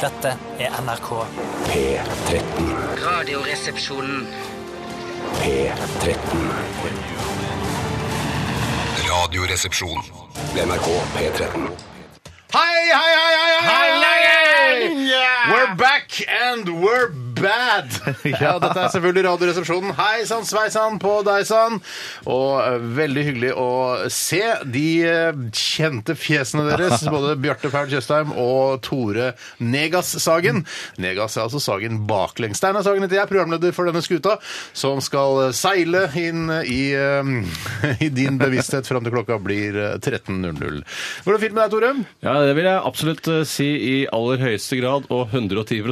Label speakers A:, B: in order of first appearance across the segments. A: Dette er NRK.
B: P13.
C: Radioresepsjonen.
B: P13. Radioresepsjon. NRK P13.
D: Hei, hei, hei, hei, hei, hei, hei! We're back and we're bad. Ja, dette er selvfølgelig Radioresepsjonen. Hei sann, sveisann på deg sann. Og eh, veldig hyggelig å se de eh, kjente fjesene deres, både Bjarte Paul Tjøstheim og Tore Negas Sagen. Negas er altså Sagen baklengs. Steinar Sagen heter jeg, programleder for denne skuta, som skal eh, seile inn i, eh, i din bevissthet fram til klokka blir eh, 13.00. Går det fint med deg, Tore?
E: Ja, det vil jeg absolutt eh, si i aller høyeste grad, og 110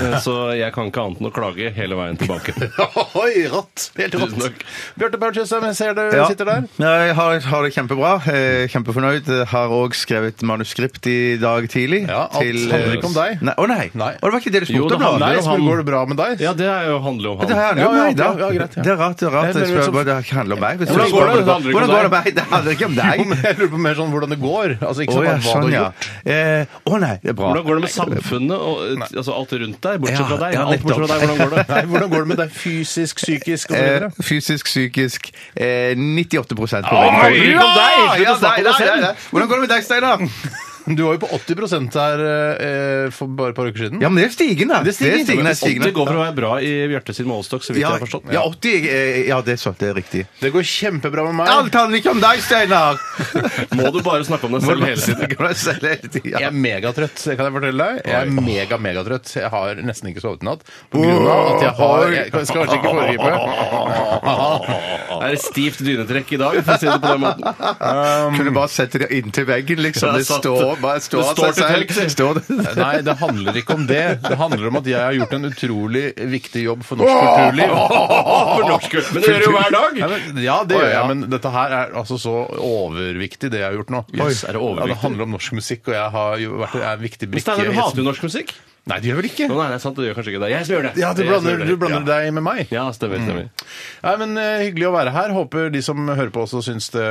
E: eh, Så jeg kan ikke annet enn å klage hele veien tilbake.
D: Oi, rått! Helt
E: Tusen
D: rått.
E: takk.
D: Bjarte Paul Tjøstheim, jeg ser du sitter der.
F: Ja, jeg har, har det kjempebra. Eh, Kjempefornøyd. Jeg Har òg skrevet manuskript i dag tidlig. eh,
D: Ja, alt handler ikke om deg.
F: Nei, å nei.
D: Nei.
F: Å, det var ikke det
E: Jo,
F: du
E: det
F: spurte om?
E: handler
F: da.
D: Nei,
E: jo
D: spør,
E: han-
D: Går det bra med deg?
E: Ja, det er jo handler jo om
F: Det
E: han.
F: handler
D: Ja,
F: om
D: ja,
F: meg, da.
D: ja, ja, greit, ja.
F: Det er rart. det er rart.
D: Jeg
F: Jeg
D: ble litt
F: spør
D: sånn-
F: bare, det handler om meg. Hvis du
E: Hvordan
F: spør
E: går det?
F: meg,
E: Det handler ikke om
D: Jo,
E: deg.
F: Hvordan går det med deg? Det handler ikke om
D: men
F: deg.
D: Jeg lurer på mer sånn hvordan det går. Altså ikke
F: Å
D: sånn
F: ja,
D: at hva du
F: sånn,
D: har
F: ja.
D: gjort.
F: Eh, Å nei, det er bra.
E: Hvordan går det med samfunnet og eh, altså alt rundt deg, bortsett fra
F: Ja,
E: deg?
F: ja,
E: Alt bortsett fra deg, hvordan
F: nettopp.
E: går det?
D: Nei, hvordan går det med deg fysisk, psykisk og så
F: Eh,
D: videre?
F: fysisk, psykisk eh, 98 på vei.
E: handler ikke om deg! Slutt å
F: Ja,
E: snakke om
F: nei,
E: deg
F: nei,
E: selv.
F: nei. Hvordan går det med deg, Steinar?
D: Du var jo på 80 her eh, for bare et par uker siden.
F: Ja, men det er stigende.
D: Det er stigende.
F: Det er stigende.
E: Det går for å være bra i Bjarte sin målestokk, så vidt jeg
F: Ja,
E: har forstått.
F: ja, 80 eh, Ja, det er sant. Det er riktig.
D: Det går kjempebra med meg.
F: Alt handler ikke om deg, Steinar!
E: Må du bare snakke om deg selv hele tiden?
D: Jeg er megatrøtt, det kan jeg fortelle deg. Jeg er mega, megatrøtt. Jeg har nesten ikke sovet i natt. På grunn av at jeg har Jeg skal kanskje ikke foregripe.
E: Er det stivt dynetrekk i dag, for å si det på den måten?
F: Kunne bare sette det inntil veggen, liksom.
E: Ja,
F: Um, Det
E: sant.
F: står bare
E: Det
F: står av
E: står
F: seg
E: til
F: selv.
E: tørk,
F: Står det.
D: Nei, det handler ikke om det. Det handler om at jeg har gjort en utrolig viktig jobb for norsk kulturliv.
E: For norsk gutt, Men det gjør du jo hver dag!
D: Ja, men, ja, det gjør
F: Å, ja.
D: jeg, men dette her er altså så overviktig, det jeg har gjort nå.
E: Jøss, er det
D: Ja,
E: overviktig?
D: det handler om norsk musikk, og jeg har jo vært jeg er en viktig
E: Men
D: brikke.
E: Steinar,
D: i-
E: du hater jo norsk musikk?
D: Nei, det gjør vel ikke?
E: Å, nei, det er sant, det gjør kanskje ikke det. Jeg som gjør det.
D: Ja, du
E: Jeg som
D: blander,
E: gjør
D: du
E: det.
D: blander
E: Ja. Mm.
D: deg med meg.
E: Ja, stemmer. stemmer.
D: Nei, men eh, Hyggelig å være her. Håper de som hører på også syns det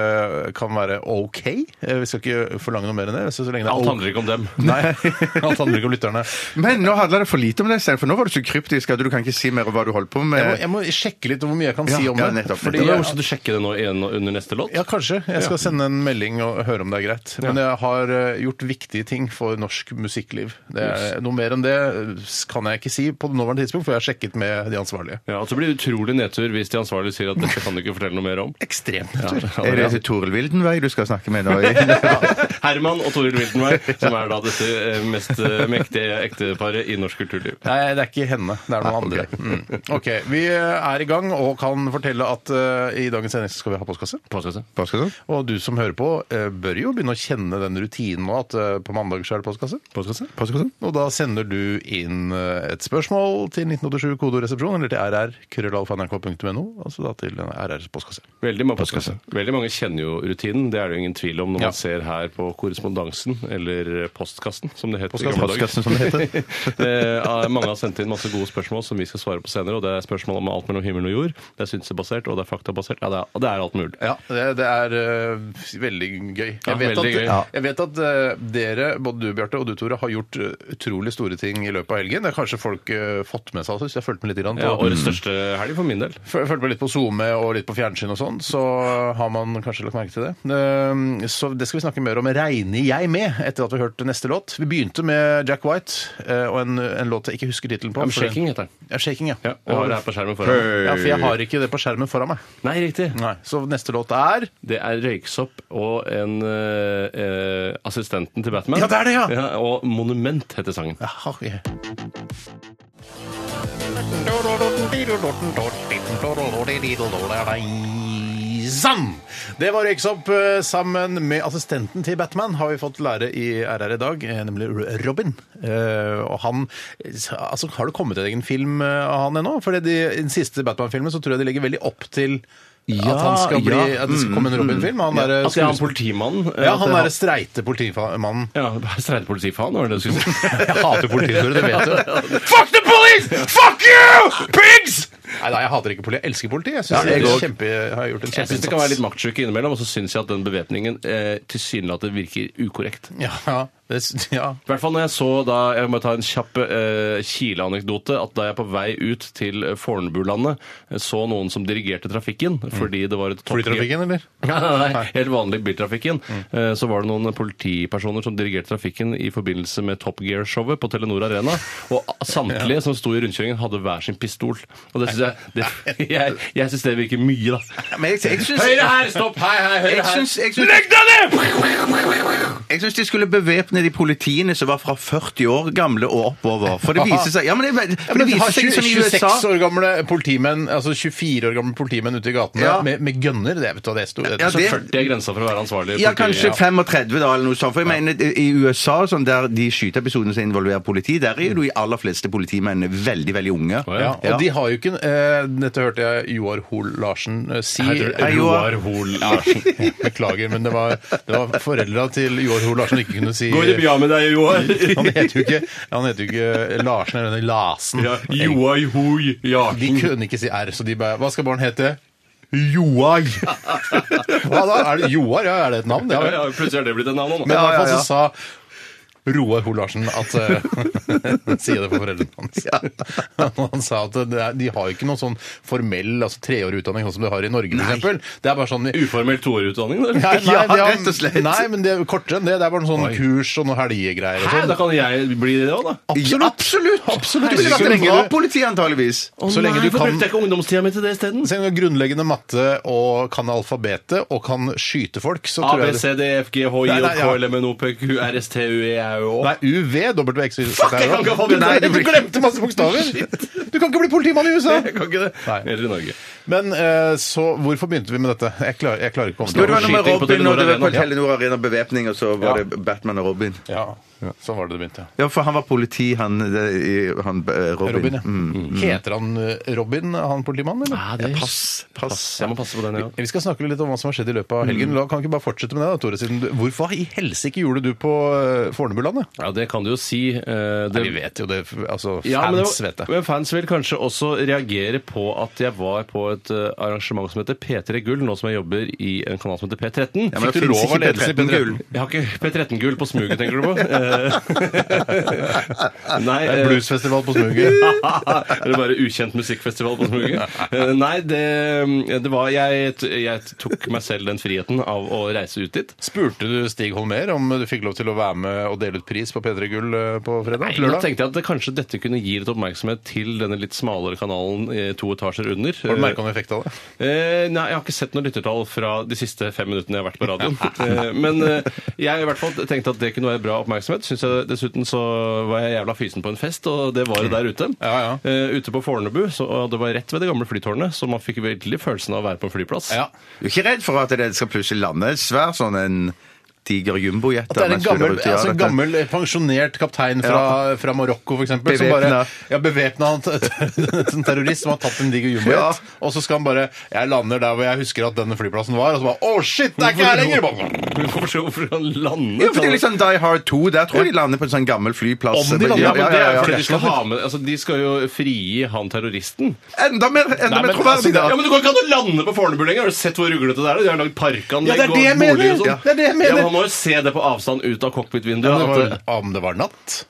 D: kan være OK. Eh, vi skal ikke forlange noe mer enn det. Så, så lenge det er
E: Alt
D: ok-
E: handler ikke om dem.
D: Nei, alt handler ikke om lytterne.
F: Men nå handla det for lite om deg, Steinar, for nå var du så kryptisk at du kan ikke si mer om hva du holdt på
D: Jeg må,
F: med.
D: jeg må sjekke litt hvor mye jeg kan
F: Eh, Ja,
D: si om
F: ja,
D: det.
F: nettopp,
D: fordi
E: Det var
D: jeg-
E: morsomt å sjekke det nå igjen under neste låt.
D: Ja, kanskje. Jeg skal sende en melding og høre om det er greit. Men jeg har eh, gjort viktige ting for norsk musikkliv. Det er, noe mer enn det eh, kan jeg ikke si på det nåværende tidspunkt, for jeg har sjekket med de ansvarlige.
E: Ja, og så blir det utrolig nedtur hvis de ansvarlige sier at dette kan du ikke fortelle noe mer om.
D: Ekstremt
E: Ja,
D: nedtur.
E: ja,
F: Er
E: ja.
F: det Toril Wildenvei du skal snakke med nå? i-
E: Herman og Toril Wildenberg, som er da dette eh, mest eh, mektige ekteparet i norsk kulturliv.
D: Nei, det er ikke henne. Det er noen andre. Mm. Ok, Vi eh, er i gang og kan fortelle at eh, i dagens sending så skal vi ha postkasse.
E: Postkasse.
F: Hva skal du?
D: Og du som hører på, eh, bør jo begynne å kjenne den rutinen nå at eh, på mandager så er det postkasse.
E: Postkasse?
F: Postkassen?
D: Og da sender du inn eh, et spørsmål til 1987 kodoresepsjon eller til rr.krøllalfa.nrk.no, altså da til RRs postkasse.
E: Veldig mange, postkasse. Veldig mange kjenner jo rutinen, det er det jo ingen tvil om når
D: Ja.
E: man ser her på korrespondansen, eller eh, postkassen, som det het i gamle dager.
F: Postkassen, som det heter.
E: Eh, mange har sendt inn masse gode spørsmål som vi skal svare på senere. og Det er spørsmål om alt mellom himmel og jord. Det er synsebasert, og det er faktabasert. Ja, det er, og det er alt mulig.
D: Ja, det, det er eh, veldig gøy. Jeg
E: Ja,
D: vet
E: veldig
D: at,
E: gøy. Ja.
D: Jeg vet at eh, dere, både du Bjarte og du Tore, har gjort eh, utrolig store ting i løpet av helgen. Det har kanskje folk eh, fått med seg også, hvis jeg fulgte med litt. Grann, på-
E: Ja, årets største helg for min del.
D: Føl- Fulgte med litt på SoMe og litt på fjernsyn og sånn, så har man kanskje lagt merke til det. Ehm, Så det skal vi snakke mer om. Regner jeg med? Etter at vi har hørt neste låt. Vi begynte med Jack White eh, og en, en låt jeg ikke husker tittelen på.
E: Ja, men
D: for den-
E: shaking heter den.
D: Ja, shaking, ja.
E: Ja, og har det her på skjermen foran.
D: Ja, for jeg har ikke det på skjermen foran meg.
E: Nei, riktig.
D: Nei. Så neste låt er
E: Det er Røyksopp og en eh, eh, assistenten til Batman.
D: Ja, det er det, ja!
E: og Monument heter sangen.
D: Jaha, ja. Sann! Det var Røyksopp eh, sammen med assistenten til Batman, har vi fått lære i RR i dag, eh, nemlig R- Robin. Eh, Og han Altså, har det kommet en egen film eh, av han ennå? For i den siste Batman-filmen så tror jeg de legger veldig opp til at, han skal bli,
F: ja.
D: at det skal komme en Robin-film. Han er
E: At det er han
D: skuespiller-
E: politimannen. eh,
D: Ja, han
E: at
D: er
E: det
D: streite politimannen.
E: ja, det er streitepolitifaen, var det det du skulle si?
D: Jeg hater politiet, det vet du. Fuck the police! Fuck you! Pigs! Nei, nei, jeg hater ikke politi. Jeg elsker politi. Jeg syns
F: jeg
D: jeg,
F: òg.
D: kjempe, har gjort en
E: Jeg syns
D: kjempeinnsats.
E: det kan være litt maktsjuke innimellom, og så syns jeg at den bevæpningen eh, tilsynelatende virker ukorrekt.
D: Ja, Det, s- ja.
E: I hvert fall når jeg så da, jeg må ta en kjapp eh, Kile-anekdote, at da jeg på vei ut til eh, Fornebulandet eh, så noen som dirigerte trafikken
D: Mm.
E: fordi det var et topp-
D: Flytrafikken, eller?
E: Nei, nei, nei, helt vanlig biltrafikken. Eh, Så var det noen politipersoner som dirigerte trafikken i forbindelse med Top Gear-showet på Telenor Arena. Og samtlige som sto i rundkjøringen, hadde hver sin pistol. Og det syns jeg, det, jeg, jeg synes det virker mye, da.
F: Men jeg, jeg syns
E: Høyre her! Stopp! Hei, hei,
F: jeg
E: høyre her!
F: syns- jeg syns-
E: Legg deg ned!
F: Jeg syns de skulle bevæpne de politiene som var fra 40 år gamle og oppover. For det viser seg Ja, men, det, for det
D: men
F: viser
D: har
F: seg
D: 20,
F: sånn i USA
D: 26 år gamle politimenn, altså 24 år gamle politimenn ute i gatene
F: Ja.
D: med, med gønner. Det, vet du, hva, det, er stor-
F: Ja, det-
E: 40 er grensa for å være ansvarlig.
F: Ja,
E: politi-
F: kanskje 35, da, eller noe sånt. For jeg mener, i USA, sånn, der de skyteepisodene som involverer politi, der er jo de aller fleste politimennene veldig, veldig unge.
E: Å,
D: ja,
E: ja.
D: og de har jo ikke eh, Dette hørte jeg Joar Hoel Larsen eh, si.
E: Heter det
F: Hei, Joar.
E: Roar Hoel Larsen.
D: Beklager, men det var, det var foreldra til Joar Hoel Larsen ikke kunne si
E: Går det bra med deg,
D: Han
E: Joar?
D: heter jo ikke, han heter jo ikke Larsen eller den Lasen.
E: Ja, Joar Hoel
D: De
E: Larsen.
D: kunne ikke si R, så de bare Hva skal barn hete? Joar. Hva da? Er det Joar? Ja, er det et navn? Ja,
E: Ja,
D: vel.
E: ja, plutselig er det blitt et navn nå.
D: Men i
F: Ja,
D: hvert fall
F: ja,
E: sånn
D: så sa Roar Hoel Larsen at eh, Sier det for foreldrene hans. Han sa at det er, de har jo ikke noen sånn formell altså treårig utdanning sånn som de har i Norge, f.eks. Det er bare sånn
E: Uformell toårutdanning, eller?
D: Nei, nei,
F: Ja,
D: de har-
F: rett og slett.
D: Nei, men det er kortere enn det. Det er bare noen sånn kurs og noen helgegreier og
E: Hæ, da
D: sånn.
E: kan jeg bli det òg, da?
F: Ja, absolutt! Du
D: Herregud,
F: ville
D: så
F: vært en
D: lenge
F: bra
D: du-
F: politi, antageligvis.
D: Så lenge du
E: Hvorfor
D: kan
E: brukte jeg ikke ungdomstida mi til det isteden?
D: Selv om du har grunnleggende matte og kan alfabetet og kan skyte folk, så
E: A,
D: tror
E: B,
D: jeg det-
E: C, D, E F, G, H, I,
D: Nei,
E: J,
D: nei,
E: K,
D: ja.
E: L, M, N, O, P, Q, R, S, T, U, E, R, Å.
D: Nei, UV, dobbelt X, Y, Z,
E: jeg kan ikke alfabetet.
D: Nei,
E: Nei,
D: du
E: det blir-
D: glemte masse bokstaver! Du kan ikke bli politimann i USA!
E: Jeg kan ikke det.
D: Nei.
E: Eller i Norge.
D: Men eh, så Hvorfor begynte vi med dette? Jeg klarer, jeg klarer ikke å komme
F: Jo,
D: til
F: det var noe
E: Skyting
F: med
E: på
F: Robin,
E: Telenor
F: og det var på
E: Arena.
F: Telenor Arena bevæpning, og så var det Batman og Robin.
D: ja. Sånn var det det begynte.
F: Ja, for han var politi, han, det- i- han eh, Robin.
D: Robin, ja.
F: Mm.
D: Heter han eh, Robin, han politimannen, eller?
E: Ja, det
F: Pass, pass.
E: Jeg må passe på den, ja.
D: Vi skal snakke litt om hva som har skjedd i løpet av helgen. La, kan vi ikke bare fortsette med det, da, Tore? Siden du, hvorfor i helsike gjorde du på eh, Fornebulandet?
E: ja. Det kan du jo si. eh, det-
D: Vi vet jo det. Altså, fans
E: Ja, men, det var-
D: vet det.
E: men fans vil kanskje også reagere på at jeg var på et eh, arrangement som heter P3 Gull, nå som jeg jobber i en kanal som heter P13.
F: Ja,
E: Fikk
F: men det
E: du
F: finnes
E: lov av
F: ikke
E: ledelsen i
F: P13
E: P13?
F: Gull.
E: Jeg har ikke P13-gull på smuget, tenker du på? Eh, Nei,
D: Det er
E: eh,
D: bluesfestival på smuget.
E: Eller bare ukjent musikkfestival på smuget. Eh, Nei, det, det var jeg, jeg tok meg selv den friheten av å reise ut dit.
D: Spurte du Stig Holmer om du fikk lov til å være med og dele ut pris på P3 Gull eh, på fredag?
E: Nei,
D: på lørdag?
E: nå tenkte jeg at det, kanskje dette kunne gi litt oppmerksomhet til denne litt smalere kanalen eh, to etasjer under.
D: Har du merka noen effekt av det?
E: Eh, nei, jeg har ikke sett noen lyttertall fra de siste fem minuttene jeg har vært på radioen. eh, men eh, jeg i hvert fall tenkte at det kunne være bra oppmerksomhet. Synes jeg Dessuten så var jeg jævla fysen på en fest, og det var jo der ute.
D: Ja, ja.
E: Eh, ute på Fornebu, så, og det var rett ved det gamle flytårnet, så man fikk virkelig følelsen av å være på en flyplass.
F: Du er ikke redd for at det skal plutselig lande en svær sånn en diger jumbojet?
D: At det er en
F: mens du er
D: gammel,
F: ute, ja,
D: altså en
F: dette-
D: gammel eh, pensjonert kaptein fra, fra Marokko, f.eks. Som
F: Bevæpnet.
D: bare ja, bevæpna han t- t- en terrorist som har tatt en diger jumbojet.
F: Ja.
D: Og så skal han bare Jeg lander der hvor jeg husker at denne flyplassen var. Og så bare Å, shit! Det er ikke her lenger! Bare,
E: Hvorfor, hvorfor, hvorfor han landet?
F: Ja, for
E: liksom
F: det er litt sånn Die Hard 2. Der tror jeg de lander på en sånn gammel flyplass.
D: Om de lander,
E: Ja,
F: ja,
E: men
F: ja,
E: det
F: ja,
E: er jo fordi
F: ja.
E: de skal ha med Altså, de skal jo frigi han terroristen.
F: Enda mer, enda mer
E: altså,
F: troverdig, da.
E: ja, men du kan ikke an å lande på Fornebu lenger! Har du sett hvor ruglete det er? De har lagd
D: Ja, det
E: parkanlegg
D: er det jeg mener.
E: boliger og sånn.
D: Ja, det er det jeg mener.
E: Ja, men man må jo se det på avstand ut av
D: Ja,
E: cockpit-vinduet.
D: men det
E: at
D: var,
E: det-
D: om det var natt?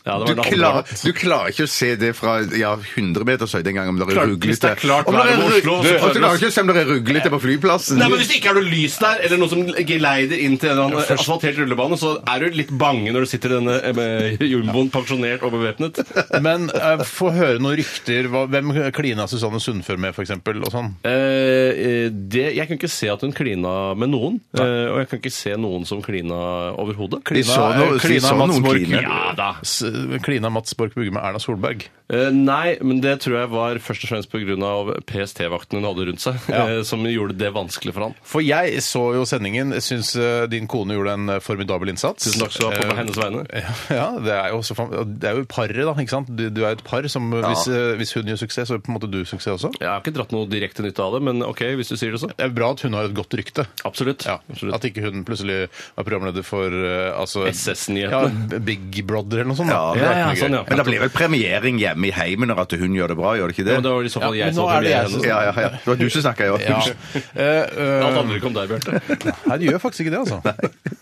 E: Ja, det var
F: Du
E: en annen
F: klarer,
E: dag.
F: du klarer ikke å se det fra ja, 100 meters høyde engang om det er
E: Klart,
F: ruglete.
E: hvis det er klart
F: Om
E: vær
F: er
E: i Oslo,
F: rug-
E: så
F: Du,
E: klarer
F: og
E: du
F: du klarer ikke å se om det er ruglete på flyplassen.
E: Nei, men Hvis det ikke er noe lys der, eller noe som geleider inn til en eller annen asfaltert rullebane, så er du litt bange når du sitter i denne eh, jumboen pensjonert og bevæpnet.
D: Men eh, få høre noen rykter. Hva, hvem klina Susanne Sundfør med, f.eks.? Og sånn.
E: Eh, eh, det, jeg kan ikke se at hun klina med noen. eh, og jeg kan ikke se noen som klina overhodet.
F: Vi så
E: eh,
F: noe- vi
D: klina
F: så
D: Mats
F: noen
D: Borch.
F: kline.
E: Ja da.
D: S- Klina Mats Borch Bugge med Erna Solberg.
E: Eh, nei, men det tror jeg var først og fremst pga. PST-vakten hun hadde rundt seg,
D: Ja.
E: eh, som gjorde det vanskelig for han.
D: For jeg så jo sendingen. Jeg syns eh, din kone gjorde en eh, formidabel innsats. Eh,
E: Tusen takk skal du ha på hennes vegne.
D: Ja, det er jo, også, fan- det er jo paret, da. ikke sant? Du, du er et par som hvis, eh, hvis hun gjør suksess, så gjør på en måte du suksess også.
E: Jeg har ikke dratt noe direkte nytte av det, men OK, hvis du sier det så.
D: Det er bra at hun har et godt rykte.
E: Absolutt.
D: Ja,
E: Absolutt.
D: At ikke hun plutselig var programleder for eh, altså,
E: SS-nyhetene.
D: Ja, Big Brother eller noe sånt.
F: Ja,
D: da. Det
E: ja,
D: er ikke
E: ja,
D: noe
E: sånn,
D: gøy.
E: ja.
F: Men det blir vel premiering hjemme i heimen når at hun gjør det bra, gjør det ikke det?
E: Men det var i så fall
D: Ja,
E: jeg
D: men
E: som
D: nå er det
E: premierer
D: jeg
E: henne.
D: som-
F: Ja, ja, ja. Det var du som snakka, ja.
D: Ja. Eh, eh,
E: Alt handler ikke om deg, Bjarte.
D: Nei, det gjør faktisk ikke det, altså.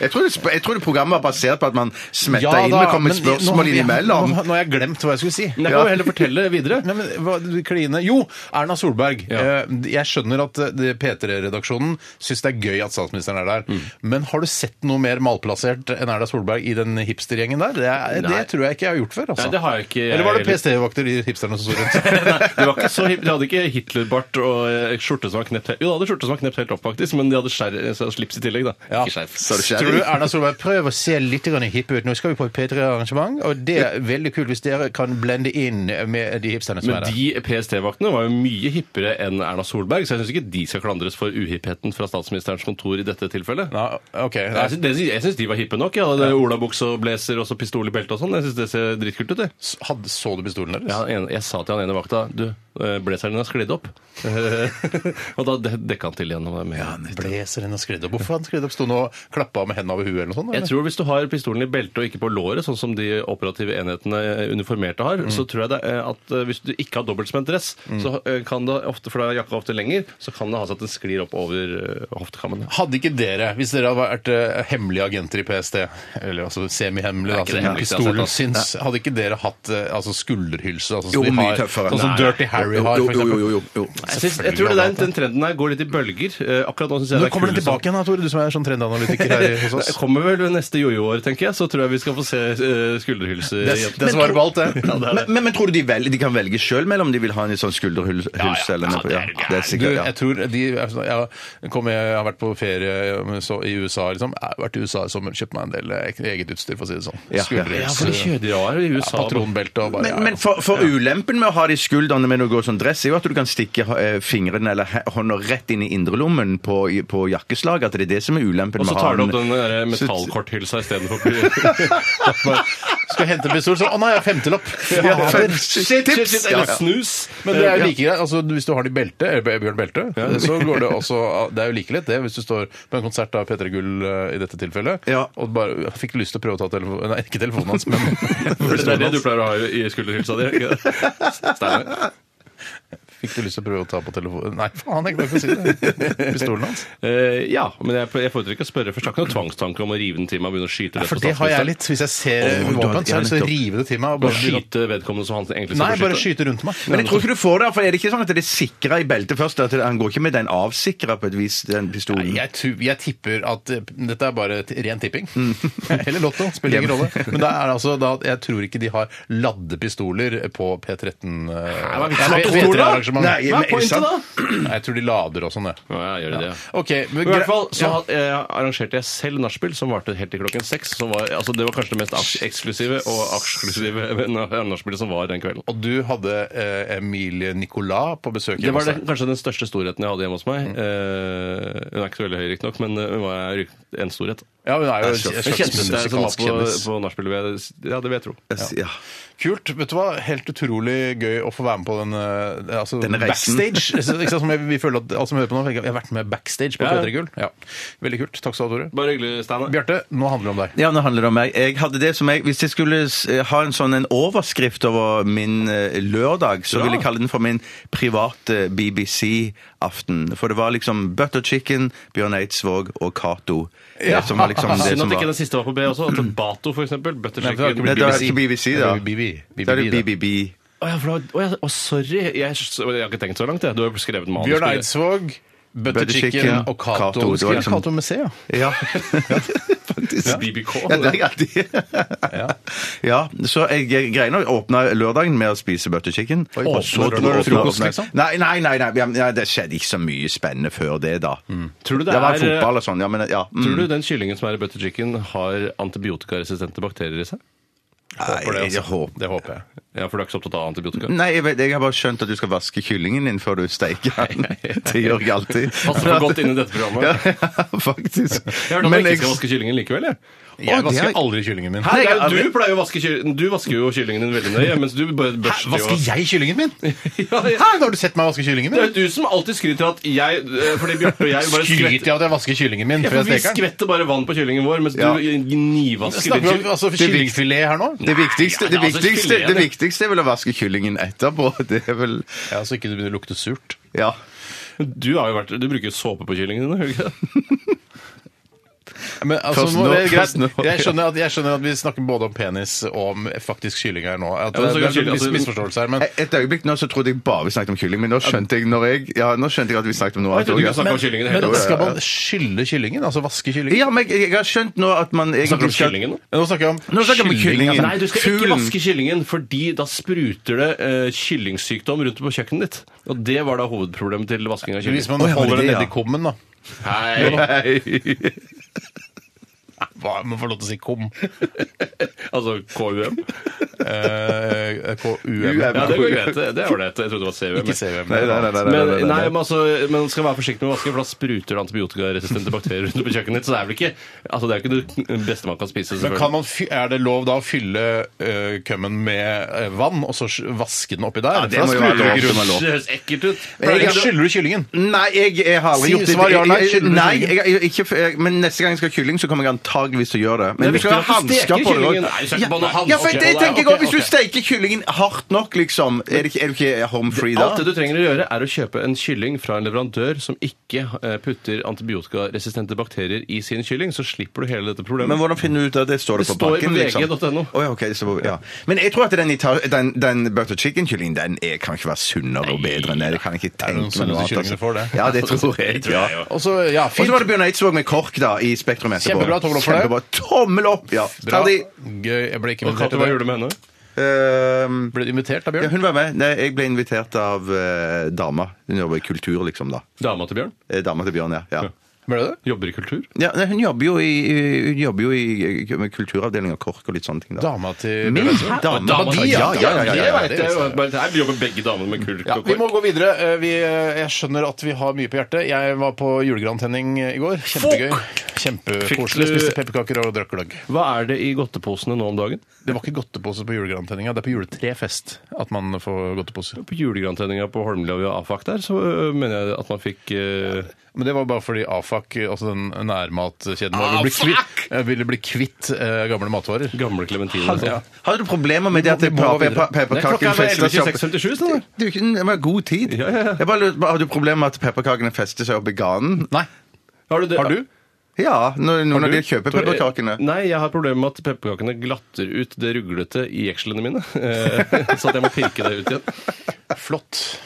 F: Jeg tror, det, sp- jeg tror det programmet var basert på at man smetta
D: Ja
F: inn
D: da,
F: med kom
D: men
F: et spørsmål
D: nå-
F: innimellom.
D: Nå nå har jeg glemt hva jeg skulle si.
E: Men jeg kan jo heller fortelle videre.
D: Nei, men hva, du Kline Jo, Erna Solberg.
E: Ja.
D: Eh, Jeg skjønner at eh, det- P3-redaksjonen syns det er gøy at statsministeren er
E: Mm.
D: der. Men har du sett noe mer malplassert enn Erna Solberg i den hipstergjengen der? Det, er,
E: Nei.
D: det tror jeg ikke jeg har gjort før. Altså.
E: Nei, det har jeg ikke. jeg
D: Eller var det
E: heller.
D: PST-vakter, de hipsterne som sto rundt?
E: Nei, det var ikke så hip. De hadde ikke Hitlerbart og eh, skjorte som var knept helt Jo, de hadde skjorte som var knept helt opp, faktisk, men de hadde skjær, så slips i tillegg, da.
D: Ja.
E: Ikke skjerf.
F: Så det skjer.
D: Tror du Erna Solberg prøv å se litt grann hipp ut? Nå skal vi på et P3-arrangement, og det er veldig kult hvis dere kan blende inn med de hipsterne som
E: Men
D: er der.
E: de PST-vaktene var jo mye hippere enn Erna Solberg, så jeg syns ikke de skal klandres for uhippheten fra statsministerens kontor i dette tilfellet.
D: Ja, ok.
E: Jeg syns- det syns- Jeg syns de var hippe nok. Jeg hadde olabukse og blazer og så pistol i beltet og sånn. Jeg syns det ser dritkult ut. Jeg.
D: Hadde, så du pistolen deres?
E: Ja, han ene- jeg sa til han ene vakta Du, eh, blazeren din har sklidd opp. og da de- dekka han til igjen. og var Med.
D: Blazer inn og skredde opp. Hvorfor han skredde opp? Sto han og klappa med hendene over huet eller noe sånt?
E: Jeg tror Hvis du har pistolen i beltet og ikke på låret, sånn som de operative enhetene eh, uniformerte har, så tror jeg det er at eh, hvis du ikke har dobbeltsment dress, så eh, kan det ofte, for da er jakka ofte lenger, så kan det ha seg at den sklir opp over eh, hoftekammene.
D: Hadde ikke dere, hvis dere hadde vært eh, hemmelige agenter i PST, eller altså semihemmelige,
E: Det er ikke
D: altså,
E: det hemmeligste jeg har
D: pistolen
E: sett,
D: syns, hadde ikke dere hatt eh, altså, skulderhylse? Altså,
F: Jo,
D: som de
F: mye
D: har-
F: tøffere.
D: Sånn som
F: Nei.
D: Dirty Harry
F: Jo,
D: har,
F: jo,
D: for eksempel.
F: jo, jo, jo, jo.
E: Jeg, synes, jeg tror det der, den trenden her går litt i bølger. Eh, Akkurat Nå synes jeg
D: Nå
E: det er
D: kommer den
E: kulest-
D: tilbake igjen, da, Tore, du som er sånn trendanalytiker her hos
E: Det
D: oss.
E: kommer vel neste jojo-år, tenker jeg. Så tror jeg vi skal få se eh, skulderhylser.
D: Det,
E: igjen.
D: det svarer på alt, det.
E: Ja, det er det.
F: Men, men, men tror du de, vel, de kan velge sjøl mellom de vil ha en sånn skulderhylse eller noe? Ja, det er
D: Du,
F: sikkert, ja.
D: jeg tror de, altså, jeg, har- kom, jeg har vært på ferie men så, i USA, liksom. Jeg har vært i USA i sommer, kjøpt meg en del eh, eget utstyr, for å si det sånn. eh,
F: Ja, ja.
E: Ja, for de kjører rare i
D: ja,
E: USA.
D: patronbelte og bare ja,
F: Men, men for, for ulempen med å ha det i skuldrene med å gå sånn dress, er jo at du kan stikke eh, fingrene eller he- hånda rett inn i indrelommen på, i- på jakkeslaget. At det er det som er ulempen
E: og så
F: med å ha
E: tar du opp
F: en-
E: den der eh, metallkorthylsa istedenfor
D: Skal hente pistol, så Å nei, jeg har femtelapp!
F: Ja,
D: Fader.
F: for- shit, tips! Ja,
E: eller
F: ja.
E: snus.
D: Men det er jo like greit. Altså, hvis du har det i belte, eh, Bjørn Belte, så går det også ah, Det er jo like lett, det, hvis du står på en konsert av P3 Gull eh, i dette tilfellet,
F: Ja.
D: og bare jeg fikk lyst til å prøve å ta telefonen Nei, ikke telefonen hans, men
E: Eh, For det er det du pleier å ha i- i skulderhylsa di? er det ikke det? Steinar.
D: Fikk du lyst til å prøve å ta på telefonen Nei, faen, jeg glemte å si det. Pistolen hans.
E: Eh, ja, men jeg, jeg foretrekker å spørre først. Jeg har ikke noen tvangstanke om å rive den til meg og begynne å skyte rett
D: For
E: på
D: det har jeg
E: statsministeren.
D: litt. Hvis jeg ser
F: Åh, du har-
D: våpen, så har jeg lyst til
F: ja,
D: å rive det til meg. Og
E: Bare
D: bare begynne å-
E: skyte vedkommende som han egentlig
D: Nei,
E: skal
D: bare
E: beskytte.
D: skyte rundt meg.
F: Men jeg tror ikke du får det, for er det ikke sånn at det er sikra i beltet først? At han går ikke med den avsikra på et vis, den pistolen?
D: Nei, Jeg, tu- jeg tipper at eh, dette er bare t- ren tipping.
E: Mm.
D: Eller lotto, spiller ingen rolle. Men det er altså da at jeg tror ikke de har laddepistoler på P13 eh,
E: hva er vitsen
D: P-
E: med pistoler, da?
D: P3-arrangement.
F: Nei,
E: Hva
F: men-
E: er pointet, da?
D: Nei, jeg tror de lader og sånn, det.
E: Ja, jeg gjør det, ja.
D: OK. Men,
E: Men I hvert fall så
D: ja.
E: had- eh, arrangerte jeg selv nachspiel, som varte helt til klokken seks. Som var, altså, det var kanskje det mest aks- eksklusive og eksklusive nachspielet som var den kvelden.
D: Og du hadde eh, Emilie Nicolas på besøk
E: Det
D: hjemme
E: var
D: hos
E: det,
D: deg.
E: kanskje den største storheten jeg hadde hjemme hos meg. Eh, hun er ikke så veldig høy, riktignok, men eh, hun var ryk- en storhet.
D: Ja, hun er jo en
F: Det er
D: slags
E: Jeg kjente det som var
D: musikalsk
E: på,
D: kjendis.
E: på nachspielet. vil jeg- Ja, det vil jeg tro.
F: Ja.
D: Kult. Vet du hva? Helt utrolig gøy å få være med på den eh, altså,
F: Denne reisen.
D: backstage. Altså, Ikke sant? Som jeg, vi føler at alle som hører på nå, tenker at jeg har vært med backstage på
E: Ja, ja.
D: P3 Gull. Ja. Veldig kult. Takk skal du ha, Tore.
E: Bare hyggelig, Steinar.
D: Bjarte, nå handler det om deg.
F: Ja, nå handler det om meg. Jeg hadde det som jeg, Hvis jeg skulle s- ha en sånn en overskrift over min eh, lørdag, så ville jeg kalle den for min private BBC-aften. For det var liksom Butter Chicken, Bjørn Eidsvåg og Cato. eh,
D: Ja.
F: Som var liksom det
E: Synd
F: som
E: at ikke
F: var
E: den siste var på B også. at Bato, for eksempel.
D: Nei, for det har ikke
E: Butterchicken.
D: blitt
F: Nei, det var ikke BBC, da.
D: Det er jo BB.
F: Da er det
D: BB, da.
F: BBB.
E: Å ja, for det var- å ja, å, sorry. Jeg, jeg har ikke tenkt så langt, jeg. Du har jo skrevet manus.
D: Bjørn
E: på det.
D: Eidsvåg, Butter
F: Butter
D: Chicken
F: Chicken,
D: og Cato.
F: Cato, det var
D: Skriv
F: liksom-
D: Cato med C, ja.
F: Ja. Faktisk.
E: BBK.
F: Ja, det er jeg alltid. ja, så jeg greier å åpne lørdagen med å spise butter chicken.
D: Åpner
F: Og så
D: du
F: åpner-
D: frokost,
F: åpner-
D: liksom?
F: Nei, nei, nei, nei, ja, men, ja, det skjedde ikke så mye spennende før det, da.
D: Mm.
E: Tror du det
F: var
E: er- eh,
F: fotball og sånn, ja, men ja. mm.
E: Tror du den kyllingen som er i butter chicken, har antibiotikaresistente bakterier i seg?
D: Håper
F: Nei,
D: det,
F: jeg
D: altså.
F: håper.
D: Det håper jeg. Mm.
E: Ja, for du er ikke så opptatt av antibiotika?
F: Nei, jeg, vet, jeg har bare skjønt at du skal vaske kyllingen din før du steiker den.
E: Nei, nei, nei.
F: Det gjør jeg alltid.
E: Passer for godt inn i dette programmet.
F: Ja, ja, faktisk.
E: Jeg hørte at
F: Men
E: man ikke
F: jeg-
E: skal vaske kyllingen likevel, jeg.
D: Jeg
F: Å, det
D: vasker
F: er-
D: aldri kyllingen min.
E: Nei,
F: jeg har
E: du
F: aldri-
E: pleier jo å vaske kyllingen Du vasker jo kyllingen din veldig nøye, mens du bare
D: Hæ,
E: børster
D: Vasker jeg kyllingen min?
E: jo ja, ja.
D: Hæ, nå har du sett meg vaske kyllingen
E: Det er
D: min?
E: jo du som alltid skryter av at jeg eh, Fordi Bjarte og jeg bare
D: Skryter jeg
E: skvetter
D: av at jeg vasker kyllingen min
E: ja,
D: før
E: for Vi
D: jeg steker den?
E: skvetter bare vann på kyllingen vår, mens
F: Ja.
E: du gnivasker
D: Snakker vi om
E: din
D: altså, kyllingfilet her nå?
F: Det viktigste, det,
E: Nei, altså,
F: viktigste,
E: kyllingen-
F: det viktigste er vel å vaske kyllingen etterpå. Det er vel
D: Ja, Så ikke det begynner å lukte surt.
F: Ja.
E: kylling. Du, har jo vært, du bruker jo såpe på kyllingen din, gjør du ikke det?
D: Men, altså,
F: Først
D: må-
F: nå,
D: det er greit.
F: først nå.
D: Jeg, skjønner at, jeg skjønner at vi snakker både om penis og om faktisk kylling her nå. At,
E: Ja, men så
D: det,
E: kan
D: er en
E: kylling-
F: altså-
D: viss misforståelse her, men
F: Eh, Et- Et øyeblikk nå så trodde jeg bare vi snakket om kylling, men nå skjønte jeg, når jeg, ja, nå skjønte jeg at vi snakket om noe
E: Jeg
F: annet.
E: trodde ikke vi
F: også,
E: snakket om kyllingen i det hele
D: Men
E: tatt.
D: skal man skylle kyllingen? Altså vaske kyllingen?
F: Ja, men jeg, jeg har skjønt nå at man
E: Snakker du
F: egentlig
E: om kyllingen nå?
D: Men Nå snakker jeg om altså.
F: Nå snakker vi om kyllingen.
E: Nei, du skal ikke
F: Fuglen.
E: vaske kyllingen, fordi da spruter det eh, kyllingsykdom rundt på kjøkkenet ditt. Og det var da hovedproblemet til vasking av
D: Hvis
E: kylling.
D: man
F: Å, ja, var det
D: holder den
F: det,
D: nedi
F: ja?
D: kummen, da.
E: Hei!
D: Hva, man får lov til å si kum.
E: Altså KUM.
D: Eh, KUM.
F: UM.
E: Ja, det går greit. Det det er ålreit. Jeg trodde det var CUM.
D: Ikke CVM.
F: Nei, nei, nei, nei, nei,
E: Men,
F: nei,
E: nei,
F: nei,
E: men altså, man skal være forsiktig med å vaske, for da spruter det antibiotikaresistente bakterier rundt på kjøkkenet ditt. Så det er vel ikke altså, det er jo ikke det beste man kan spise.
D: Men kan
E: selvfølgelig.
D: man fy er det lov da å fylle eh, kømmen med eh, vann, og så sj- vaske den oppi der?
F: Ja, det
D: For da
F: må jo være
D: spruter
F: lov,
D: ikke
F: det
D: rundt.
F: må være lov.
E: Det høres ekkelt ut.
D: Pleier ikke- Skyller du kyllingen?
F: Nei, jeg, jeg har aldri
D: Si-
F: gjort det.
D: svar ja, nei,
F: Jeg- jeg-
D: skyller du
F: nei,
D: kyllingen?
F: jeg, jeg, ikke, for- jeg, men neste gang jeg skal ha kylling, så kommer jeg antageligvis til å gjøre det. Men
E: Det er
F: du skal
E: viktig
F: ha
E: at du steker
F: hansker på det
E: kyllingen.
F: også.
E: Nei, du skal ikke
F: Ja,
E: bare ha
F: Ja, for
E: hansker
F: det
E: på det.
F: tenker jeg
D: Ok,
F: også. Hvis du
D: ok.
F: steker kyllingen hardt nok, liksom, er det ikke, er du ikke home free da?
E: Alt det du trenger å gjøre, er å kjøpe en kylling fra en leverandør som ikke eh, putter antibiotikaresistente bakterier i sin kylling, så slipper du hele dette problemet.
F: Men hvordan finner du ut av det? Står det,
E: Det
F: på
E: står
F: pakken?
E: på
F: liksom?
E: VG.no.
F: Å, ja, ok, det står på- ja. Men jeg tror at den, ital- den, den butter chicken-kyllingen den er, kan ikke være sunnere og bedre enn det. Det kan jeg ikke
D: Er det noen
F: tenke meg noe
D: sunneste kyllinger
F: altså.
D: får det?
F: Ja, det tror jeg.
E: tror
F: Ja.
E: jeg, ja.
D: Og så, ja,
F: Og
D: fint.
F: så var det Bjørn Eidsvåg med kork da, i Spektrum etterpå.
D: Kjempebra, tommel opp for det.
F: Kjempebra. Tommel opp! Ja.
D: Bra.
F: Ferdig.
D: Gøy. Jeg ble ikke
E: Og
D: invitert
E: Katte,
D: til
E: hva
D: det.
E: gjorde du med henne?
F: Ehm,
D: Ble du invitert da,
F: ja,
D: Bjørn?
F: hun var med. Nei, jeg ble invitert av eh, dama. Hun jobber i kultur, liksom. da.
E: Dama til Bjørn?
F: Eh, Dama til Bjørn, ja. ja.
D: Ble du det?
E: Jobber i kultur?
F: ja nei, hun jobber jo i, i- hun jobber jo i eh, med kulturavdeling og kork og litt sånne ting. da.
D: Dama til
F: Min dame.
E: Dama til-
F: ja, ja, ja, ja, ja,
E: Det
F: ja.
E: vet jeg jo. Bare- Her jobber begge damene med kultur.
D: Ja, vi må gå videre. Eh, Vi, eh, jeg skjønner at vi har mye på hjertet. Jeg var på julegrantenning eh, i går. Kjempegøy. Kjempekoselig.
E: Fikk du-
D: Spiste pepperkaker og drakk gløgg.
E: Hva er det i godteposene nå om dagen?
D: Det var ikke godtepose på julegrantenninga. Det er på juletrefest at man får godteposer.
E: På julegrantenninga på Holmlia og Afak der, så øh, mener jeg at man fikk øh,
D: Men det var bare fordi AFAK, altså den nærmatkjeden vår, ville bli
E: Afak!
D: kvitt, eh, ville bli kvitt eh, gamle matvarer.
E: gamle clementiner.
D: Ja.
F: Har du problemer med det at
D: Vi må- vi må
F: pe-
D: videre.
F: pe- pepperkakene fester seg opp Det
E: 11.26.77, da.
F: er jo ikke en- det var god tid.
E: Ja, ja, ja.
F: Jeg bare lurer på, Har du problemer med at pepperkakene fester seg opp i ganen?
D: Nei.
E: Har du det?
D: Har du?
F: Ja, når noen av
E: Du-
F: de kjøper
E: Tor-
F: pepperkakene.
E: Nei, jeg har problemer med at pepperkakene glatter ut det ruglete i jekslene mine. Eh, Så at jeg må pirke det ut igjen.
D: Flott.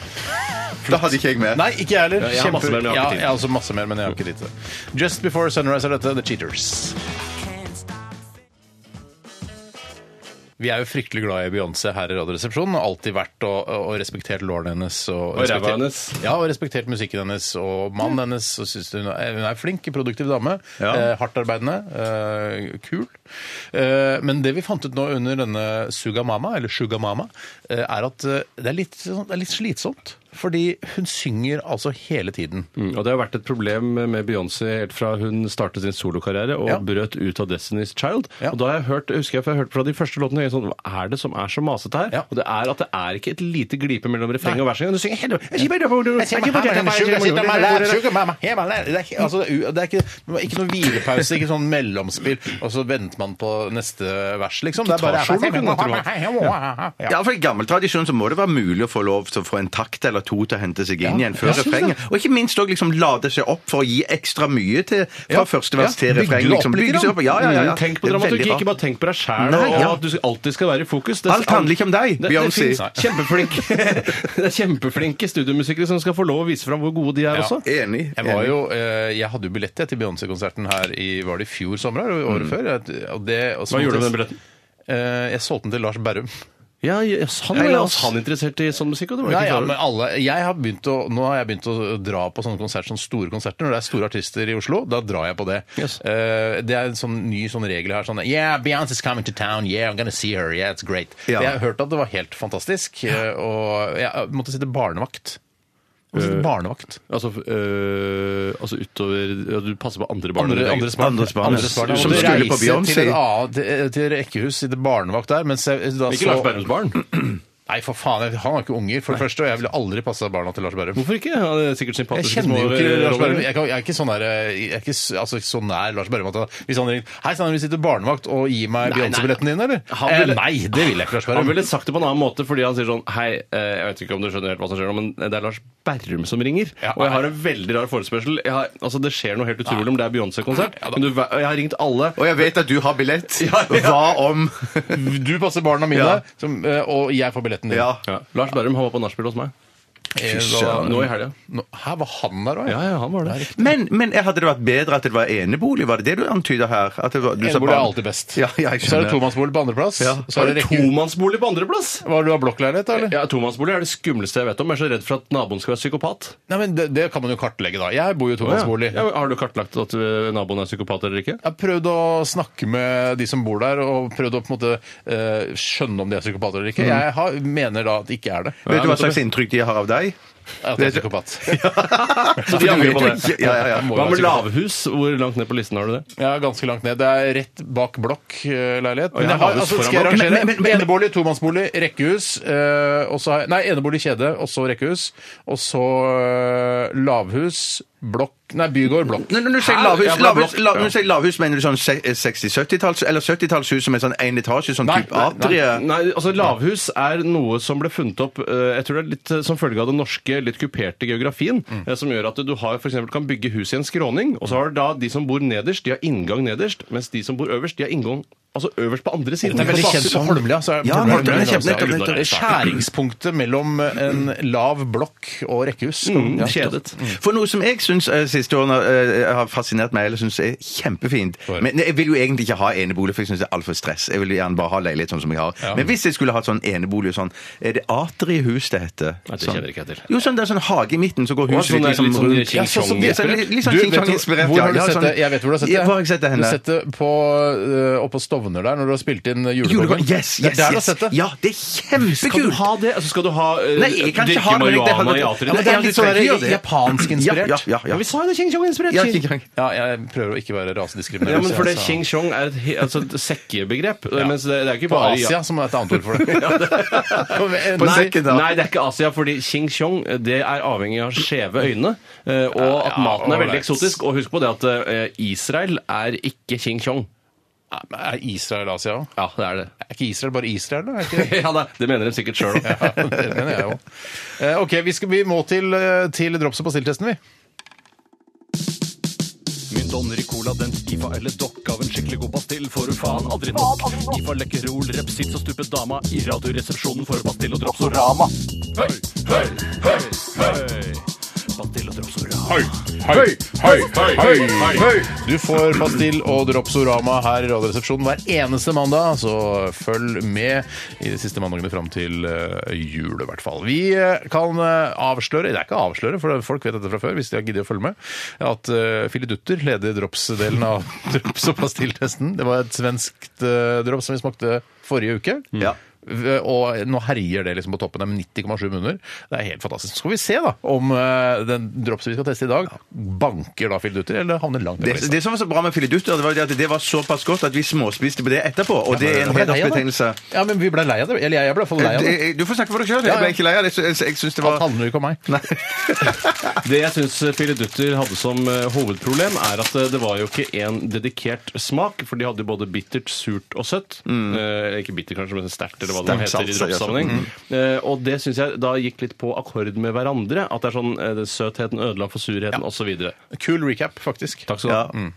F: Da hadde ikke jeg med.
D: Nei, ikke jeg heller.
E: Ja, jeg har masse mer, men jeg har ikke
D: Ja,
E: tid.
D: jeg har også masse mer, men jeg har ikke tid til det. Just Before Sunrise er dette The Cheaters. Vi er jo fryktelig glad i Beyoncé her i Radioresepsjonen. og Alltid vært og, og respektert låren hennes. Og, respektert-
E: ræva hennes.
D: Ja, og respektert musikken hennes og mannen hennes. Og synes hun, er, hun er flink, produktiv dame.
F: Ja.
D: Eh, Hardtarbeidende. Eh, kul. Eh, men det vi fant ut nå under denne Sugamama, eller Sugamama, eh, er at eh, det er, litt, sånn- det er litt slitsomt. Fordi hun synger altså hele tiden.
E: Mm, Og det har vært et problem med Beyoncé helt fra hun startet sin solokarriere og
D: Ja.
E: brøt ut av Destiny's Child.
D: Ja.
E: Og da har jeg hørt, husker jeg, for jeg hørte fra de første låtene jeg er sånn, Hva er det som er så masete her?
D: Ja.
E: Og det er at det er ikke et lite glipe mellom refrenget
D: Nei.
E: og verset. Du synger hele tiden.
D: Altså, det er ikke, ikke noe hvilepause, ikke sånn mellomspill, og så venter man på neste vers, liksom. Det er bare
F: Ja, for I gammel tradisjon så må det være mulig å få lov til å få en takt eller to til å hente seg inn igjen før refrenget. Og ikke minst òg liksom lade seg opp for å gi ekstra mye til fra
D: Ja.
F: første vers
D: Ja,
F: til
D: bygge
F: refreng.
D: det opp
F: Liksom,
D: litt
F: bygge seg opp. Ja, ja, ja, ja.
E: Mm. Tenk på
F: Det er veldig
E: dramaturgi,
F: bra.
E: ikke bare tenk på deg sjæl
F: Nei,
E: og
F: ja.
E: at du alltid skal være i fokus. Det-
F: Alt handler ikke om deg,
E: Det- det
F: Beyoncé.
E: finnes Kjempeflink. Det er kjempeflinke studiomusikere som skal få lov å vise fram hvor gode de er
D: Ja.
E: også.
F: Enig.
D: Jeg, var
F: enig.
D: jo, eh, jeg hadde jo billett jeg, til Beyoncé-konserten her i var det i fjor sommer eller året før. jeg- Og det, og så-
E: Hva gjorde du med den billetten?
D: Eh, jeg solgte den til Lars Berrum.
E: Ja, yes, han
D: Nei,
E: er
D: la
E: jo
D: oss-
E: han interessert i sånn musikk, og det var jeg
D: Nei,
E: ikke
D: ja,
E: klar over.
D: men alle, jeg har begynt å, nå har jeg begynt å dra på sånne konserter, sånne store konserter. Når det er store artister i Oslo, da drar jeg på det.
E: Yes.
D: Eh, det er en sånn ny sånn regel her. Sånn, yeah, Beyoncé's coming to town. Yeah, I'm gonna see her. Yeah, it's great.
F: Ja.
D: Jeg har hørt at det var helt fantastisk, eh, og jeg måtte sitte barnevakt. Jeg
F: Eh,
D: måtte sitte barnevakt.
E: Altså, øh, altså utover ja, Du passer på andre barn?
D: Andre,
E: eller
D: andres barn.
F: Andres barn.
D: Jeg måtte
E: Som
F: skulle på
D: reise
F: Beyoncé.
D: til, en annen- til, eh, til rekkehus, sitte barnevakt der. Mens jeg, da,
E: Ikke
D: så-
E: Lars Berrums barn?
D: Nei, for faen. jeg- Han har ikke unger, for det første. Og jeg ville aldri passa barna til Lars Berrum.
E: Hvorfor ikke? Han er sikkert
D: Jeg
E: sympatisk.
D: kjenner jo ikke Lars Berrum. Jeg, kan- jeg er ikke sånn der, jeg er ikke s- altså, så nær Lars Berrum at han- hvis han ringer Hei, Sanner, vil du sitte barnevakt og gi meg
E: Nei, nei.
D: Beyoncé-billetten din, eller?
E: Han
D: Eh,
E: ville-
D: nei, det vil jeg ikke, Lars
E: Han
D: Berrum.
E: øh, ville sagt det på en annen måte, fordi han sier sånn Hei, eh, jeg vet ikke om du skjønner helt hva som skjer nå, men det er Lars Sperrum som ringer.
D: Ja,
E: og jeg har
D: nei.
E: en veldig rar forespørsel. Jeg har, altså, det skjer noe helt utrolig om det er Beyoncé-konsert. men du, og jeg har ringt alle.
F: Og jeg vet at du har billett.
E: Ja, ja.
F: Hva om
D: Du passer barna mine,
F: Ja.
D: som, eh, og jeg får billetten din.
F: Ja.
E: Ja. Lars Berrum han var på nachspiel hos meg.
D: Eh,
F: Fy
D: da-
F: søren.
E: Nå i helga.
D: Nå- Hæ, var han der òg?
E: Ja, ja, han var det.
F: Men, men eh, hadde det vært bedre at det var enebolig? Var det det du antyda her? At det var, du sa
D: Enebolig er
F: barn-
D: alltid best.
F: Ja, ja, jeg
D: så er det
F: skjønner.
D: tomannsbolig på andreplass.
F: Ja.
D: Så er det rekke...
E: tomannsbolig på andreplass!
D: Var det du har blokkleilighet, da, eller?
E: Ja, Tomannsbolig er det skumleste jeg vet om. Jeg er så redd for at naboen skal være psykopat.
D: Nei, men det, det kan man jo kartlegge, da. Jeg bor jo i tomannsbolig.
E: Ja, har du kartlagt at ø, naboen er psykopat eller ikke?
D: Jeg har prøvd å snakke med de som bor der, og prøvd å på en måte eh, skjønne om de er psykopater eller ikke. Jeg har, mener da at de ikke er det.
F: Vet du hva slags inntrykk de har av deg?
D: At jeg er psykopat.
E: Så de angrer på det.
F: Ja, ja, ja.
D: Jeg må jo
E: Hva med
D: være psykopat.
E: lavhus? Hvor langt ned på listen har du det?
D: Ja, ganske langt ned. Det er rett bak blokk-leilighet. Men
E: ja,
D: jeg har,
E: lavhus
D: altså,
E: foran
D: skal jeg
E: blokk.
D: rangere?
F: Men- men- men- men-
D: enebolig, tomannsbolig, rekkehus, eh, og så har jeg, Nei, enebolig, kjede, og så rekkehus. Og så eh, lavhus, blokk Nei, bygård, blokk.
F: Nei, Når du sier
E: Hæ?
F: lavhus,
E: Ja, for det er
F: lavhus,
E: blokk,
F: la,
E: ja.
F: når du sier lavhus, mener du sånn se- 60-70-talls eller 70-tallshus som er sånn én etasje, sånn
D: Nei,
F: type
D: nei,
F: atrie?
E: Nei, altså Lavhus er noe som ble funnet opp eh, jeg tror det er litt eh, som følge av den norske, litt kuperte geografien, eh, som gjør at du har, for eksempel, kan bygge hus i en skråning, og så har du da de som bor nederst, de har inngang nederst, mens de som bor øverst, de har inngang altså øverst på andre siden.
D: Det er veldig
E: På
D: kjent
E: baksiden.
D: på Holmlia. så er-
F: Ja,
D: Holmlia er
F: Holmlia er
D: veldig
F: kjempe-
D: kjent.
E: nettopp, nettopp.
D: Skjæringspunktet mellom en
F: Mm.
D: lav blokk og rekkehus.
E: Mm,
D: Ja.
E: kjedet.
F: For noe som jeg syns eh, siste årene eh, har fascinert meg, eller syns er kjempefint Men jeg vil jo egentlig ikke ha enebolig, for jeg syns det er altfor stress. Jeg vil gjerne bare ha leilighet sånn som jeg har. Men hvis jeg skulle hatt sånn enebolig og sånn Er det atriehus det heter?
E: Nei, det
F: Sånn.
E: kjenner jeg ikke jeg til.
F: Jo, sånn det er sånn hage i midten, så går
E: Og sånn
F: huset ditt
E: der
F: liksom
E: litt sånn
F: rundt.
E: King
F: sånn-
E: Kong-inspirert.
F: litt sånn- litt sånn
D: Du,
F: King
D: vet du-
F: Kong-inspirert.
D: Hvor
F: ja.
D: har du
F: Ja,
D: sett
F: sånn-
D: det? Jeg vet hvor du har sett
F: Ja,
D: det.
F: Hvor har jeg sett det
D: Du
F: henne?
D: har sett det på, øh, oppe på Stovner der, når du har spilt inn øh, Julekongen.
F: Julekongen. Yes,
D: Det er der
F: yes,
D: du har
F: yes.
D: sett det.
F: Ja, det er
E: Skal du
F: kjempekult!
E: ha det? Altså, skal du ha eh,
F: Nei, jeg kan ikke ha det, men jeg- det
E: marihuana
F: hadde-
E: i
F: Ja,
E: atriet?
F: men
D: det er litt sånn
F: Jeg gjør det.
D: der japansk-inspirert.
F: Ja, ja, ja, ja.
E: Men vi sa jo det, Ching Chong-inspirert.
F: Ja,
E: Ching.
F: King Kong.
D: Ja, jeg prøver å ikke være rasediskriminerende.
E: Ja, men for det
D: så-
E: Ching Chong er et, he- altså, et sekkebegrep. Mens det, det er ikke
D: På
E: bare
D: Asia, som er et annet ord for det. Kom igjen,
F: På
D: nei.
F: sekken, da.
E: Nei, det er ikke Asia, fordi Ching Chong det er avhengig av skjeve øyne. eh, Og at
D: Ja,
E: maten er veldig
D: alright.
E: eksotisk. Og husk på det at eh, Israel er ikke Ching Chong.
D: Nei, men Er Israel Asia òg?
E: Ja, det er det.
D: Er ikke Israel bare Israel, da? Er ikke det?
E: Ja, da, Det mener de sikkert sjøl òg.
D: Ja, det mener jeg òg. OK, vi, skal, vi må til, eh, til drops- og pastilltesten, vi.
A: Mynt, ånder i cola, den IFA eller dokk av en skikkelig god pastill får du faen aldri nok.
F: altså.
A: IFA lekkerol, repsits og stupet dama i radioresepsjonen for pastill og dropsorama. Høy, høy, høy, høy. Pastill og dropsorama.
D: Høy, høy, høy, høy, høy. Du får Pastill og Dropsorama her i Radioresepsjonen hver eneste mandag, så følg med i de siste mandagene fram til eh, jul, i hvert fall. Vi eh, kan eh, avsløre, det er ikke avsløre, for folk vet dette fra før, hvis de har giddet å følge med, at eh, Fille Dutter leder drops-delen av drops- og pastilltesten. Det var et svenskt eh, drops som vi smakte forrige uke.
F: Ja.
D: V- Og nå herjer det liksom på toppen der med 90,7 munner. Det er helt fantastisk. Så skal vi se da om eh, den dropsen vi skal teste i dag, banker da filledutter, eller havner langt ned på
F: Det,
D: lista.
F: det som var så bra med filidutter, det var det at det var såpass godt at vi småspiste på det etterpå. Og det er en
D: Ble jeg lei av det?
F: hedersbetegnelse.
D: Ja, men vi ble lei av det. Eller jeg ble i hvert fall lei av det.
F: Du får snakke for deg sjøl.
D: Ja,
F: Jeg
D: ja.
F: ble ikke lei av det. så Jeg, jeg syns det
D: Det
F: var
D: handler jo ikke om meg.
F: Nei.
E: Det jeg syns Fille Dutter hadde som eh, hovedproblem, er at eh, det var jo ikke én dedikert smak, for de hadde jo både bittert, surt og søtt. Eh, ikke bitter, kanskje, men sterkt, eller hva det nå
F: Mm.
E: heter
F: Sterkt
E: i
F: salt, Mm. så-
E: dropssammenheng. Eh, og det syns jeg da gikk litt på akkord med hverandre. At det er sånn eh, det- søtheten ødela for surheten, og osv. Takk
D: Kul recap, faktisk.
E: skal du ha.
F: Ja.
D: Mm.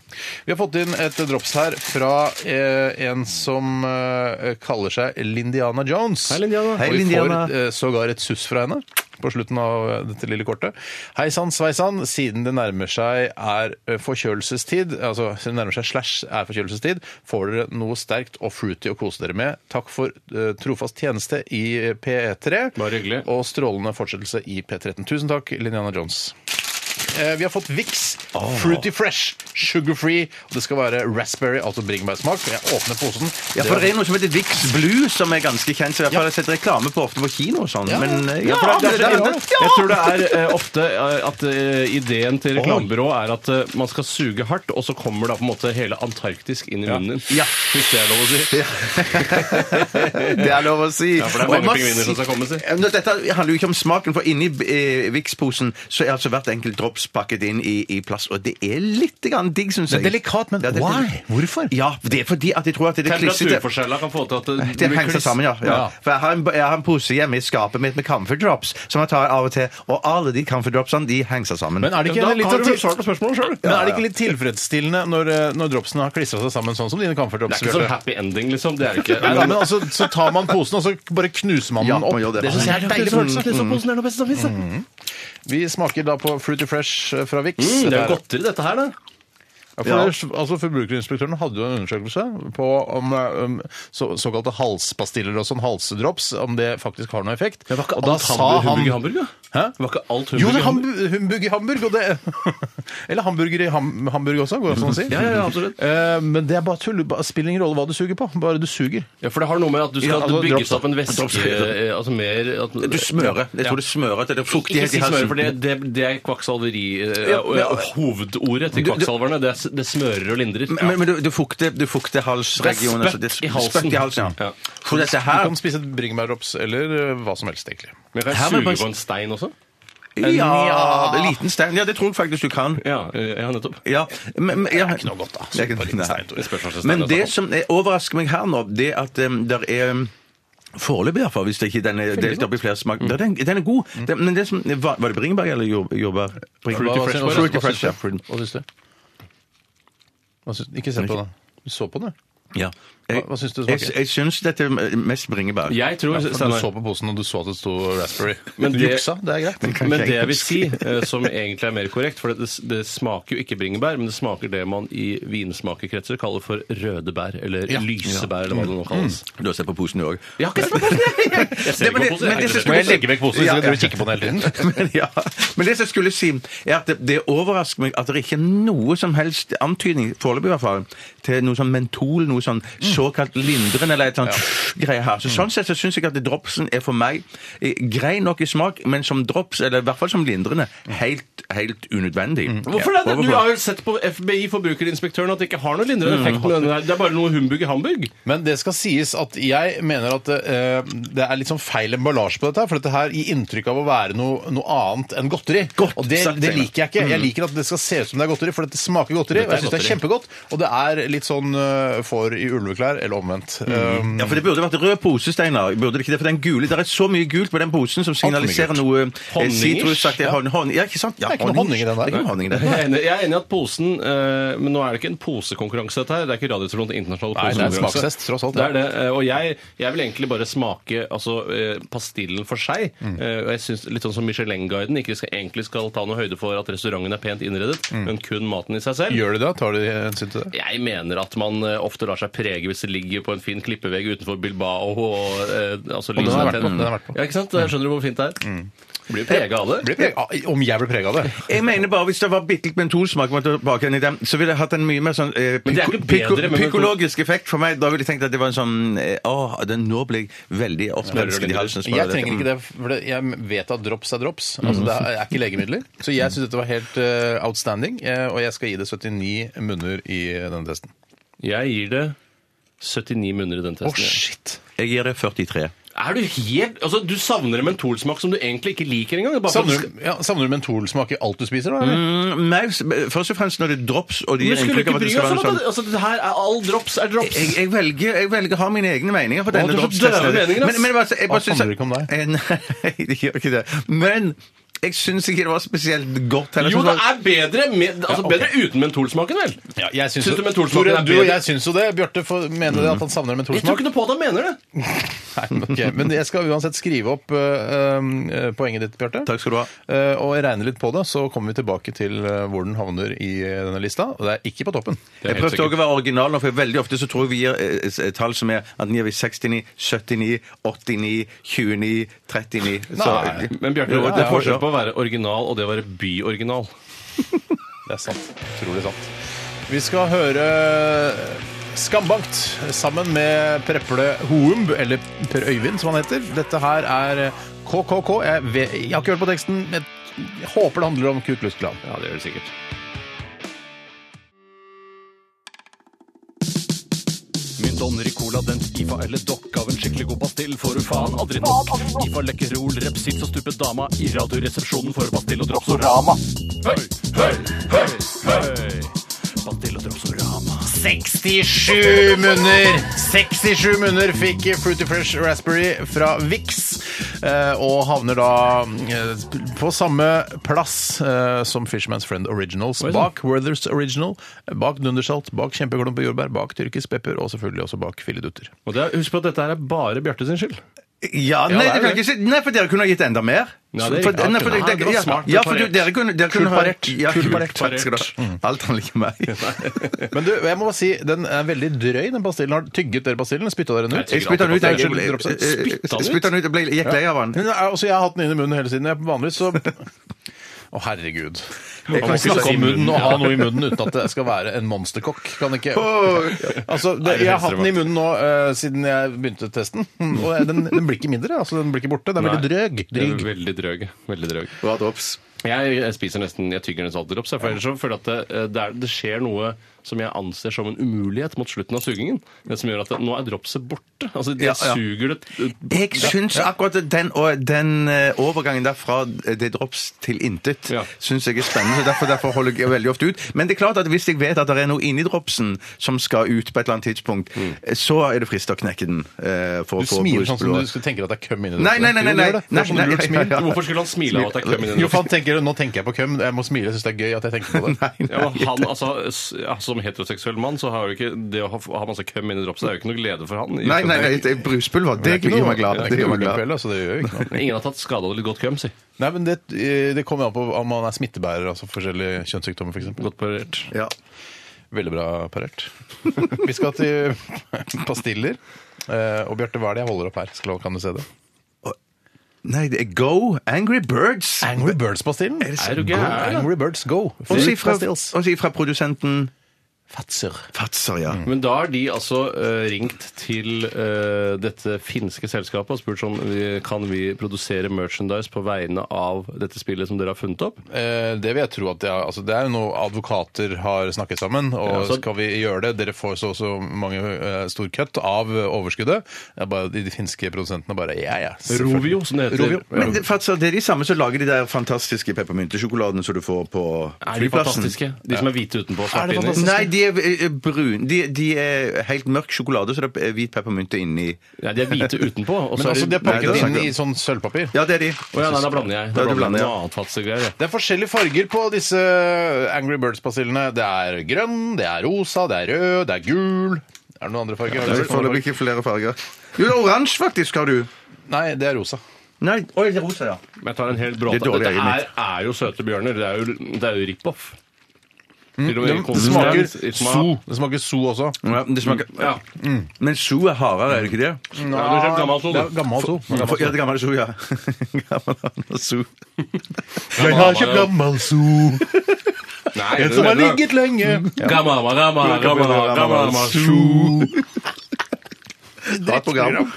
D: Vi har fått inn et drops her fra eh, en som eh, kaller seg Lindiana Jones.
E: Hei, Lindiana.
D: Og
F: Hei,
D: vi
F: Lindiana.
D: får eh, sågar et suss fra henne på slutten av eh, dette lille kortet. Hei sann, sveisann. Siden det nærmer seg er eh, forkjølelsestid, altså siden det nærmer seg slash er forkjølelsestid, får dere noe sterkt og fruity å kose dere med. Takk for eh, trofast tjeneste i eh, P3.
E: Bare hyggelig.
D: Og strålende fortsettelse i P13. Tusen takk, Lindiana Jones. Eh, Vi har fått Vix Fruity Fresh, sugar free. Og det skal være raspberry, altså bringebærsmak. Jeg åpner posen.
F: Ja, for det er noe som heter Vix Blue, som er ganske kjent. Så i hvert fall har jeg sett reklame på ofte på kino og sånn.
D: Ja.
F: Men eh,
E: Ja,
F: ja,
E: for det er, det er,
F: det-
E: så-
F: ja.
E: Jeg tror det er eh, ofte eh, at eh, ideen til reklamebyrå er at eh, man skal suge hardt, og så kommer da på en måte hele Antarktis inn i munnen din.
F: Ja.
E: Hvis det er lov å si.
F: Det er lov å si.
E: Ja, for det er
F: Og
E: mange
F: jeg må
E: pingviner som
F: si-
E: skal komme, si.
F: Ja, men Dette handler jo ikke om smaken, for inni eh, Vix-posen så er altså hvert enkelt drops snaps pakket inn i, i plast. Og det er litt grann digg, syns jeg.
D: delikat, men
F: Ja, det er
D: why?
F: delikat.
D: Hvorfor?
F: Ja, det er fordi at jeg tror at det er klissete
E: Temperaturforskjeller kan få til at eh, det,
F: det henger seg sammen, ja. ja.
E: Ja.
F: For jeg har, en, jeg har en pose hjemme i skapet mitt med camphor drops, som jeg tar av og til. Og alle de camphor dropsene, de henger seg sammen.
D: Men er det ikke
E: Da
D: en litt sånn
E: har
F: sånn
E: du sånn- vel
D: til-
E: svart på spørsmålet sjøl?
D: Men er det ikke litt tilfredsstillende når, eh, når dropsene har klistra seg sammen, sånn som dine
E: Det
D: kamferdrops?
E: er ikke sånn happy ending, liksom. Det er det ikke.
D: Nei, nei, men altså, så tar man posen, og så bare knuser man
F: Ja,
D: den opp.
F: man gjør det.
D: synes
F: Det er
E: sånn-
F: deilig følelse.
E: Posen er noe beste som fins. Mm,
D: Vi smaker da på Fruity Fresh eh, fra Vix.
E: Mm, det er
D: Dette
E: jo godteri, dette her, da.
D: Ja, for, altså, Forbrukerinspektøren hadde jo en undersøkelse på om, eh, om så, såkalte halspastiller og sånn, halsedrops, om det faktisk har noe effekt.
E: Det var ikke
D: Og da
E: alt
D: sa
E: hamburg-
D: han-
E: humbug i Hamburg, da.
D: Hæ?
E: Det var ikke alt
D: Jo,
E: humbug
D: det
E: i
D: er
E: Hamburg.
D: hambu- humbug i Hamburg, og det Eller hamburger i ham, Hamburg også, går det an å si?
E: Ja, ja, ja, absolutt.
D: Eh, men det er bare tull. Det spiller ingen rolle hva du suger på, bare du suger.
E: Ja, for det har noe med at du skal
D: Ja, altså,
E: at det bygges
D: drops-
E: opp en væske
F: drops-
E: eh, Altså mer at,
F: Du smører. Jeg tror du smører at det er
E: Ikke
F: fuktighet
E: si
F: i halsen.
E: smøre, for det, det, det er kvakksalveri eh,
F: Ja, ja.
E: eh, Hovedordet til
F: Du- du-
E: kvakksalverne. Det, er s- det smører og lindrer.
F: Men, men du, du fukter, du fukter halsregionen.
E: Det er
F: så
E: spøtt i halsen.
F: altså. Spøtt i halsen, ja.
E: Ja.
F: For dette
D: Du
F: her
D: kan spise bringebærdrops eller eh, hva som helst, egentlig.
E: Men kan
F: Her
E: jeg
F: må jeg
E: suge
F: bare-
E: på en stein også?
F: Ja, en liten stein. Ja, det tror jeg faktisk du kan.
E: Ja, eh, ja nettopp.
F: Ja, men, men, ja. Det er
D: ikke noe godt, da.
F: ikke-
D: Bare en liten
F: nei.
D: stein, Tore.
E: Det spørs hva slags stein
F: Men
E: det er
F: det
E: snakk om.
F: som er- overrasker meg her nå, det er at um, der er um, Foreløpig, i hvert fall, hvis det ikke den er delt opp i flere
E: Mm.
F: smak. Ja, Den, den er god. Den, men det som, var, var det bringebær eller jord- jordbær? Bringebær.
D: Hva- hva
F: Fruity
D: syns-
F: Fruity
D: hva syns
F: Fresh,
D: du?
F: ja. Fruity-
D: Hva syns du? Hva syns- Ikke se på det. Du så på det.
F: ja.
D: Hva- hva syns du det
F: Jeg,
D: smaker?
F: jeg syns dette er mest bringebær.
E: Jeg tror
D: Ja, for du
E: Steinar-
D: så på posen, og du så at det sto raspberry.
E: Men
D: Men du
E: det-
D: juksa, det er greit.
F: Kanskje
E: Men det
F: jeg
E: jeg vil si, eh, som egentlig er mer korrekt, for det, det smaker jo ikke bringebær, men det smaker det man i vinsmakerkretser kaller for røde bær, eller
D: Ja.
E: lysebær, eller hva det nå kalles.
F: Du har sett på posen, du òg.
E: Jeg har ikke smakt det! Jeg ser
F: Det- men
E: ikke på
F: det-
E: poser,
F: men
E: jeg
F: det som
D: Må
E: er
F: skulle-
E: ikke
D: jeg legge vekk posen hvis
F: Ja,
D: jeg
F: ja.
D: driver og kikker på den hele tiden?
F: men, ja. men det som jeg skulle si, er at det, det overrasker meg at det ikke er noe som helst antydning, foreløpig i hvert fall, til noe sånn mentol, noe sånn
D: Mm.
F: såkalt lindrende eller et sånt greie her. Så sånn sett så syns jeg at det dropsen er for meg eh, grei nok i smak, men som drops, eller i hvert fall som lindrende,
D: Mm.
F: helt, helt unødvendig.
E: Hvorfor det?
F: Ja,
E: Du har jo sett på FBI, forbrukerinspektøren, at det ikke har noe lindrende effekt med denne her. Det er bare noe humbug i Hamburg.
D: Men det skal sies at jeg mener at eh, det er litt sånn feil emballasje på dette. her, For dette her gir inntrykk av å være noe, noe annet enn godteri.
F: Godt
D: og det,
F: sagt,
D: det
F: Steinar.
D: liker jeg ikke. Jeg liker at det skal se ut som det er godteri, for det smaker godteri. Og jeg syns det Mm. er kjempegodt. Og det er litt sånn eh, får i ulveklær, eller omvendt. Um,
F: Ja, for Det burde vært rød pose, Steinar. Burde det ikke det? For den gule, Det er så mye gult på den posen som signaliserer noe eh,
E: Honningish,
F: sitrusaktig. Honning, honning. Ja, ikke sant? Ja,
D: Det er ikke noe honning i den der.
F: Det er ikke noe honning i den.
E: Jeg er enig, jeg er enig i at posen eh, Men nå er det ikke en posekonkurranse, dette her. Det er ikke Radiotrollens internasjonale
D: Nei, det er en
E: posekonkurranse.
D: smakstest, tross alt,
E: Det
D: ja.
E: er det. eh, Og jeg, jeg vil egentlig bare smake altså, eh, pastillen for seg.
D: Mm.
E: Eh, Og jeg synes Litt sånn som Michelin-guiden ikke skal, egentlig skal ta noe høyde for at restauranten er pent innredet, men kun maten i seg selv.
D: Mm. Gjør de det? Tar de hensyn til det?
E: Jeg mener at man eh, ofte lar seg prege hvis det ligger på en fin klippevegg utenfor Bilbao og eh, altså,
D: den har
E: lysene
D: vært på,
E: tenner.
D: den har vært på. Mm.
E: Ja, ikke sant? Da Skjønner du hvor fint det er? Blir prega av det.
D: Blir preg- ah, Om jeg blir prega av det?
F: Jeg mener bare, Hvis det var bitte litt mentolsmak man tok bak igjen i den, så ville jeg hatt en mye mer sånn eh,
E: Men det er
F: pyko-
E: ikke bedre,
F: pyko-
E: men-
F: psykologisk effekt for meg. Da ville jeg tenkt at det var en sånn eh, Å, det, nå ble jeg veldig oppmelsket i halsen.
D: Jeg trenger ikke det, for det, jeg vet at drops er drops. Altså, det er ikke legemidler. Så jeg syns dette var helt eh, outstanding, eh, og jeg skal gi det 79 munner i denne testen.
E: Jeg gir det 79 munner i den testen. jeg.
D: shit!
F: Jeg gir det 43.
E: Er du helt Altså, du savner en mentolsmak som du egentlig ikke liker engang. Bare for at du
D: Savner
E: skal-
D: du, ja, savner du mentolsmak i alt du spiser? da? eller?
F: Mm, nei, s- først og fremst når det er drops og de
E: Men skulle du ikke bry
F: det
E: oss om at
F: være sånn
E: det- altså, det her er all drops er drops?
F: jeg, jeg, velger, jeg velger å ha mine egne meninger på denne
E: du har så
F: dropstesten.
E: døve meninger, ass.
F: Men, men, altså, jeg bare
D: Alt
F: synes-
D: handler ikke om deg.
F: Eh, Nei, det gjør ikke det. Men jeg syns ikke det var spesielt godt heller.
E: Jo,
F: Jeg synes
E: det er bedre, med,
D: Ja,
E: altså,
D: ok.
E: bedre uten mentolsmaken, vel?
D: Ja, jeg syns
E: Syns du mentolsmaken
D: Tore,
E: er
D: du og
E: bedre?
D: jeg syns jo det. Bjarte for- mener at han savner
E: Jeg tror
D: mentolsmak.
E: ikke noe på at han mener det.
D: Nei, men ok. Men jeg skal uansett skrive opp eh, eh, poenget ditt, Bjarte.
F: Takk skal du ha.
D: Eh, og jeg regner litt på det, så kommer vi tilbake til eh, hvor den havner i eh, denne lista. Og det er ikke på toppen.
F: Jeg prøvde også å være original nå, for veldig ofte så tror jeg vi gir eh, s- tall som er at gir vi 69, 79, 89, 29, 39 så,
D: Nei,
E: Men Bjarte,
F: Jo,
E: det er
F: ja,
E: forskjell
F: ja.
E: på å være original og det å være byoriginal.
D: Det er sant. Utrolig sant. Vi skal høre eh, Skambankt sammen med Preple Houmb, eller Per Øyvind som han heter. Dette her er eh, KKK. Jeg, vet, jeg har ikke hørt på teksten, men jeg håper det handler om Ku Klux Klan.
E: Ja, det gjør det sikkert.
A: Min Donner i cola, den IFA eller dokk av en skikkelig god pastill får du faen aldri nok. IFA lekkerol, repsits og stupe dama i Radioresepsjonen får du pastill og dropsorama. Høy, høy, høy, høy. Pastill og dropsorama.
D: 67 munner 67 munner fikk Fruity Fresh Raspberry fra Vix. eh, Og havner da eh, på samme plass eh, som Fisherman's Friend Originals.
F: sånn.
E: Oi, sant.
D: Bak Werthers Original, bak Dundersalt, bak Kjempeklump og jordbær, bak tyrkisk pepper og selvfølgelig også bak filledutter.
E: Og det er, husk på at dette her er bare Bjarte sin skyld.
F: Ja, nei,
D: det er
F: det kan
D: det.
F: jeg ikke si. nei, for dere kunne ha gitt enda mer.
E: Ja, det er
F: for,
E: riktig.
F: nei, for,
E: Ja,
F: dere-
E: det var
F: ja,
E: smart
F: ja, for du-
E: parert.
F: dere kunne, dere kunne
E: Kult
F: ha-
E: parert.
F: Ja,
E: Kult
F: kult
E: parert.
F: parert. Takk skal du ha. Alt handler ikke om meg.
D: Men du, jeg må bare si, den er veldig drøy, den pastillen. Har tygget dere pastillen? Spytta dere den ut?
F: Jeg spytta den ut. jeg-
D: Unnskyld,
F: jeg-
D: dropp-
F: jeg-
E: Spyttet den ut?
F: Spytta Eh, den ut. Jeg ble- gikk lei av den.
D: Men det er- altså, jeg har hatt den inn i munnen hele tiden. Jeg vanligvis så Å, herregud. Jeg kan
E: Man må
D: ikke snakke
E: snakke
D: om
E: i
D: munnen og
E: munnen,
D: ha
E: ja.
D: noe i munnen uten at det skal være en monsterkokk. Kan ikke Altså, det,
E: det
D: jeg har hatt den i munnen
E: helserevolt.
D: nå eh, siden jeg begynte testen, og jeg- den, den blir ikke mindre. Altså, den blir ikke borte. Den Mm. er veldig drøg.
E: Nei,
D: Dryg.
E: Veldig drøg. Veldig drøg.
F: Bra drops.
E: Jeg jeg spiser nesten Jeg tygger nesten alltid drops. jeg, For ellers så føler jeg at det, det, er, det skjer noe som jeg anser som en umulighet mot slutten av sugingen. Det som gjør at det, nå er dropset borte. Altså, det
F: Ja, ja.
E: suger det
F: Jeg syns akkurat den, og den eh, overgangen der fra det drops til intet
E: Ja.
F: syns jeg er spennende. så Derfor, derfor holder jeg veldig ofte ut. Men det er klart at hvis jeg vet at det er noe inni dropsen som skal ut på et eller annet tidspunkt, eh, så er det frist å knekke den. eh,
D: Mm.
F: For,
D: Du
F: for
D: smiler sånn som
F: blod.
D: du skulle tenker at det er køm inni
F: Nei, nei, nei, nei,
D: Jo, det gjør
F: nei.
D: det. Det er sånn
F: Nei, nei,
D: lurt smil.
F: ja, ja.
E: Hvorfor skulle han smile av at det er køm
D: Jo, for
E: inni dropsen?
D: han tenker, Nå tenker jeg på køm. Jeg må smile. Jeg syns det er gøy at jeg tenker på det.
F: Nei,
E: Ja, men
F: nei.
E: han, altså, s- ja, som heteroseksuell mann, så har jo ikke det å ha, ha masse køm inni dropset er jo ikke noe glede for han.
F: Nei, nei, nei, det er bruspulver. Det
D: Det er
F: gjør
D: ikke noe-
F: meg glad.
D: det er
F: Det
D: ikke
F: gjør
D: noe
F: meg glad.
D: ulykkelig, altså, det gjør jo ikke noe.
E: Ingen har tatt skade av litt godt køm, si.
D: Nei, men det, eh, det kommer an på om man er smittebærer, altså forskjellige kjønnssykdommer f.eks.
E: Godt parert.
F: Ja.
D: Veldig bra parert. Vi skal til pastiller. Eh, og Bjarte, hva er det jeg holder opp her? Skal, kan du se det?
F: Nei, det er Go Angry Birds.
D: Angry Birds-pastillen.
E: Er du gæren?
D: Angry Birds Go.
F: Og si
D: Fruit
F: fra,
D: pastilles.
F: og si fra produsenten
D: Fatser.
F: Fatser, ja.
E: Men da har de altså eh, ringt til eh, dette finske selskapet og spurt om vi, kan vi produsere merchandise på vegne av dette spillet som dere har funnet opp.
D: Eh, det vil jeg tro at det er. Altså, det er jo noe advokater har snakket sammen, og
E: Ja, altså- så-
D: skal vi gjøre det? Dere får så og så mange eh, stor kutt av eh, overskuddet. Det er bare, de, de finske produsentene bare ja, ja. selvfølgelig.
E: Rovio, som det heter.
D: Rovio. ja.
F: Men det, Fatser, det er de samme som lager de der fantastiske peppermyntesjokoladene som du får på
E: Er de
F: flyplassen.
E: fantastiske? De som er hvite
D: Er
E: utenpå og
D: det
E: svarte inni?
D: fantastisk?
F: Nei, de er eh, brun. De, de er helt mørk sjokolade, så det er hvit peppermynte inni.
E: Nei, de er hvite utenpå. Og
D: Men
E: så
D: altså, de
E: er
D: er
E: de...
F: Nei,
D: pakket
F: det er
D: inn
F: sant.
D: i sånn sølvpapir.
F: Ja, det er de.
E: Å ja, nei, da blander jeg.
F: Ja,
E: Da
F: du blander,
E: blander jeg
F: ja.
E: noe annet fattiggreier. jeg.
D: Det er forskjellige farger på disse Angry Birds-pastillene. Det er grønn, det er rosa, det er rød, det er gul. Er det noen andre farger?
F: Det er foreløpig ikke flere farger. Jo, det er oransje faktisk har du.
D: Nei, det er rosa.
F: Nei, oi, det er rosa, ja.
E: Men jeg tar en hel
F: Det
E: bråte.
F: er dårlig
E: Dette
F: eget
E: er, er jo søte bjørner. Det er jo, det er jo rip-off. Til og med i
D: Det
E: konsistens,
D: smaker
E: i
D: so.
E: smak.
D: Det smaker so også.
F: Ja, det smaker...
E: Ja.
F: Men so er hardere, er det ikke det?
E: Ja, du kjøper gammel so,
D: Det er
E: du.
D: gammel so.
F: Ja, det gamle so, ja. Gammel so.
D: Jeg har kjøpt gammel so,
E: Nei,
D: en
E: du
D: som har
E: mener-
D: ligget lenge.
E: Gammal, gammal, gammal, gammal,
F: So. Bra program.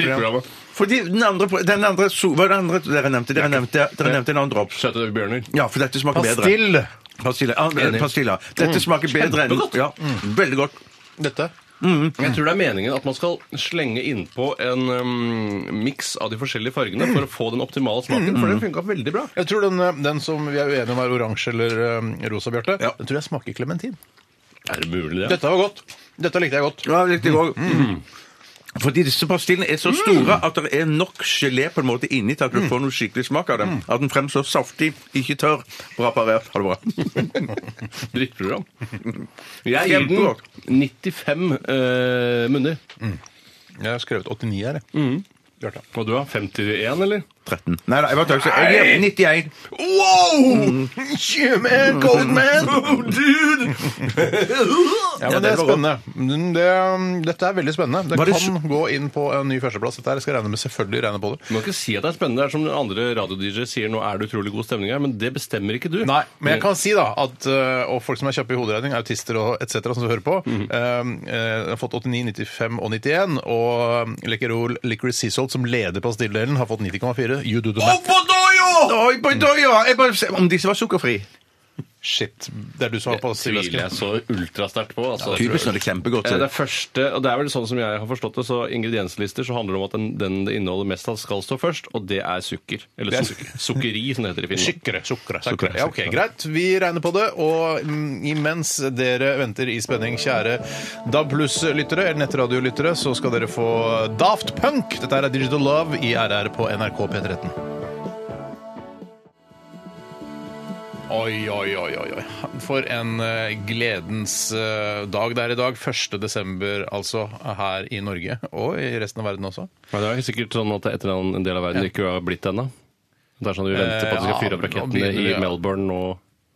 E: gammal.
F: Fordi den andre, den andre so, hva er den andre dere nevnte? Dere nevnte, dere nevnte en annen drops.
E: Søte bjørner.
F: Ja, for dette smaker bedre.
D: Pastill.
F: Pastilla. Ah,
E: Enig.
F: pastilla. Dette smaker bedre enn
E: Kjempegodt.
F: ja, Veldig godt.
D: Dette. Mm.
E: Jeg tror det er meningen at man skal slenge innpå en um, miks av de forskjellige fargene for å få den optimale smaken, for den funka veldig bra.
D: Jeg tror den, eh, den som vi er uenige om er oransje eller eh, rosa, Bjarte,
F: Ja.
D: den tror jeg smaker klementin.
E: Er det mulig, det?
D: Dette var godt. Dette likte jeg godt.
F: Ja, likte jeg òg. Mm. Fordi disse pastillene er så store at det er nok gelé på en måte inni til at du får noe skikkelig smak av dem. At den fremstår saftig, ikke tørr. Bra parert. Ha det bra.
E: Drittprogram. Jeg gir
F: Kjempegodt.
E: den 95 eh, munner.
D: Jeg har skrevet 89 her, jeg. Bjarte.
E: Og du, da? 51, eller?
F: 13. Nei da, jeg var tøys. Jeg er 91.
D: Wow! Human, cold man!
E: dude!
D: Ja, men det er spennende. Mm, Det, dette er veldig spennende.
F: Var
D: Det
F: det
D: kan gå inn på en ny førsteplass. Dette her. Jeg skal regne med, selvfølgelig regne på det.
E: Du må ikke si at det er spennende. Det er som andre radio-DJ-er sier, nå er det utrolig god stemning her, men det bestemmer ikke du.
D: Nei, men jeg kan si da at øh, og folk som er kjappe i hoderegning, autister og etc., som du hører på, øh, øh, har fått 89, 95 og 91. Og Lekerol Licorice Sea Salt, som leder pastilledelen, har fått 90,4. You do the math.
F: Oi, på døya! Jeg bare, om disse var sukkerfri.
D: Shit. Det er du som har på
E: tviler jeg
D: sylvesken.
E: så ultrasterkt på. Altså.
F: Typisk når det er kjempegodt.
E: Eh, Det første, og det er vel sånn som jeg har forstått det, så ingredienslister så handler det om at den, den det inneholder mest av, skal stå først, og det er sukker. Eller
D: Det er
E: sukker. sukkeri, som det heter i Finland.
D: Sukkere. Sukkere. sukkere. Ja, ok, Greit, vi regner på det. Og mm, imens dere venter i spenning, kjære DAB Pluss-lyttere eller nettradiolyttere, så skal dere få Daft Punk. Dette er Digital Love i RR på NRK P13. Oi, oi, oi, oi. oi. For en eh, gledens eh, dag det er i dag. 1. desember, altså, her i Norge. Og i resten av verden også.
E: Men det er sikkert sånn at det er et eller annet en del av verden ikke har blitt ennå. Det er sånn at vi venter på at de skal
D: Eh, ja,
E: fyre opp
D: nå
E: rakettene
D: begynner
E: i
D: vi, ja.
E: Melbourne nå.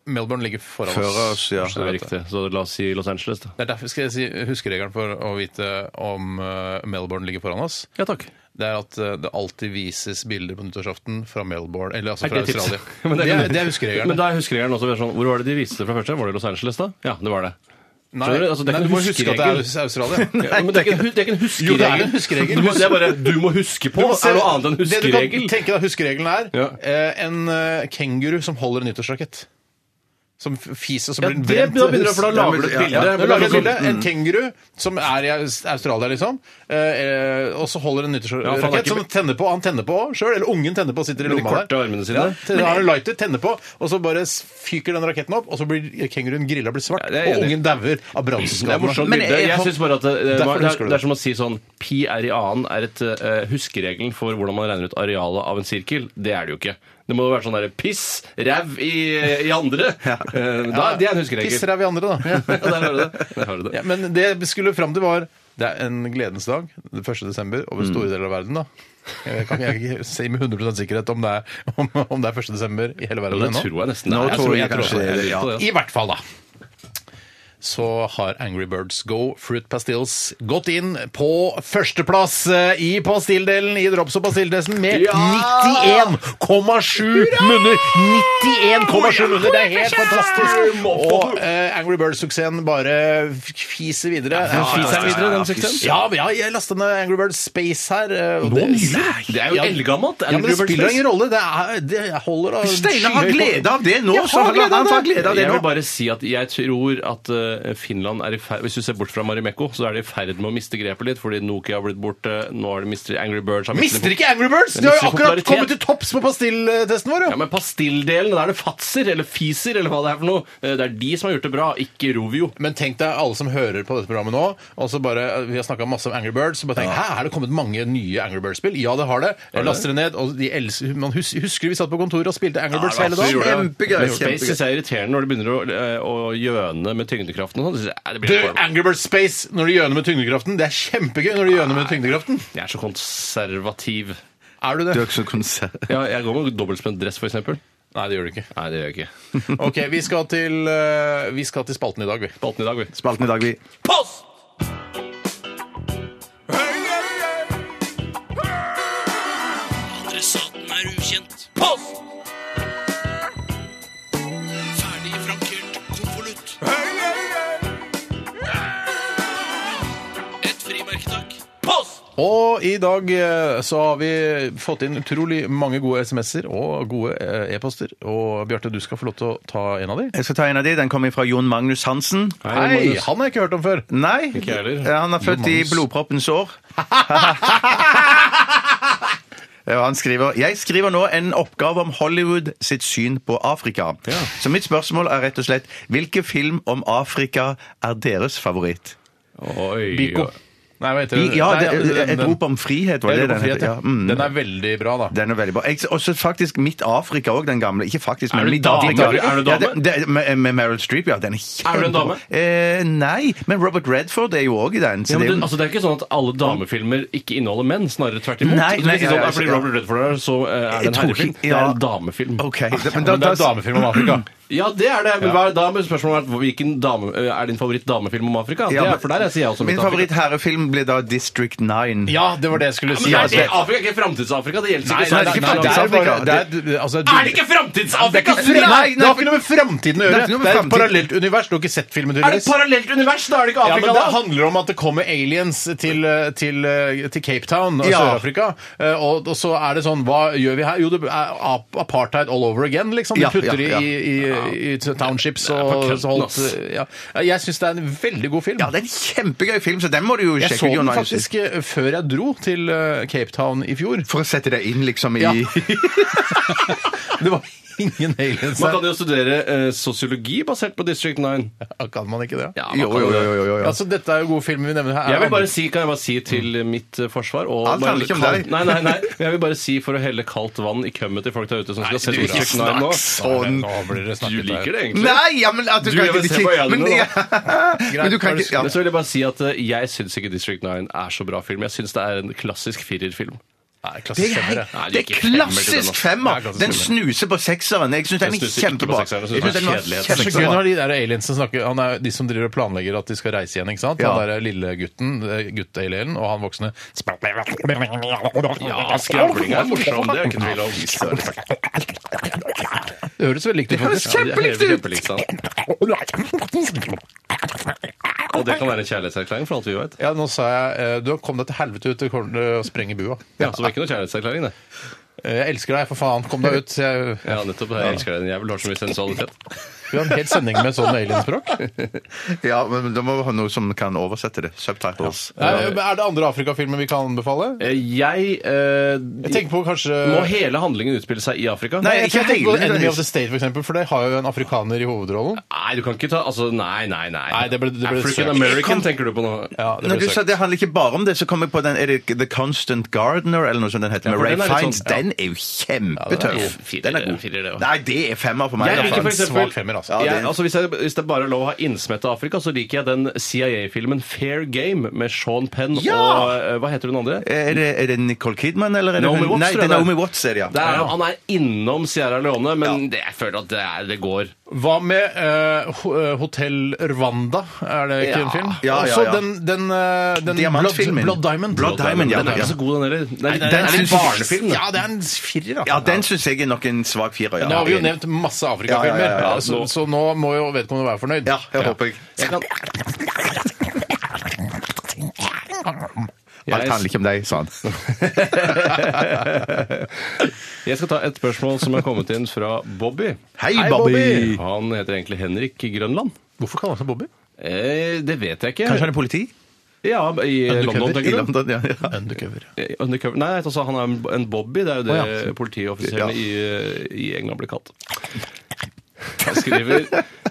D: Melbourne ligger foran
F: Før oss, ja.
E: Så det er riktig. Så la oss si Los Angeles, da.
D: Det er derfor skal jeg si huskeregelen for å vite om eh, Melbourne ligger foran oss.
E: Ja takk.
D: Det er at eh, det alltid vises bilder på nyttårsaften fra Melbourne, eller altså
E: Er
D: fra
E: det tips?
D: Australia.
E: Men
D: det, er,
E: kan-
D: det er huskeregelen.
E: Men da er huskeregelen også sånn, Hvor var det de viste det fra første? Var det Los Angeles, da? Ja, det var det.
D: Nei,
E: Skjønner du? Altså, det er
D: nei,
E: ikke
D: du må
E: en
D: huske at det er
E: huskeregel.
D: Australia.
E: Ja, men det er ikke en hu- det er ikke en huskeregel.
D: Jo, det er en huskeregel.
E: Du må, det er bare 'du må huske på' er noe annet enn
D: Det du
E: huskeregel.
D: kan tenke deg huskeregelen er
E: Ja.
D: eh, en eh, kenguru som holder en nyttårsrakett. Som f- fiser, som
E: Ja,
D: blir
E: det- da begynner du, for da
D: Ja,
E: lager du et
D: ja,
E: bilde.
D: ja, da
E: Men
D: lager jeg
E: det er
D: et bilde.
E: sånn-
D: En kenguru som er i Aus- Australia, liksom. eh, eh, og så holder en
E: Ja, for han er
D: nyttårsrakett
E: ikke-
D: som han tenner på, han tenner på sjøl. Eller ungen tenner på og sitter i
E: Med de
D: lomma der.
E: korte armene sine.
D: Ja, til- da har en lighter, tenner på, og så bare s- fyker den raketten opp, og så blir kenguruen grilla blir svart.
E: Ja, det er jeg
D: og
E: enig i.
D: ungen dauer av
E: Det er morsomt
D: brannskadene.
F: Men
E: bilde. Jeg,
F: jeg-
E: synes bare at eh, det, det,
D: eh, Derfor
E: det,
D: husker
E: er,
D: du
E: det er som å si sånn Pi er i annen er et eh, huskeregelen for hvordan man regner ut arealet av en sirkel. Det er det jo ikke. Det må jo være sånn derre piss, ræv i, i andre. Eh, da, det er en huskeregel.
D: Pisser av i andre, da.
E: Ja, der har du det. Der har du det.
D: Ja, men det vi skulle fram til var det er en gledens dag, det er 1. desember, over
E: Mm.
D: store deler av verden. da. Jeg kan ikke si med 100 sikkerhet om det, er, om, om det er 1. desember i hele
E: Jo,
D: verden
E: det
D: ennå.
E: tror jeg nesten det
F: Nå
E: er.
F: tror jeg
E: jeg
F: kanskje
E: tror
F: det, ja.
E: på det.
D: I hvert fall, da. Så har Angry Birds Go Fruit Pastilles gått inn på førsteplass eh, i pastilldelen i drops- og pastilltesten med 91,7 munner! 91,7 munner! Det er helt fantastisk! Og eh, Angry Birds-suksessen bare f- fiser videre.
E: Fis er videre, den
D: Ja,
E: suksessen.
D: men ja, jeg lasta ned Angry Birds Space her. eh, og
E: Nei, Det er jo
D: Ja.
E: eldgammelt.
D: Ja, men det spiller ingen rolle. Det, er, det holder da.
F: Steinar har
D: skyhøy-
F: glede av det nå!
D: Jeg
F: så
D: har
F: han-
D: glede av
F: han
D: det.
F: får glede av det
E: jeg
F: nå.
E: vil bare si at jeg tror at eh, Finland er i ferd Hvis du ser bort fra Marimekko, så er de i ferd med å miste grepet litt, fordi Nokia har blitt borte. Nå har de mistet Angry Birds. har mistet-
D: Mister ikke Angry Birds!
E: Jeg
D: De har jo
E: mister
D: akkurat
E: popularitet.
D: kommet til topps på pastilltesten vår,
E: Ja,
D: jo!
E: men pastilldelen, da er det fatser eller fiser eller hva det er for noe. Eh, Det er de som har gjort det bra, ikke Rovio.
D: Men tenk deg alle som hører på dette programmet nå, og så bare, eh, vi har snakka masse om Angry Birds, og bare tenk, hæ, har det kommet mange nye Angry Birds-spill? Ja, det har det. Jeg laster det ned, og de elsker Man hus husker vi satt på kontoret og spilte Angry Birds hele
E: absolutt,
D: dagen?
E: gjorde det.
F: Kjempegøy,
E: Men Space
F: kjempegøy.
E: synes jeg er irriterende når de begynner å, eh, å gjøne med tyngdekraften og sånn. Så synes jeg, eh, det
D: Du,
E: blir litt for-
D: Angry Birds Space når de gjør noe med tyngdekraften. Det er kjempegøy når de gjør noe med tyngdekraften.
E: Jeg er så konservativ.
D: Er du det?
F: Du er ikke så konsert.
E: Ja, jeg går med dobbeltspent dress, for eksempel.
D: Nei, det gjør du ikke.
E: Nei, det gjør jeg ikke.
D: OK, vi skal til, eh, vi skal til spalten i dag, vi.
E: Spalten i dag, vi.
F: Spalten i dag, vi.
D: Og i dag eh, så har vi fått inn utrolig mange gode SMS-er og gode eh, e-poster. Og Bjarte, du skal få lov til å ta en av de.
F: Jeg skal ta en av de. Den kommer fra Jon Magnus Hansen.
D: Hei, han har jeg ikke hørt om før.
F: Nei,
E: Ikke jeg heller.
F: Ja, han er født i blodproppens år. Ja, Han skriver, jeg skriver nå en oppgave om Hollywood sitt syn på Afrika. Så mitt spørsmål er rett og slett hvilken film om Afrika er deres favoritt?
E: Oi,
D: Biko.
E: oi.
D: Nei, hva heter
F: I,
D: den?
F: ja, det,
D: Nei, altså, den-
F: Et rop om frihet, var
D: Jeg
F: det
D: roper
F: den
D: frihet,
F: heter?
D: ja.
F: Ja, mm.
D: Den er veldig bra, da.
F: Den er veldig bra. Jeg- Også faktisk Mitt Afrika òg, den gamle. Ikke faktisk, men
E: Er du
F: Mitt
E: dame?
F: Afrika.
E: Er du- er du
F: Ja,
E: dame?
F: det- det- med, med Meryl Streep, ja. Den er
E: Er du en dame?
F: kjempebra. Eh, nei, men Robert Redford er jo òg i den. Så
E: Ja, men
F: det, er
E: det,
F: jo-
E: altså, det er ikke sånn at alle damefilmer ikke inneholder menn, snarere tvert imot.
F: Nei,
E: Så det er
F: nei,
E: ikke sånn,
F: ja, ja,
E: fordi
F: ja.
E: Robert Redford er, så eh, er det
F: Jeg
E: en
F: tror
E: herrefilm.
F: ikke-
E: Det er
F: ja.
E: en damefilm.
F: Ok, det- men
D: Men det
F: da-
D: er damefilm om Afrika.
E: Ja, det er det. Men hva er, da er spørsmålet vært hvilken dame, eh, er din favoritt-damefilm om Afrika?
F: Ja,
E: det
F: men-
E: er, for der er, sier jeg også
F: Min
E: mitt Afrika.
F: favoritt-herrefilm ble da District 9.
D: Ja, det var det jeg skulle si.
E: Men er
D: altså.
E: det Afrika er ikke framtids-Afrika. Det gjelder
D: Nei, nei,
E: ikke
D: nei,
E: sånn.
F: det er ikke
D: nei, det er bare
F: framtids-Afrika.
D: det er- altså,
E: Er det ikke
D: Det er
E: framtids-Afrika?
D: ikke fra-
F: Nei, nei,
D: det har ikke noe med framtiden å
F: Det
D: gjøre.
F: er ikke noe med
D: Det er et
F: fremtiden.
D: parallelt univers. Du har ikke sett filmen,
E: Er det et
D: tydeligvis.
E: parallelt univers? Da er det
D: Ja,
E: ikke
D: men
E: Afrika,
D: Det
E: da.
D: handler om at det kommer aliens til, til, til Cape Town og
F: Ja.
D: Sør-Afrika. Eh, Og, og så er det sånn Hva gjør vi her? Jo, det er ap- apartheid all over again, liksom. De
F: Ja,
D: putter
F: ja, ja.
D: i, i, i i townships
E: er på
D: og
E: kønten,
D: så holdt
E: ass.
D: ja. Jeg syns det er en veldig god film.
F: Ja, det er en kjempegøy film, så den må du jo
D: jeg
F: sjekke
D: så
F: ut.
D: den
F: Jon Magnus.
D: faktisk eh, før jeg dro til eh, Cape Town i fjor.
F: For å sette deg inn liksom i
D: Ja. Det var ingen aliens
E: Man kan
D: der.
E: jo studere eh, sosiologi basert på District 9.
D: Ja, Kan man ikke det?
E: Ja, man
F: Jo,
E: kan
F: jo, jo. jo, jo, jo.
D: Altså, dette er jo gode filmer vi nevner her.
E: Jeg vil bare si, Kan jeg bare si til mitt eh, forsvar og
F: Mm.
E: bare-
F: Alt handler ikke om
E: kald-
F: deg.
E: Nei, nei, nei. Men Jeg vil bare si for å helle kaldt vann i kømmet til folk der ute som skal se District 9 nå.
F: sånn.
D: Nå blir det
E: Du
D: snakket der.
E: liker det egentlig.
F: Nei, ja, men at du,
E: Du,
F: kan
E: jeg vil
F: ikke-
E: se på øynene
F: men,
E: nå.
F: ja. men du kan
D: Greit,
F: ikke ja.
E: Men så vil jeg bare si at eh, jeg syns ikke District 9 er så bra film. Jeg syns det er en klassisk firerfilm.
D: Nei, klassisk
F: Nei,
D: femmere.
E: Nei,
F: det er
E: ikke
F: klassisk
E: femmer
F: femmer!
E: til den, altså.
F: Den snuser på sekseren. Jeg syns den
E: Den
F: er
E: snuser ikke på
F: kjempebra.
E: sekseren, jeg synes
F: Jeg synes
E: den er
F: den var
D: Det
E: kjedelig.
D: er så gøy
F: kjempebra.
D: når de der aliens som snakker Han er de som driver og planlegger at de skal reise igjen, ikke sant?
F: Ja.
D: Han der lille gutten, eh, gutt-alienen, og han voksne
E: Ja, skravling er morsom, det er ikke tvil om.
D: Det høres veldig likt ut,
F: høres
D: faktisk.
E: Ja, de er helt
F: Kjempelikt ut!
E: kjempelikt, sant? Og det kan være en kjærlighetserklæring, for alt vi vet.
D: Ja, nå sa jeg eh, Du kom deg til helvete ut, eh, du kommer til å sprenge bua.
E: Ja, så det er ikke noe kjærlighetserklæring, det.
D: Eh, Jeg elsker deg, for faen. Kom deg ut. Jeg,
E: Ja, nettopp. Jeg elsker den. Jeg vil ha så mye sensualitet.
D: vi har en hel sending med sånn alienspråk.
F: Ja, men da må vi ha noe som kan oversette det. Subtitles.
D: Eh, Er det andre Afrikafilmer vi kan anbefale?
E: Eh, Jeg eh,
D: Jeg tenker på kanskje
E: Må hele handlingen utspille seg i Afrika?
F: Nei,
D: Jeg tror jeg tenker på
F: hele-
D: Enemy of the State, for eksempel, for det har jo en afrikaner i hovedrollen.
E: Nei, du kan ikke ta altså, Nei, nei, nei.
D: Nei, det ble- det ble
E: African
D: søkt.
E: American tenker du på nå?
D: Ja, det
F: Når
D: blir
F: du sa
D: søkt.
F: det handler ikke bare om det, så kom jeg på den Er det The Constant Gardener, eller noe sånt den
E: Ja,
F: heter? med
E: for
F: Ray
E: den er litt
F: Fiennes.
E: sånn- ja.
F: Den er jo
E: Ja,
F: kjempetøff.
E: det er
F: Den er
E: firer-
F: god.
E: firer det også.
F: Nei, det er femmer for meg.
E: Jeg liker
F: altså.
E: for
D: en
E: eksempel-
D: svak femmer, altså.
F: Ja, det er-
E: jeg, altså hvis, jeg, hvis det bare er lov å ha innsmett av Afrika, så liker jeg den CIA-filmen Fair Game med Sean Penn
F: Ja!
E: og eh, Hva heter hun andre?
F: Er det, er det Nicole Kidman, eller er det
E: Naomi Watts,
F: Nei,
E: tror jeg
F: det er
E: det er.
F: Naomi Watts, er det,
E: Der,
F: ja.
E: er han- Han er innom Sierra Leone, men det, jeg føler at det, er, det går.
D: Hva med uh, Hotell Rwanda? Er det ikke
E: Ja.
D: en film?
F: Ja, ja,
D: Også
F: ja.
D: den, den, eh, den
F: Diamantfilmen.
D: Blood, Blood Diamond.
F: Blood Diamond, ja. Altså,
E: Den er ikke så god, den heller. Det er, litt-
F: den
E: det er litt
F: synes jeg-
E: barnefilm. det.
D: Ja, det er en firer, da.
F: Ja, den syns jeg er nok en svak firer. Ja.
D: Nå har vi jo nevnt masse Afrikafilmer,
F: Ja, ja, ja, ja.
D: så, så nå må jo vedkommende være fornøyd.
F: Ja, jeg håper jeg.
E: Jeg kan-
F: Alt handler ikke om deg, sa han.
E: Jeg skal ta et spørsmål som er kommet inn fra Bobby.
F: Hei, Bobby!
E: Han heter egentlig Henrik Grønland.
D: Hvorfor kaller han seg Bobby?
E: Eh, det vet jeg ikke.
F: Kanskje han er politi?
E: Ja, i London,
D: Undercover?
E: tenker
F: I
E: du?
F: London, ja. ja.
D: Undercover.
E: Eh, Undercover. Nei, altså, han er en- en Bobby. Det er jo det
D: Å, ja.
E: politioffiserene i, i England blir kalt. Han skriver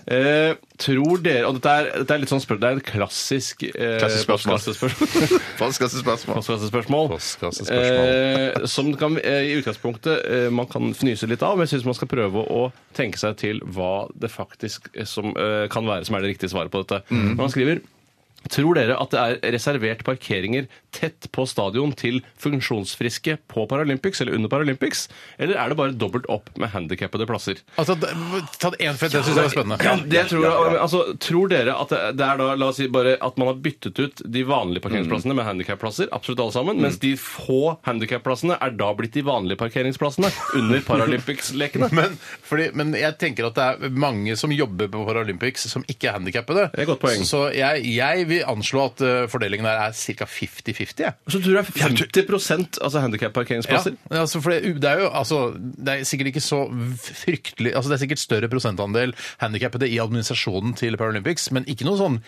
E: eh, Tror dere Og dette er, dette er litt sånn spørsmål, det er et klassisk eh,
F: Klassisk spørsmål.
E: postkassespørsmål.
F: Postkasse spørsmål.
E: Postkassespørsmål.
D: Postkassespørsmål.
E: Eh, som kan, eh, i utgangspunktet eh, man kan fnyse litt av, men jeg syns man skal prøve å tenke seg til hva det faktisk eh, som, eh, kan være som er det riktige svaret på dette. Men han skriver Tror dere at det er reservert parkeringer tett på stadion til funksjonsfriske på Paralympics eller under Paralympics, eller er det bare dobbelt opp med handikappede plasser?
D: Altså, d- ta én fett, det syns jeg var spennende.
E: Ja, det tror, jeg, altså, tror dere at det det er da, la oss si bare at man har byttet ut de vanlige parkeringsplassene med handikapplasser, absolutt alle sammen, mens de få handikapplassene er da blitt de vanlige parkeringsplassene under Paralympics-lekene?
D: Men, fordi, men jeg tenker at det er mange som jobber på Paralympics som ikke er handikappede.
E: Det er et godt poeng.
D: Så jeg, jeg vil anslå at eh, fordelingen her er ca. 50-50. jeg.
E: Så tror jeg 50 altså
D: Ja,
E: handikap-parkeringsplasser.
D: men altså, for det, det er jo altså, det er sikkert ikke så fryktelig altså Det er sikkert større prosentandel handikappede i administrasjonen til Paralympics, men ikke noe sånn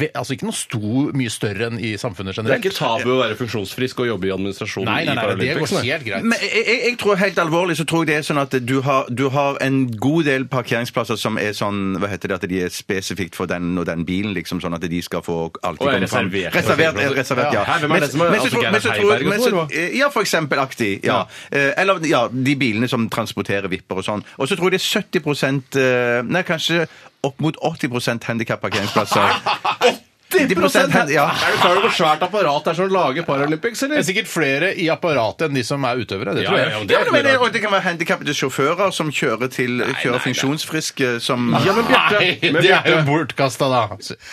D: ve- altså ikke noe stor, mye større enn i samfunnet
E: Det er
D: generelt.
E: ikke tabu å være funksjonsfrisk og jobbe i administrasjonen
D: Nei, nei, nei,
E: i
D: det
E: Paralympics.
D: går
E: nei.
D: helt greit.
F: Men jeg, jeg, jeg tror helt alvorlig så tror jeg det er sånn at du har, du har en god del parkeringsplasser som er sånn Hva heter det? At de er spesifikt for den og den bilen, liksom, sånn at de skal få alltid
E: Og er
F: komme fram.
E: reservert.
F: Reservert, eh, reservert, ja.
E: Ja, hvem er det som er-
F: Men- men så
E: altså,
F: tror-
E: Gerhard
F: men så tror jeg-
E: Heiberg og
F: men
E: sånn,
F: så- eh, Ja, for eksempel aktig. Ja. Eh, Eller ja, de bilene som transporterer vipper og sånn. Og så tror jeg det er 70 eh, Nei, kanskje opp mot 80 handikapparkeringsplasser. 80 hen- ja.
E: Er du klar over hvor svært apparat det er som lager Paralympics,
D: Det
E: eller?
D: er sikkert flere i apparatet enn de som er utøvere. Det tror jeg.
E: ja, men
F: Ja,
E: er ikke
F: men
E: noe
F: det,
E: rart.
F: og det kan være handikappede sjåfører som kjører, til, kjører funksjonsfriske som
E: Ja, men Bjarte, men
D: Nei, det er jo
E: Bjarte-
D: bortkasta, da.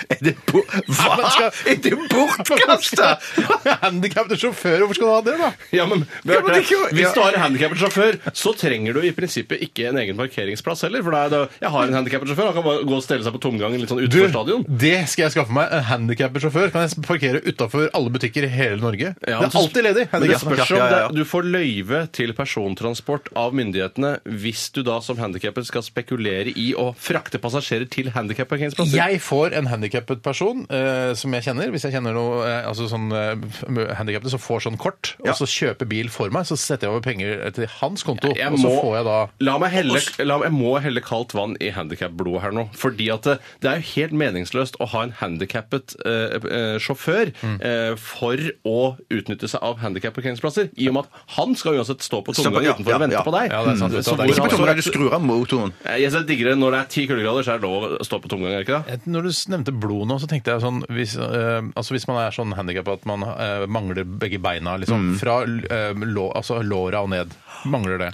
F: Er det bo- Hva?
D: men skal-
F: Er det bortkasta?!
D: Handikappede sjåfører, hvorfor skal du ha det, da?
E: Ja, men
F: Ja, men det er
E: Bjarte,
F: ikke-
E: Hvis
F: ja.
E: du har en handikappet sjåfør, så trenger du i prinsippet ikke en egen parkeringsplass heller. For da er det, jeg har en handikappet sjåfør, han kan bare gå og stelle seg på tomgangen litt sånn utenfor stadion.
D: Det skal jeg skaffe meg. En handikappet sjåfør kan jeg parkere utafor alle butikker i hele Norge.
E: Ja,
D: det
E: men
D: er
E: så-
D: alltid ledig.
E: Men det
D: handicap.
E: spørs om
F: Ja, ja, ja.
E: det, du får løyve til persontransport av myndighetene hvis du da som handikappet skal spekulere i å frakte passasjerer til handikapparkeringsplasser.
D: Jeg får en handikappet person eh, som jeg kjenner, hvis jeg kjenner noe eh, altså sånn eh, handikappede som får sånn kort,
F: Ja.
D: og så kjøper bil for meg, så setter jeg over penger til hans konto,
E: Jeg
D: og så
E: må-
D: får jeg da
E: La meg, helle, la meg, jeg må helle kaldt vann i handikapblodet her nå. Fordi at det, det er jo helt meningsløst å ha en handikappet eh, eh, sjåfør
D: Mm.
E: eh, for å utnytte seg av handikapparkeringsplasser. I og med at han skal uansett stå på
F: Stå på-
E: tomgang
F: ja,
E: utenfor
F: ja,
E: og vente
F: ja.
E: på deg.
D: Ja, det er sant, vet du,
E: Så
D: det er
E: hvor
F: Ikke på
E: han-
F: tomgang, du skrur av motoren.
E: Jeg synes det er diggere når det er ti kuldegrader, så er det lov å stå på tomgang, er det ikke det?
D: Eh, Når du s- nevnte blod nå, så tenkte jeg sånn Hvis, eh, altså hvis man er sånn handikappa at man eh, mangler begge beina, liksom
F: Mm.
D: fra eh, lå, altså låra og ned, mangler det.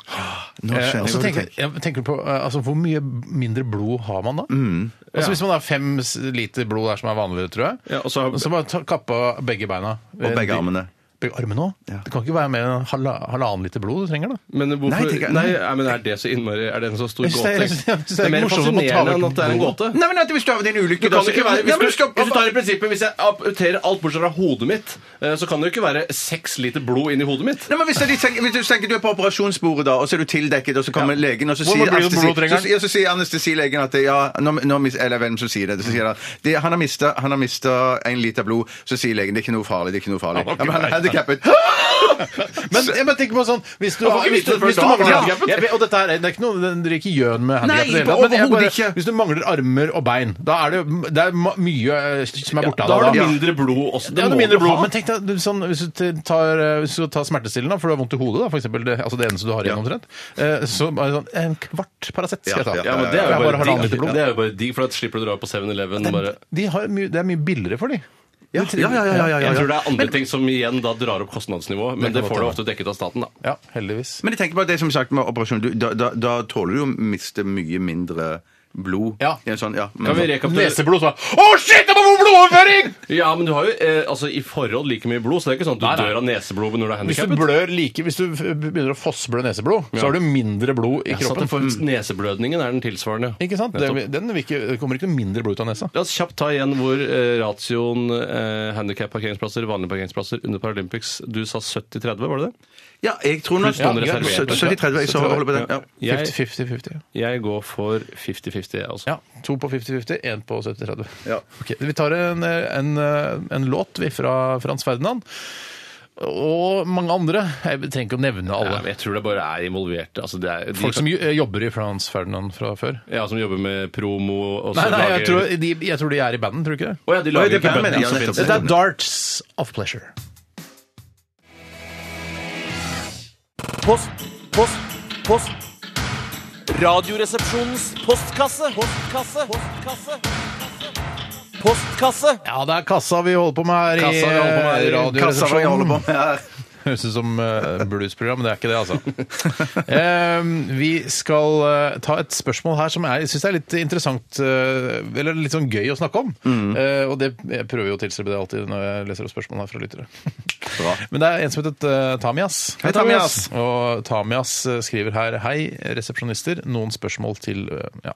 F: Nå
D: Eh,
F: skjønner
D: og
F: jeg
D: så
F: hva du
D: tenker,
F: tenker.
D: jeg tenker på eh, altså, Hvor mye mindre blod har man da?
F: Mm.
D: Altså, hvis man har fem s- liter blod der som er vanlig, tror jeg,
E: Ja, og så har-
D: og så bare ta, kappa begge beina
F: Og begge armene.
D: Begge armene òg?
F: Ja.
D: Det kan ikke være mer enn halva- halvannen liter blod du trenger, da.
E: Men hvorfor
F: Nei,
E: Nei,
F: tenker jeg-
E: nei, men er det så innmari Er det en så stor
D: Jeg
E: gåte?
D: synes det er- liksom- jeg synes det er- jeg synes det er
E: mer
D: morsomt å ta
E: fascinerende enn
D: vekk
E: at det er en
D: blodet.
E: gåte.
F: Nei, men at hvis du havner i en ulykke
E: Du kan ikke være,
F: Nei,
E: hvis,
F: men
E: du,
F: stopp-
E: hvis du tar i prinsippet Hvis jeg amputerer alt bortsett fra hodet mitt, eh, så kan det jo ikke være seks liter blod inni hodet mitt.
F: Nei, men hvis, de tenker, hvis du tenker du er på operasjonsbordet, da, og så er du tildekket, og så kommer legen og så
D: Hvor
F: sier,
D: blir du blodtrengeren?
F: så, ja, så sier anestesilegen at det- ja, nå, nå, mis- Eller hvem som sier det. Så sier han, det han har mistet- han har mista en liter blod. Så sier legen det er ikke noe farlig. det er ikke noe farlig. Ja, men han er handikappet.
D: Men jeg bare tenker på sånn Hvis du,
E: Jeg får ikke
D: hvis
E: vite
D: du,
E: det før
D: hvis du
E: da,
D: mangler
E: ja.
D: handikappet jeg vet- Og dette her, er- det er ikke noe Det er ikke gjøn med handikappet
F: Nei,
D: i det hele tatt, men jeg
F: overhodet
D: bare-
F: ikke.
D: Hvis du mangler armer og bein Da er det, det er ma- mye eh, som er borte
E: Da
D: av
E: har
D: deg
E: du
D: da.
E: mindre blod også.
D: Ja, det er
E: må
D: mindre
E: du
D: blod,
E: ha.
D: men tenk deg, du, sånn, hvis du t- tar, eh, hvis du tar smertestillende, da, for du har vondt i hodet, da, for eksempel, det, altså det eneste du har igjen omtrent, eh, så bare sånn, en kvart Paracet skal jeg ta.
F: Ja,
E: ja, men det
D: For
E: er
D: jeg
E: jo
D: bare
E: bare,
D: halvannen liter
E: digg.
D: blod.
E: Det er jo bare digg, for da slipper du å dra på 7-Eleven. og bare-
D: De har mye, det er mye billigere for de.
F: Ja, ja, ja, ja, ja, ja,
E: Jeg tror
F: ja.
E: det er andre ting som igjen da drar opp kostnadsnivået,
D: Det kan
E: men det
D: godt
E: får du
D: hende.
E: ofte dekket av staten, da.
D: Ja, heldigvis.
F: Men jeg tenker på det som sagt med operasjon. Du, da, da, da tåler du jo å miste mye mindre blod.
D: Ja.
F: I en sånn, ja.
E: Kan vi rekapitulere?
D: Neseblod, så bare, å shit, det må få blodoverføring!
E: Ja, men du har jo eh, altså, i forhold like mye blod, så det er ikke sånn at du
D: Nei, nei.
E: dør av neseblod når du er
D: Hvis du
E: handikappet.
D: blør like, hvis du begynner å fossblø neseblod, så har du mindre blod i
E: Ja, så
D: kroppen. Mm.
E: at du får- Neseblødningen er den tilsvarende.
D: Ikke sant? Det, den vil ikke, det kommer ikke noe mindre blod ut av nesa.
E: La oss kjapt ta igjen hvor eh, ratioen eh, handikap-parkeringsplasser, vanlige parkeringsplasser under Paralympics Du sa 70-30, var det det?
F: Ja, jeg tror nå
E: Pluss noen
F: ja,
E: reserverte.
F: 70-30. Jeg så holder på den. Ja.
E: Jeg-
D: 50-50.
E: Jeg går for 50-50, jeg også.
D: Ja. To på 50-50, én på 70-30.
F: Ja.
D: Ok, vi tar en, en, en låt vi fra Frans Ferdinand. Og mange andre. Jeg trenger ikke å nevne
E: Ja,
D: alle.
E: men jeg tror det bare er involverte. Altså, det er de
D: Folk som jo- jobber i Frans Ferdinand fra før.
E: ja, som jobber med promo og så
D: Nei, nei, jeg
E: lager-
D: tror de, jeg tror de er i bandet, tror du ikke det?
E: Å ja, de
F: Oi,
E: lager
F: det er
E: ikke
F: band,
E: bønder,
F: ja,
E: så
F: nettopp.
E: finnes det.
D: Dette er Darts of Pleasure.
G: Post, post, post. Radioresepsjonens postkasse. Postkasse. Postkasse. Postkasse.
D: Ja, det er kassa vi holder på med her
E: Kassa vi holder på med her i
D: i
F: Kassa hva Eh, jeg holder på
D: Radioresepsjonen.
F: med her.
D: Høres ut som eh, bluesprogram, men det er ikke det, altså. Eh, vi skal eh, ta et spørsmål her som er- jeg syns er litt interessant, eh, eller litt sånn gøy å snakke om.
F: Mm.
D: Eh, og det jeg prøver jo å tilstrebe det alltid når jeg leser opp spørsmål her fra lyttere. Men det er en som heter eh, Tamias.
F: Hei, Tamias.
D: Og Tamias eh, skriver her Hei, resepsjonister. Noen spørsmål til eh, ja.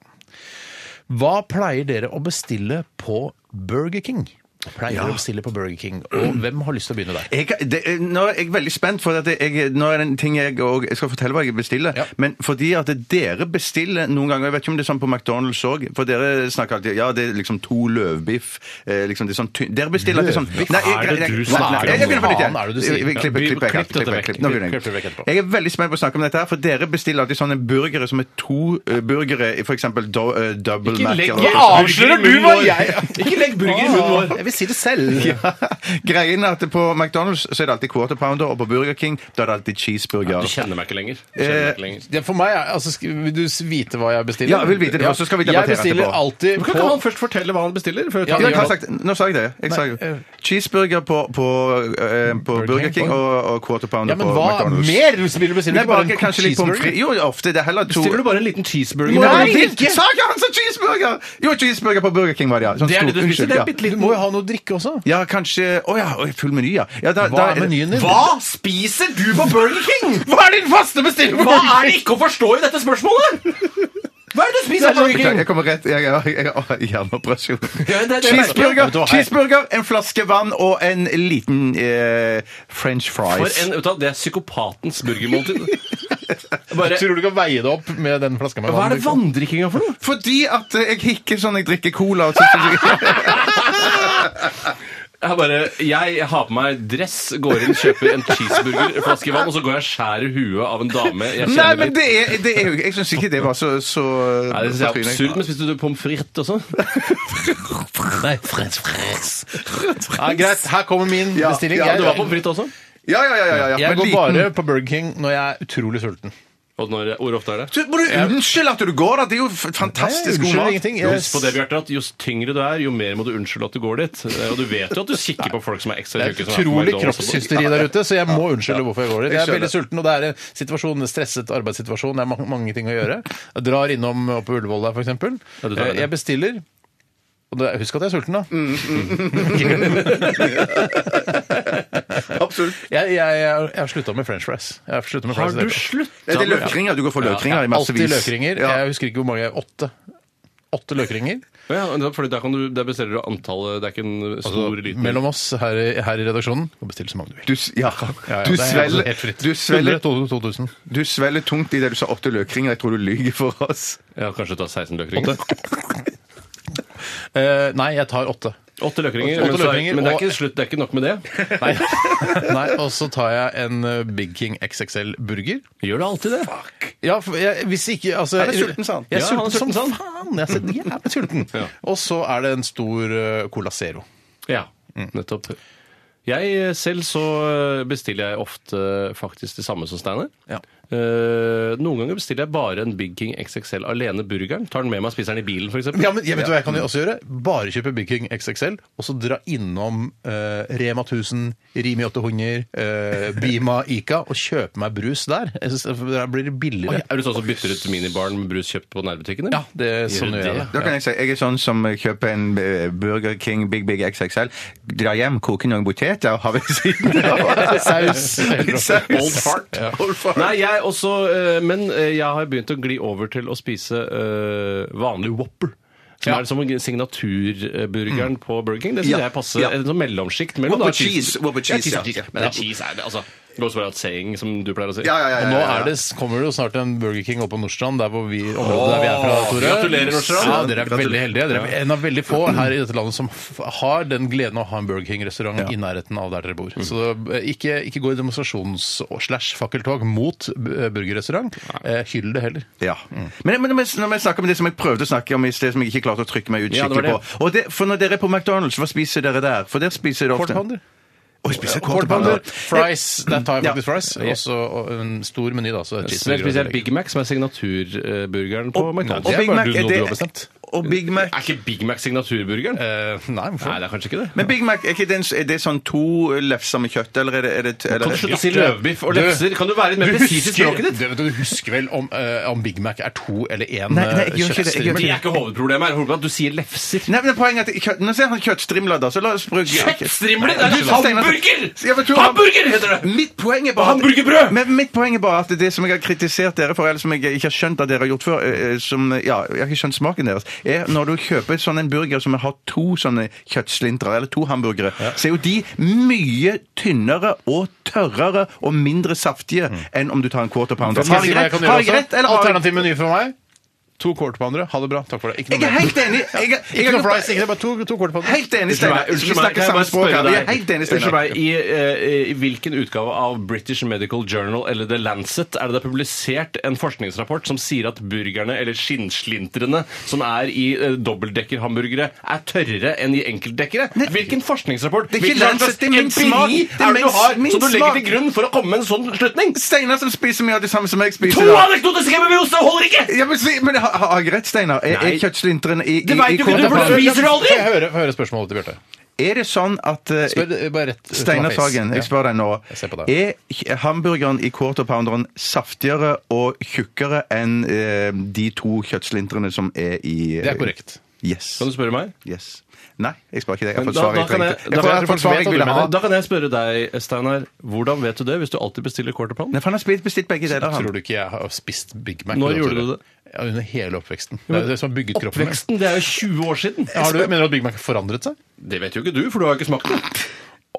D: Hva pleier dere å bestille på Burger King? Pleier dere å bestille på Burger King? Og hvem har lyst til å begynne der?
F: Jeg, det, eh, nå er jeg veldig spent, for at jeg, nå er det en ting jeg, og jeg skal fortelle hva jeg bestiller.
D: Ja.
F: Men fordi at dere bestiller noen ganger, jeg vet ikke om det er sånn på McDonald's òg, for dere snakker alltid ja, det er liksom to løvbiff eh, liksom det er sånn tynn- Dere bestiller alltid sånn
D: Løvbiff?
F: Nei, jeg-
E: Hva er det
F: jeg-
E: du
F: nei,
E: snakker
F: nei,
E: om?
F: Jeg begynner på nytt igjen.
D: Hva faen er det du sier?
F: Vi- vi klipper-
E: Ja,
F: klipper jeg
E: klipp
F: her,
E: dette
F: klipper jeg,
E: vekk.
F: klipper. Nå begynner
D: Klipp det vekk
F: jeg.
D: etterpå.
F: Jeg er veldig spent på å snakke om dette her, for dere bestiller alltid sånne burgere som er to eh, burgere, f.eks. eh, double mac.
E: legg-
F: eller-
E: Nå avslører du hva jeg-
D: Ikke legg burger
F: Ah.
D: i munnen vår! Jeg vil si det selv.
F: Greien er at på McDonald's så er det alltid quarter pounder, og på Burger King da er det alltid cheeseburger.
E: Du kjenner meg ikke lenger. Du kjenner meg ikke lenger.
D: Det er for meg, er- altså, skal- Vil du s- vite hva jeg bestiller?
F: Ja, jeg vil vite det, og så skal vi debattere
D: Jeg bestiller
F: etterpå.
D: alltid
E: Men
D: på
E: Kan ikke han først fortelle hva han bestiller?
D: Ja,
E: Før
F: Ja,
D: det
F: jeg
D: gjør
F: har sagt, nå sa jeg det. Jeg sa jo.
D: Nei, eh,
F: Cheeseburger på, på, eh, på
D: Burger
F: Burger
D: King.
F: King og, og quarter
D: ja,
F: pounder
D: men
F: på
D: hva
F: McDonald's.
D: mer vil du bestille?
F: Nei,
D: Ikke bare
F: bare
D: en
F: kanskje litt pommes
D: cheeseburger?
F: frites. Jo, ofte. Det er heller to
E: Bestiller du bare en liten cheeseburger?
F: Må
E: med
F: jeg-
E: burger?
D: ikke!
F: Sa ikke han sa cheeseburger! Jo, cheeseburger på Burger King var det, ja. Sånn
E: Det er det
F: stor-
E: du spiser,
F: unnskyld,
E: det er
F: ja.
E: bitte
D: Du må jo ha noe å drikke også.
F: Ja, kanskje Å ja, oi, full meny, ja. ja da, da,
D: Hva er menyen din?
E: Hva spiser du på Burger King?!
D: Hva er din faste bestilling?
E: Hva er det ikke å forstå i dette spørsmålet?!
F: Hva er det du spiser, Beklager, Jeg kommer rett. Jeg har jeg har hjerneoperasjon. Cheeseburger, cheeseburger, en flaske vann og en liten eh, french
E: For
F: fries.
E: en, vet du, hva, Det er psykopatens burgermåltid. Bare,
D: Tror du du kan veie det opp med den flaska med
E: hva
D: vann?
E: er det vanndrikkinga for noe?
F: Fordi at eh, jeg hikker sånn jeg drikker cola. Og så,
E: Jeg, bare, jeg har på meg dress, går inn, kjøper en cheeseburger, en flaske vann, og så går jeg og skjærer huet av en dame jeg
F: nei,
E: kjenner
F: men
E: litt.
F: det er, det er jo Jeg syns ikke det var så, så
E: Nei, det synes jeg er absurd, men spiste du pommes frites også? Nei, frens, frens.
D: Ja, greit, her kommer min
F: Ja,
D: bestilling.
F: ja,
E: Ja,
D: Jeg-
E: du var pommes frites også?
F: Ja, ja, ja. ja, ja.
D: Jeg
F: Men
D: går
F: liten-
D: bare på Burger King når jeg er utrolig sulten.
E: Og når, hvor ofte er det?
F: Så Må du unnskylde at du går, da? Det er jo f- fantastisk god
D: Unnskyld
F: mat.
D: ingenting. Jeg-
E: Husk på det, Bjarte, at Jo tyngre du er, jo mer må du unnskylde at du går dit. Eh, Og du vet jo at du kikker på folk som er ekstra
D: Det er
E: tjukke.
D: et
E: som på
D: utrolig
E: McDonald's og sånn. sånt.
D: kroppshysteri der ute, så jeg må unnskylde hvorfor jeg går dit. Jeg er
F: skjønner.
D: veldig sulten, og det er en situasjon, en stresset arbeidssituasjon, det er ma- mange ting å gjøre. Jeg drar innom oppe på Ullevål der, for eksempel.
E: Ja, du tar det.
D: Eh, Jeg bestiller. Og da- Husk at jeg er sulten, da.
F: Absolutt.
D: Jeg, jeg, jeg, jeg har slutta med french fries. Jeg har sluttet med
E: Har
D: french
E: du
D: fries.
E: slutt?
F: Det er løkringer. Du går for løkringer i massevis.
D: Alltid løkringer.
F: Ja.
D: Jeg husker ikke hvor mange. Åtte. Åtte løkringer.
E: Ja, for der, kan du, der bestiller du antallet, det er ikke en stor altså, liten
D: Mellom oss her, i- her i redaksjonen. Du kan bestille så mange du vil.
F: Du, s- ja. du, svelger, du, svelger,
D: 2000.
F: du svelger tungt i det du sa åtte løkringer. Jeg tror du lyver for oss.
E: Ja, Kanskje du tar 16 løkringer?
D: Eh, nei, jeg tar åtte.
E: Åtte løkringer.
D: Åtte
E: men så er-
D: løkringer,
E: men det er
D: og-
E: ikke slutt, det er ikke nok med det.
D: Nei. nei og så tar jeg en eh, Big King XXL burger.
E: Gjør du alltid det?
D: Ja, for jeg, hvis ikke altså,
F: Han er sulten, sa han.
D: Jeg er
E: Ja,
D: sulten,
E: han er sulten,
D: som
E: sa
D: faen! Jeg er så jævlig sulten.
E: Ja.
D: Og så er det en stor eh, Cola Zero.
E: Ja,
D: Mm.
E: nettopp. Jeg eh, selv så eh, bestiller jeg ofte eh, faktisk det samme som Steinar.
D: Ja.
E: Eh, noen ganger bestiller jeg bare en Big King XXL alene burgeren. Tar den med meg og spiser den i bilen, f.eks.
D: Ja, men jeg vet du hva jeg kan jo også gjøre? Bare kjøpe Big King XXL, og så dra innom eh, Rema 1000, Rimi 800, eh, Bima, Ica, og kjøpe meg brus der. Jeg synes, for Der blir det billigere.
E: Er du sånn som bytter ut minibaren med brus kjøpt på nærbutikken?
D: Ja,
E: eller?
D: det er sånn
E: Gjør
D: gjør jeg
E: det.
D: det.
F: Da kan jeg si, jeg er sånn som kjøper en eh, Burger King Big Big XXL, drar hjem, koker noen poteter og har ved siden av.
D: Saus.
F: Litt saus.
E: Old fart.
F: Old fart.
E: Nei, jeg også, eh, men eh, jeg har begynt å gli over til å spise eh, vanlig Whopper. Som
D: Ja.
E: er som signaturburgeren på Burger King. Det syns
F: Mm. Ja,
E: jeg passer.
F: ja.
E: En sånn mellomsjikt mellom da,
F: Whopper cheese, Whopper cheese,
E: ja,
F: ja.
E: cheese,
F: Ja.
E: Men cheese er det, altså. Goes without saying, som du pleier å si.
F: Ja, ja, ja, ja,
D: Og
F: ja,
D: nå
F: ja.
D: er det, kommer det jo snart en Burger King oppe på Nordstrand, der hvor vi, området der vi er fra, Tore.
E: Gratulerer, Nordstrand.
D: Ja, dere er veldig heldige. Dere er en av veldig få her i dette landet som f- har den gleden å ha en Burger King-restaurant i nærheten av der dere bor.
F: Mm.
D: Så eh, ikke, ikke gå i demonstrasjons-slash-fakkeltog mot eh, burgerrestaurant. Eh, Hyll det heller.
F: Ja. Men, men når vi- når vi snakker om det som jeg prøvde å snakke om i sted, som jeg ikke klarte å trykke meg ut
E: Ja, det var
F: skikkelig
E: det.
F: på og det, For når dere er på McDonald's, hva spiser dere der? For der spiser dere ofte
D: Quarterpounder.
F: Å, jeg spiser quarterpounder.
D: Quarterpounder, fries, der tar jeg
F: Ja.
D: faktisk fries. Og så og en stor meny, da. Så
E: Så jeg spiser Big Mac, som er signaturburgeren på McDonald's.
F: Og Big
D: bare
F: Mac,
D: du-
F: er
D: noe du har
F: det,
D: bestemt.
F: og Big Mac
E: Er ikke Big Mac signaturburgeren?
D: Eh, nei, hvorfor?
E: Nei, det er kanskje ikke det.
F: Men Big Mac, er, ikke det en, er det sånn to lefser med kjøtt, eller er det, er det eller,
E: Kan du slutte å si løvbiff og
D: Du-
E: lefser? Kan du være litt mer presis i språket ditt?
D: Du, vet, du husker vel om, eh, om Big Mac er to eller eh, én
F: Nei, nei, jeg gjør ikke det, jeg gjør
E: Men
D: kjøttstrimmel?
E: det er ikke hovedproblemet her. Hovedproblemet er at du sier lefser.
F: Nei, men poenget er at kjøtt, Nå ser han kjøttstrimler, da, så la oss bruke
E: Kjøttstrimler? Det er
F: Du,
E: jo
F: Steinar,
E: hamburger!
F: Ja, men Tor,
E: Hamburger heter det!
F: Mitt poeng er
E: Og
F: bare
E: hamburgerbrød!
F: Men mitt poeng er bare at det som jeg har kritisert dere for, eller som jeg ikke har skjønt at dere har gjort før, eh, eh, som, ja, jeg har ikke skjønt smaken deres, er når du kjøper sånn en burger som har to sånne kjøttslintrer, eller to hamburgere, så er jo de mye tynnere og tørrere og mindre saftige enn om du tar en quarter pounder.
D: Mm. Skal jeg
F: Har
D: si
F: jeg
D: hva jeg
F: rett,
D: kan gjøre
F: har jeg rett
D: også?
F: eller har jeg
D: Alternativ meny for meg. To kort på andre. Ha det bra. Takk for det. Ikke
F: Jeg er
D: mer.
F: helt enig. Jeg, er- jeg,
D: Ikke noe
F: er-
D: fries. Ikke noe, bare to, to kort på andre.
F: Helt enig, Steinar. Vi
E: Unnskyld meg,
F: snakker
E: kan jeg
F: samme
E: bare
F: språk
E: spørre
F: her. Vi er
E: deg?
F: helt enige,
E: Unnskyld
F: Steinar.
E: meg, i, eh, I hvilken utgave av British Medical Journal eller The Lancet er det det er publisert en forskningsrapport som sier at burgerne, eller skinnslinterne, som er i eh, dobbeltdekkerhamburgere, er tørrere enn i enkeltdekkere? Hvilken forskningsrapport?
F: Det er ikke
E: Hvilken
F: Lancet, det er min
E: empiri
F: smak. Det er
E: er det
F: min-
E: du har,
F: min
E: som du legger til
F: smak.
E: grunn for å komme med en sånn slutning?
F: Steinar som spiser mye av det samme som jeg spiser.
E: To
F: da.
E: anekdotiske bevioser holder ikke!
F: Ja, men, si- men har, har jeg rett, Steinar? Er,
E: Nei.
F: er kjøttslinteren i, i,
E: Det vet
F: i
E: du ikke, du
F: kåta
E: burde
F: på-
E: spise- Spiser du aldri?
D: Får jeg høre, får jeg høre spørsmålet til Bjarte?
F: Er det sånn at eh,
D: Spør, eh, bare rett-
F: Steinar Sagen, jeg spør deg nå.
D: Jeg ser på deg.
F: Er kj- hamburgeren i quarter pounderen saftigere og tjukkere enn eh, de to kjøttslintrene som er i eh,
D: Det er korrekt.
F: Yes.
E: Kan du spørre meg?
F: Yes. Nei, jeg spør ikke det. Jeg har
E: Men
F: fått svaret jeg
E: kan jeg-
F: trengte.
E: da
F: Jeg
E: kan
F: har fått svaret jeg ville ha.
E: da kan jeg spørre deg, Steinar, hvordan vet du det hvis du alltid bestiller quarter pound?
F: Nei, for han har spilt, bestilt begge deler, han.
D: Tror du ikke jeg har spist Big Mac?
E: Når
D: Tore?
E: gjorde du det?
D: Ja, under hele oppveksten. Det er jo det som har bygget kroppen min.
E: Oppveksten, det er jo 20 år siden!
D: Har du, mener du at Big Mac har forandret seg?
E: altså, Det vet jo ikke du, for du har jo ikke smakt det.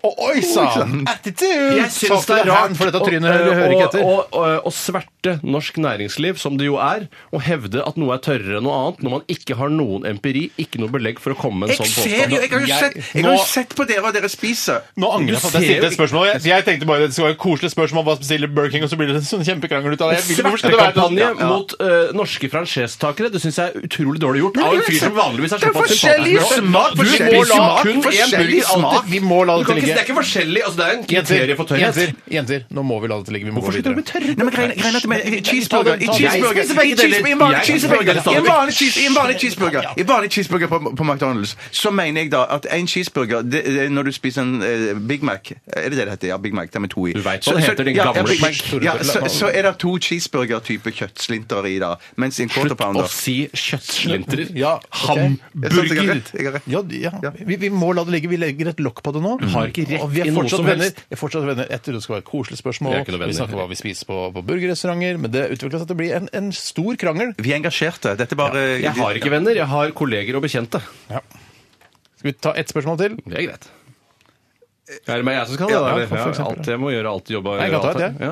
D: Oi sann! Attitude!
E: Jeg syns det er rart øh,
D: For dette
E: å-
D: trynet hører ikke etter.
E: å- å- øh, å- å sverte norsk næringsliv, som det jo er, og hevde at noe er tørrere enn noe annet, når man ikke har noen empiri, ikke noe belegg for å komme med en
F: Jeg
E: sånn
F: ser jo,
E: påstand.
F: jeg har jo sett, jeg har jo sett på dere, og dere spiser.
D: Nå angrer jeg på at jeg
E: Du ser jo
D: stilte et spørsmål. Jeg, jeg tenkte bare det skal være et koselig spørsmål, bare bestille Burger King, og så blir det en sånn kjempekrangel ut av det. Jeg vil, hvorfor skal det være sånn?
E: Svertekampanje
D: Ja, ja.
E: mot eh, norske franchisetakere, det syns jeg er utrolig dårlig gjort. Av en fyr som vanligvis er
F: Det er
E: såpass
F: forskjellig
E: sympatisk.
F: smak,
E: Du
F: forskjellig
E: må la
F: smak,
E: kun en
F: forskjellig
E: burger alltid-
F: smak.
D: Vi må la
E: Du
D: dette ligge.
E: kan ikke, det er ikke forskjellig. altså Det er en
D: Jenter,
E: kriterie for tørrhet.
D: jenter, jenter, nå må vi la dette ligge. Vi må gå videre.
F: Nei, men greien, greien er at med i cheeseburger I
D: ta den.
F: cheeseburger
D: Jeg
F: I
D: spiser begge
F: cheese- i en vanlig
E: Jeg spiser
F: cheeseburger
E: begge deler
F: I en vanlig cheese- i en vanlig cheeseburger I en vanlig cheeseburger på, på McDonald's Så mener jeg da at en cheeseburger det, det, er Når du spiser en eh, Big Mac Er det det det heter? Ja, Big Mac, det er med to i
E: Du vet
F: Så-
E: hva det
F: så-
E: heter, din
F: ja,
E: gamle
F: ja,
E: Big Mac.
F: Ja, så, så er det to cheeseburger-type kjøttslinter i da Mens i en quarter pounder
E: Å si kjøttslintrer.
D: Ja, ok.
F: Jeg synes jeg har
E: Hamburger.
F: rett, jeg har rett.
D: Ja, ja. Vi, vi må la det ligge. Vi legger et lokk på det nå.
E: har ikke rett
D: og vi er
E: i noe
D: fortsatt
E: som
D: venner.
E: helst.
D: Vi er fortsatt venner. Jeg tror det skal være et koselig spørsmål.
E: Vi er ikke noe venner.
D: Vi snakker om hva vi spiser på, på burgerrestauranter, men det utvikler seg til å bli en, en stor krangel.
F: Vi er engasjerte Dette er bare
E: Jeg har ikke venner, jeg har kolleger og bekjente.
D: Skal vi ta ett spørsmål til?
E: Det er greit. Er det meg jeg som skal det?
D: Ja,
E: da,
D: for
E: eller? Ja,
D: eksempel.
E: alt jeg må gjøre, alt jobba
D: Nei, jeg kan ta et, jeg.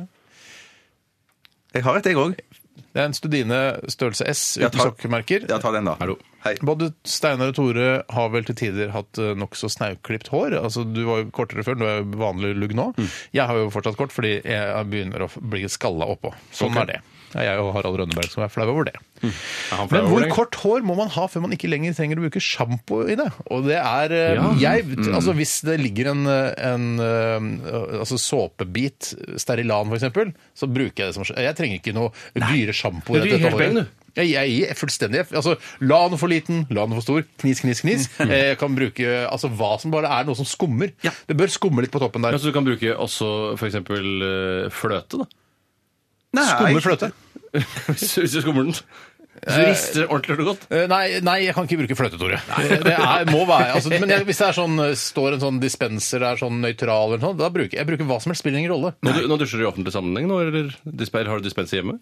E: ja.
F: Jeg har et, jeg også
D: Det er en studine størrelse S
F: Ja,
D: uten
F: ta-
D: sokkemerker.
F: Ja, ta den da
E: Hallo.
F: Hei
D: Både Steinar og Tore har vel til tider hatt eh, nokså snauklipt hår. Altså, Du var jo kortere før, du er jo vanlig lugg nå.
E: Mm.
D: Jeg har jo fortsatt kort fordi jeg begynner å bli skalla oppå. Sånn er det. Det er Jeg og Harald Rønneberg som er flau over det.
E: Mm. han flau
D: Men
E: over
D: hvor
E: det?
D: kort hår må man ha før man ikke lenger trenger å bruke sjampo i det? Og det er eh,
E: Ja. Mm.
D: jeg, altså Hvis det ligger en, eh, en eh, altså såpebit, Sterilan f.eks., så bruker jeg det som Jeg trenger ikke noe dyre sjampo. i
E: Du gir
D: dette
E: helt
D: håret.
E: poeng, du.
D: Jeg, jeg gir fullstendig F. Altså, la den for liten, la den for stor. Knis, knis, knis.
E: Mm.
D: Eh, Jeg kan bruke altså, hva som bare er noe som skummer. Det bør skumme litt på toppen
E: Ja,
D: der.
E: så du kan bruke også f.eks. fløte, da.
F: Nei.
D: Skummer fløte.
E: Hvis hvis du skummer den. Så du rister ordentlig og godt.
D: Eh, Nei, nei, jeg kan ikke bruke fløte, Tore. Eh, Det er, må være, altså, men jeg, hvis det er sånn, eh, står en sånn dispenser der, sånn nøytral eller noe, da bruker jeg- jeg bruker hva som helst, spiller ingen rolle.
E: Nå, du- nå dusjer du i offentlig sammenheng nå, eller disper, har du dispenser hjemme?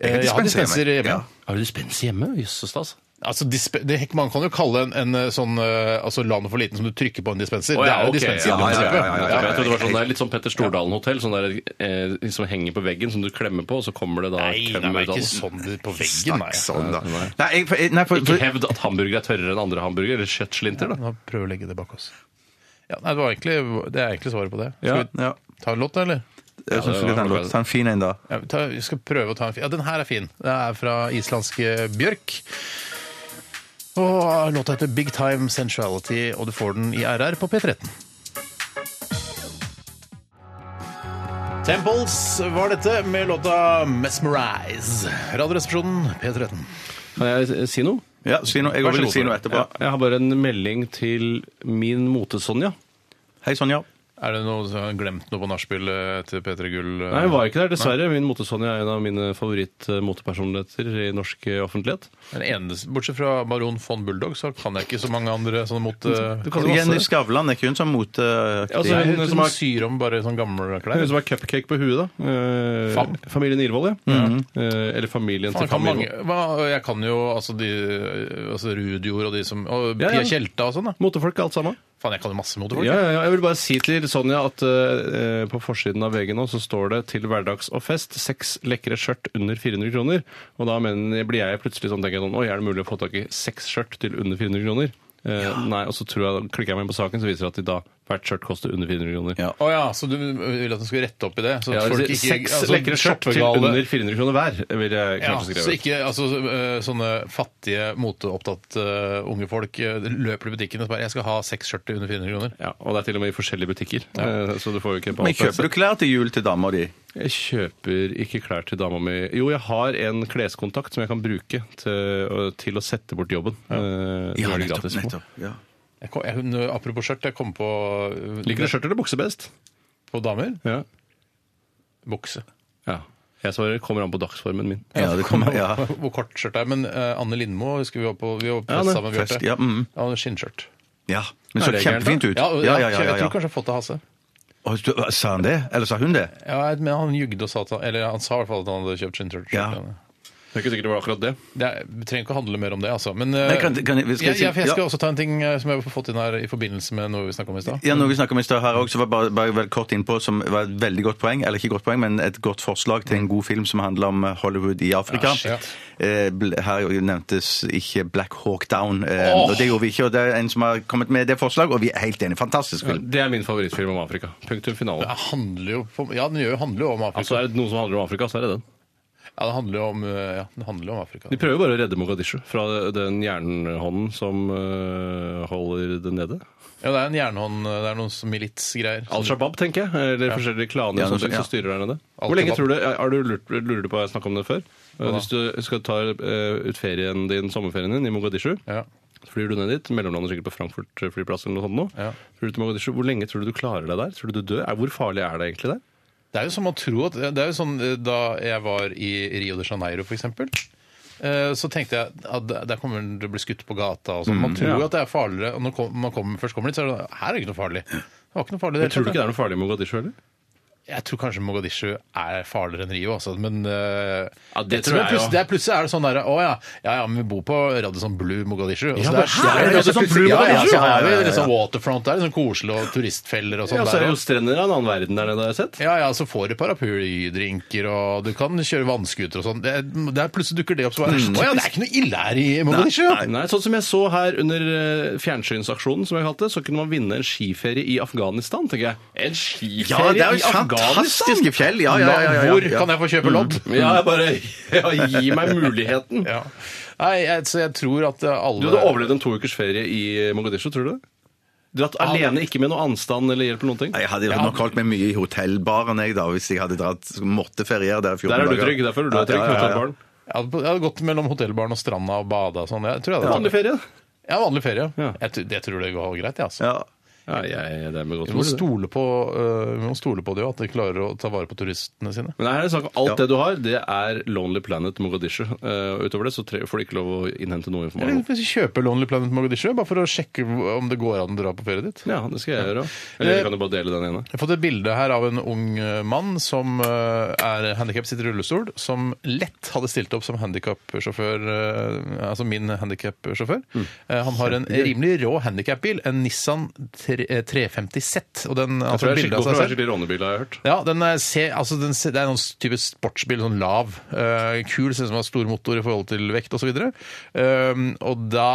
D: Eh, Jeg har dispenser hjemme.
F: Ja.
E: Har du dispenser hjemme? Jøss, så stas.
D: Altså, disp det, man kan jo kalle en, en eh, sånn eh, altså, landet for liten som du trykker på en dispenser.
E: Å,
D: det
E: ja,
D: er jo
E: ok,
D: dispenser.
E: ja,
F: ja, ja, ja, ja, ja.
E: Jeg trodde det var sånn, det er Litt sånn Petter Stordalen-hotell, sånn der, eh, som henger på veggen, som du klemmer på, og så kommer det da
D: Nei, nei, det er ikke sånn det- på veggen, nei.
F: Snakk sånn da Nei, jeg, for, nei, for,
E: Ikke hevd at hamburger er tørrere enn andre hamburger, eller kjøttslinter, da.
D: Nå prøver vi å legge det bak oss. Ja, nei, det, var egentlig, det er egentlig svaret på det. Skal
E: Ja.
D: vi
F: Ja.
D: ta en låt, da, eller?
F: Jeg synes
E: det var
F: vi kan ta en
E: kanskje-
F: låt. Ta en fin en, da.
D: Ja, vi, tar, vi skal prøve å ta en fin. Ja, den her er fin. Det er fra islandske Bjørk. Og låta heter Big Time Sensuality, og du får den i RR på P13. Temples var dette med låta Mesmerize. Radioresepsjonen P13.
E: Kan jeg si noe?
F: Ja, si noe. Jeg
E: Vær så
F: også vil
E: god,
F: si
E: Tore.
F: noe etterpå.
E: Ja, jeg har bare en melding til min mote-Sonja.
F: Hei, Sonja.
D: Er det noe som har glemt noe på nachspiel etter P3 Gull? eh?
E: Nei, hun var ikke der, dessverre. Min mote-Sonja er en av mine favoritt-motepersonligheter i norsk eh, offentlighet.
D: Den eneste, bortsett fra Baron von Bulldog, så kan jeg ikke så mange andre sånne mot...
E: Du
D: eh,
E: kan jo masse.
F: Jenny Skavlan, er ikke hun sånn moteaktig?
E: Ja, altså,
D: Hun
E: hun
D: som
E: som har
D: syr om bare sånne gamle klær.
E: Hun som har cupcake på huet, da. Eh,
D: Fam.
E: Familien Irvoll, ja. Eh, eller familien
D: Man
E: til
D: kan
E: familien.
D: mange, hva, jeg kan jo altså, de, altså Rudjord og de som og
E: Ja,
D: Pia
E: ja.
D: Tjelta og sånn. da.
E: Motefolk, alt sammen.
D: Faen, jeg kan jo masse motorfolk.
E: Ja, ja, ja. Jeg vil bare si til Sonja at eh, på forsiden av VG nå så står det 'Til hverdags og fest'. Seks lekre skjørt under 400 kroner. Og da mener, blir jeg plutselig sånn tenker jeg sånn Oi, er det mulig å få tak i seks skjørt til under 400 kroner? Eh, Nei, og så tror jeg, klikker jeg meg inn på saken, så viser det at de da hvert skjørt koster under 400 kroner.
F: Ja.
D: Å ja, så du ville at du skulle rette opp i det? Så
E: Ja,
D: folk
E: det-
D: ikke-
E: seks
D: altså,
E: lekre skjørt til
D: shoppegale-
E: under 400 kroner hver, vil jeg
D: ja,
E: kanskje
D: så
E: skrive.
D: ikke altså, øh, sånne fattige, moteopptatt øh, unge folk øh, løper i butikken og så bare 'Jeg skal ha seks skjørt til under 400 kroner'.
E: Ja, og det er til og med i forskjellige butikker. eh, Så du får jo ikke på
F: Men
E: alt.
F: kjøper du klær til jul til dama di?
E: Jeg kjøper ikke klær til dama mi. Jo, jeg har en kleskontakt som jeg kan bruke til, til å sette bort jobben. Eh, det er det gratis på.
F: Ja.
D: Jeg kom, jeg, hun, apropos skjørt, jeg kom på, øh,
E: Liker du skjørt eller bukse best?
D: på damer.
E: Ja.
D: Bukse.
E: ja. Jeg svarer kommer an på dagsformen min.
F: Ja, det kommer, ja.
D: Hvor kort skjørt det er. Men eh, Anne Lindmo husker vi var på, vi var på
E: Ja,
D: fest
E: det-
D: sammen, Bjarte.
F: fest, ja, mm.
D: Ja, hun hadde skinnskjørt.
F: ja. Men så
E: det er
F: kjempefint ut.
D: Ja,
F: Ja, ja, ja.
D: Jeg
F: ja,
D: tror kanskje jeg har fått det av Hasse.
F: Og du- Sa han det? Eller sa hun det?
D: Ja, jeg- men han jugde og sa at han, eller han sa i hvert fall at han hadde kjøpt skinnskjørt.
F: Ja.
E: Det er ikke sikkert det var akkurat det.
D: Det er, vi trenger ikke å handle mer om det, altså. Men eh,
F: Nei, kan- kan jeg- skal jeg
D: jeg,
F: si-
D: jeg, jeg skal
F: ja.
D: også ta en ting eh, som jeg har fått inn her i forbindelse med noe vi snakket om i stad.
F: Ja, noe vi snakket om i stad her også, var bare, bare vel kort innpå, som var et veldig godt poeng, eller ikke godt poeng, men et godt forslag til en god film som handler om eh, Hollywood i Afrika.
D: Ja, shit.
F: Eh, bl- her nevntes ikke Black Hawk Down, eh, og det gjorde vi ikke, og det er en som har kommet med det forslaget, og vi er helt enige. Fantastisk film.
E: Det er min favorittfilm om Afrika. Punktum finale.
D: Det handler jo på, ja, den gjør jo, handler jo om Afrika.
E: Altså, er det noe som handler om Afrika, så er det den.
D: ja, det handler jo om, eh, ja, den handler jo om Afrika.
E: De prøver jo bare å redde Mogadishu fra den jernhånden som øh, holder det nede.
D: Ja, det er en jernhånd, det er noen sånn militsgreier.
E: Al Shabaab, tenker jeg. Eller forskjellige klaner
F: Ja,
E: og sånne ting
F: ja.
E: som styrer der nede.
D: Al
E: Hvor lenge
D: Shabaab.
E: tror du, har du lurt, Lurer du på at jeg snakket om det før? Hvis du skal ta eh, ut ferien din, sommerferien din i Mogadishu,
D: Ja.
E: så flyr du ned dit, mellomlander sikkert på Frankfurt eh, flyplass eller noe sånt nå.
D: Ja.
E: Flyr du til Mogadishu, Hvor lenge tror du du klarer deg der? Tror du du dør? Er- Hvor farlig er det egentlig der?
D: Det er jo som å tro at Det er jo sånn eh, da jeg var i Rio de Janeiro, for eksempel. eh, Så tenkte jeg at der- der kommer du til å bli skutt på gata og sånn. Man tror jo
E: Mm, ja.
D: at det er farligere. Og når kom- man kommer, først kommer dit, så er det sånn, her er det ikke noe farlig. Det var ikke noe farlig i
E: Men tror du
D: hele
E: ikke
D: tatt,
E: det er noe farlig i Mogadishu heller?
D: Jeg tror kanskje Mogadishu er farligere enn Rio, altså. Men eh,
E: Ja, det
D: jeg
E: tror jeg
D: plutselig,
E: jo.
D: det er plutselig er det sånn derre Å ja, ja, ja, men vi bor på Radisson Blue Mogadishu. Altså, det er,
E: hæ?
D: det er Radisson
E: sånn
F: Ja,
D: Blue
F: ja, ja,
D: Mogadishu!
F: ja, ja, ja,
D: Har
F: ja,
D: vi
F: ja.
D: liksom waterfront der, liksom koselig, og turistfeller og sånn
E: Ja, så
D: der
E: er det
D: også.
E: jo strender av en annen verden der nede, har jeg sett.
D: Ja, ja, så får du paraplydrinker, og du kan kjøre vannskuter og sånn. Det, er- det er plutselig dukker det opp. Så bare, Å ja, det er ikke noe ille her i Mogadishu!
E: Mm. Nei, nei, sånn som jeg så her under eh, fjernsynsaksjonen, som jeg kalte det, så kunne man vinne en skiferie i Afghanistan, tenker jeg. En
F: Ja,
E: skiferie
F: det er
E: i
F: jo
E: Afghanistan?!
F: fantastiske fjell. Ja, ja, ja, ja, ja.
D: Hvor kan jeg få kjøpe lodd?
E: Mm. Ja, jeg bare ja, Gi meg muligheten!
D: Ja. Nei, jeg, så jeg tror at alle
E: Du hadde overlevd en to ukers ferie i Mogadishu, tror du det? Dratt alene, ikke med noe anstand eller hjelp eller noen ting?
F: Jeg hadde nok holdt meg mye i hotellbaren jeg da, hvis jeg hadde dratt, måtte feriere der 14
E: Der er
F: dager.
E: du trygg. Der føler du deg trygg.
F: Ja, ja, ja, ja.
E: hotellbarn.
D: Jeg hadde, jeg hadde gått mellom hotellbaren og stranda og bada og sånn. Jeg tror jeg hadde
E: Vanlig ferie.
D: Ja, vanlig ferie.
E: Ja.
D: Jeg, tror- jeg tror det går greit, jeg, altså.
F: Ja.
E: Ja, jeg, det er med godt
D: Vi må,
E: mot, det.
D: stole på, øh, vi må stole på det jo, at de klarer å ta vare på turistene sine.
E: Men her er det snakk om alt det du har, det er Lonely Planet Mogadishu. Eh, utover det så tre, får du ikke lov å innhente
D: Eller
E: noe informasjon.
D: hvis vi kjøper Lonely Planet Mogadishu, bare for å sjekke om det går an å dra på ferie dit.
E: Ja, det skal jeg gjøre. Eller vi kan jo bare dele den ene.
D: Jeg har fått et bilde her av en ung eh, mann som eh, er handikappet, sitter i rullestol, som lett hadde stilt opp som handikappsjåfør, eh, altså min handikappsjåfør.
E: Mm.
D: Eh, Han har en rimelig rå handikapbil, en Nissan tre- eh, 350 Z, og den
E: Jeg
D: altså,
E: tror det er
D: bildet
E: skikkelig,
D: av
E: det
D: seg
E: er
D: selv.
E: skikkelig rånebil, har jeg hørt.
D: Ja, den er, ser- altså den, ser- det er noen type sportsbil, sånn lav, eh, kul, ser ut som den har stor motor i forhold til vekt og så videre. Um, og da,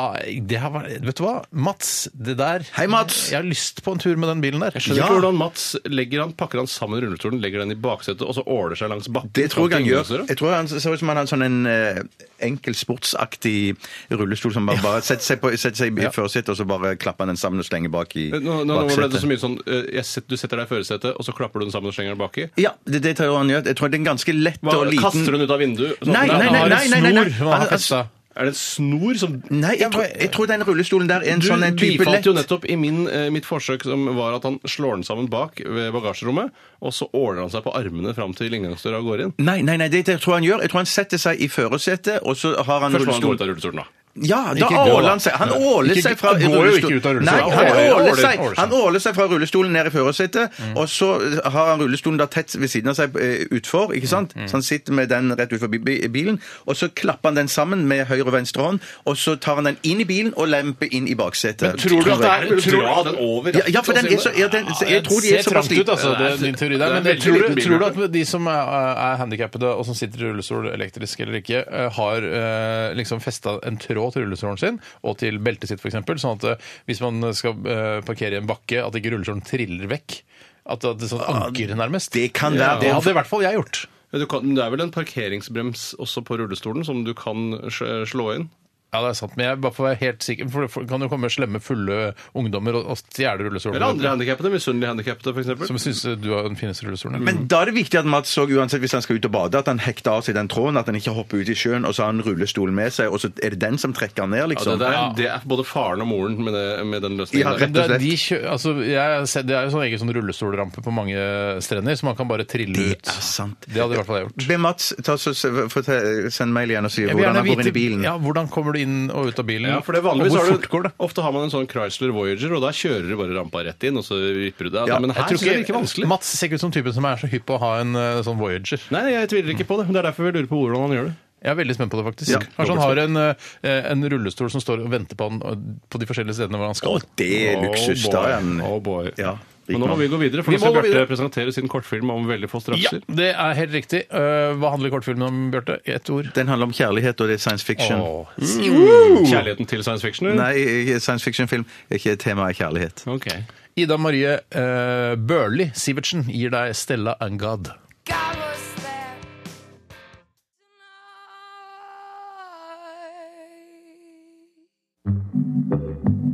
D: det har vært, vet du hva, Mats, det der,
F: Hei, Mats!
D: jeg har lyst på en tur med den bilen der.
E: Jeg skjønner
F: Ja.
E: ikke hvordan Mats legger han, pakker han sammen rullestolen, legger den i baksetet og så åler seg langs bakken.
F: Det tror jeg han
E: Sånn
F: gjør.
E: ting,
F: Jeg tror han ser ut som han har en sånn en eh, enkel sportsaktig rullestol som bare, bare setter seg, på, setter seg i førersetet, og så bare klapper han den sammen og slenger bak i
E: Nå, nå, nå ble det så mye sånn eh, jeg set, Du setter deg i førersetet, og så klapper du den sammen og slenger den baki.
F: Ja, det, det tror jeg han gjør. Jeg tror det er en ganske lett
E: Hva,
F: og liten
E: Kaster hun ut av vinduet? Sånn.
F: Nei,
E: Nei,
F: nei,
E: han
F: nei,
E: har en
F: nei, nei, nei, nei.
E: snor.
D: Han har
F: Han-
D: festet.
E: Er det en snor som
F: Nei, jeg tror, jeg tror den rullestolen der er en
E: Du
F: sånn en type
E: bifalt
F: lett
E: jo nettopp i min, eh, mitt forsøk som var at han slår den sammen bak ved bagasjerommet, og så åler han seg på armene fram til inngangsdøra og går inn.
F: Nei, nei, nei, det tror jeg han gjør. Jeg tror han setter seg i førersetet, og så har han
E: Først må han gå
F: rullestol
E: ut av rullestolen, da.
F: Ja, da
D: Ikke gå,
F: åler
D: da.
F: han seg. Han åler
D: Ikke-
F: seg fra
D: han går jo ikke ut av rullestolen.
F: Nei, han
D: Han åler-
F: åler
D: åler-
F: seg,
D: åler seg.
F: han åler seg fra rullestolen ned i førersetet,
D: Mm.
F: og så har han rullestolen da tett ved siden av seg eh, utfor,
D: Mm,
F: ikke sant? Så han sitter med den rett ut forbi bi- bilen, og så klapper han den sammen med høyre og venstre hånd, og så tar han den inn i bilen og lemper inn i baksetet.
D: tror du at det er-
E: Vil du
D: tror-
E: dra den over?
F: Ja, ja, for den er så ja, den,
D: Ja,
F: Jeg tror de er
D: ser
F: såpass
D: trangt ut, altså,
F: liten.
D: det er din teori der.
E: Det er
D: Men jeg
E: veldig
D: tror,
E: liten
D: du,
E: bil,
D: tror du at de som er, er handikappede og som sitter i rullestol, elektrisk eller ikke, eh, har eh, liksom festa en tråd til rullestolen sin og til beltet sitt, f.eks., sånn at eh, hvis man skal eh, parkere i en bakke, at ikke rullestolen triller vekk? At at det er sånn anker, nærmest?
F: Det kan være
D: Det hadde i hvert fall jeg gjort.
E: Du kan, det er vel en parkeringsbrems også på rullestolen som du kan sj- slå inn?
D: Ja, det er sant, men jeg bare for å være helt sikker For det kan jo komme slemme, fulle ungdommer og, og stjele rullestolen.
E: Eller andre handikappede. Misunnelige handikappede,
D: Som
E: f.eks.
D: syns du har den fineste rullestolen.
F: Men da er det viktig at Mats så, uansett hvis han skal ut og bade, at han hekter av seg den tråden, at han ikke hopper ut i sjøen, og så har han rullestolen med seg, og så er det den som trekker han ned,
E: Ja, det,
F: liksom.
E: der, det er både faren og moren med, det, med den
F: Ja,
E: løsningen. der.
F: rett
D: Det,
F: og slett.
D: de kjø, altså, jeg, har sett- det er jo sånn egen sånn rullestolrampe på mange strender, så man kan bare trille
F: Det
D: ut.
F: er sant.
D: Det hadde i hvert fall jeg gjort.
F: Be Mats ta, så, fortell- send mail igjen og si
D: Jeg vil
F: hvordan
D: gjerne
F: han går inn
D: vite
F: i bilen.
D: ja, hvordan kommer du inn og ut av bilen.
E: Ja, for det er vanligvis
D: og hvor
E: har
D: fort
E: du,
D: går det?
E: Ofte har man en sånn Chrysler Voyager, og da kjører du bare rampa rett inn, og så vipper du deg.
F: Ja,
E: men her
D: Jeg
E: synes
D: tror
E: jeg det
D: ikke-
E: virker vanskelig.
D: Mats ser ikke ut som typen som er så hypp på å ha en eh, sånn Voyager.
E: Nei, jeg tviler ikke på det. men Det er derfor vi lurer på hvordan han gjør det.
D: Jeg er veldig spent på det, faktisk.
F: Ja,
D: Kanskje han har en, eh, en rullestol som står og venter på han eh, på de forskjellige stedene hvor han skal.
F: Å, det er luksus,
E: Oh,
F: da.
E: boy.
F: en-
E: Oh, boy.
F: Ja,
E: Men nå må vi gå videre, for
D: Vi
E: nå skal
D: må gå videre.
E: Bjarte presentere sin kortfilm om veldig få
D: Ja,
E: strafser.
D: det er helt riktig. Eh, hva handler kortfilmen om, Bjarte? I Ett ord?
F: Den handler om kjærlighet, og det er science fiction.
E: Åh. Mm. Kjærligheten til science fiction? eller?
F: Nei, science fiction-film er ikke temaet kjærlighet.
E: Ok.
D: Ida Marie eh, Børli Sivertsen gir deg Stella and God.
H: God was there.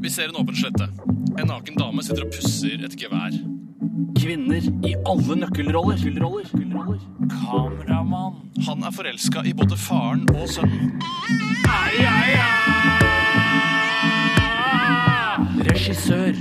A: Vi ser en åpen slette. En naken dame sitter og pusser et gevær. Kvinner i alle nøkkelroller. Kameramann. Han er forelska i både faren og sønnen. Regissør.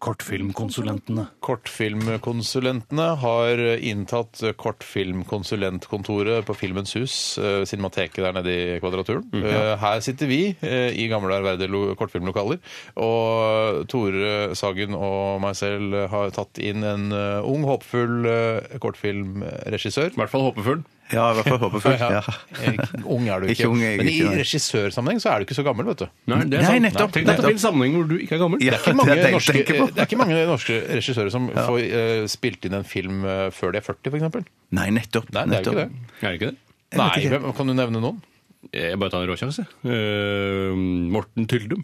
A: Kortfilmkonsulentene.
D: Kortfilmkonsulentene har inntatt Kortfilmkonsulentkontoret på Filmens Hus, eh, Cinemateket der nede i Kvadraturen. Eh, Her sitter vi eh, i gamle, ærverdige lo- kortfilmlokaler, og Tore Sagen og meg selv har tatt inn en eh, ung, håpefull eh, kortfilmregissør.
E: I hvert fall håpefull.
F: Ja, i hvert fall håpefullt.
D: Ja.
F: Ja.
D: Ikke- Ung er du
F: Ikke
D: ikke.
F: ung er jeg
D: Men
F: ikke, nei.
D: i regissørsammenheng så er du ikke så gammel, vet du.
E: Nei, det er
F: Nei,
E: sant.
F: nettopp,
E: Tenk deg at det
F: nettopp.
E: finnes sammenheng hvor du ikke er gammel.
F: Ja,
E: Det er ikke
D: mange
F: det er det jeg
D: norske,
F: tenker på.
D: det er ikke mange norske regissører som får eh, spilt inn en film eh, før de er 40, f.eks.
F: Nei, nettopp.
D: Nei, det er jo
F: nettopp.
D: ikke det.
E: Er det ikke det?
F: vet
D: Nei,
F: ikke.
D: hvem- Kan du nevne noen?
E: Jeg bare tar en råsjanse. Uh, Morten Tyldum.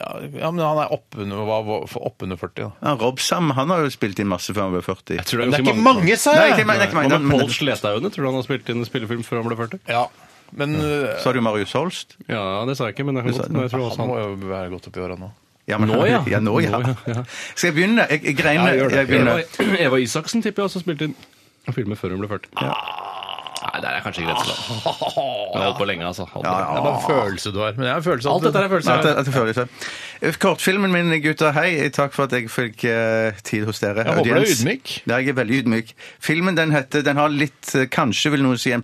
D: Ja, ja men han er oppunder hva- hva- for oppunder 40. da.
F: Ja, Rob Sam han har jo spilt inn masse før han ble 40.
E: tror
D: Men det er ikke mange, sa
F: Nei,
D: jeg!
F: ikke meg, det er ikke
E: Hva
F: meg.
E: med
F: Men-
E: Pål Slestadøyne? Tror du han har spilt inn en spillefilm før han ble 40?
D: Ja, men eh,
F: Så har du Marius Holst.
E: Ja, det sa jeg ikke, men jeg, kan
F: sa-
E: godt, men jeg tror også
D: han
E: han
D: må jo være godt oppi åra nå.
F: Ja, men-
E: Nå, ja.
F: ja, nå, ja.
E: Nå, ja.
F: Skal jeg begynne? Jeg, jeg greier
D: Ja, gjør det.
F: Jeg begynner.
E: Eva, Eva Isaksen tipper jeg også spilte inn filmer før hun ble 40. Nei, det er kanskje greit. sånn. Jeg har holdt på lenge, altså. Holdt på lenge.
D: Det er bare en følelse du har. Men jeg har en følelse av
E: Alt dette er
F: Nei, at
E: følelser.
F: jeg- at jeg føler det. Kortfilmen min, gutter, hei. Takk for at jeg fikk eh, tid hos dere.
D: Jeg håper du er
F: audiens.
D: ydmyk.
F: Ja, jeg er veldig ydmyk. Filmen den heter, den har litt, eh, kanskje vil noen si en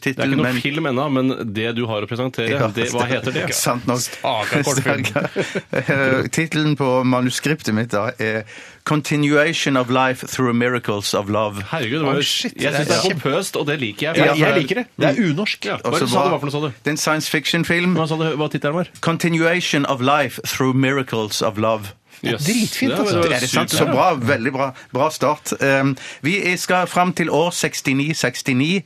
E: Det er
F: tittel,
E: ikke noe
F: men...
E: film ennå, men det du har å presentere,
F: Ja,
E: det, hva heter det?
F: Sant nok.
D: Stakkars kortfilm.
F: Stakkars. Eh, Tittelen på manuskriptet mitt da er 'Continuation of Life Through Miracles of Love'.
E: Herregud, det var
D: Å,
E: jo
D: shit,
E: Jeg syns det
D: det
E: er
D: er
E: pompøst, og det liker jeg.
D: Ja,
E: for
D: jeg liker det. Det er unorsk.
E: Ja,
F: Og
E: hva
F: så
E: sa du
F: var-
E: hva for noe, sa du?
F: Det er en science fiction-film.
E: Hva sa du, hva tittelen var?
F: 'Continuation of Life Through Miracles of Love'.
E: Yes.
D: dritfint,
E: Det var-
D: altså.
E: var
F: Er det sant?
E: sykt,
F: Så
E: ja.
F: bra. Veldig bra, bra start. Um, vi skal fram til år 69-69.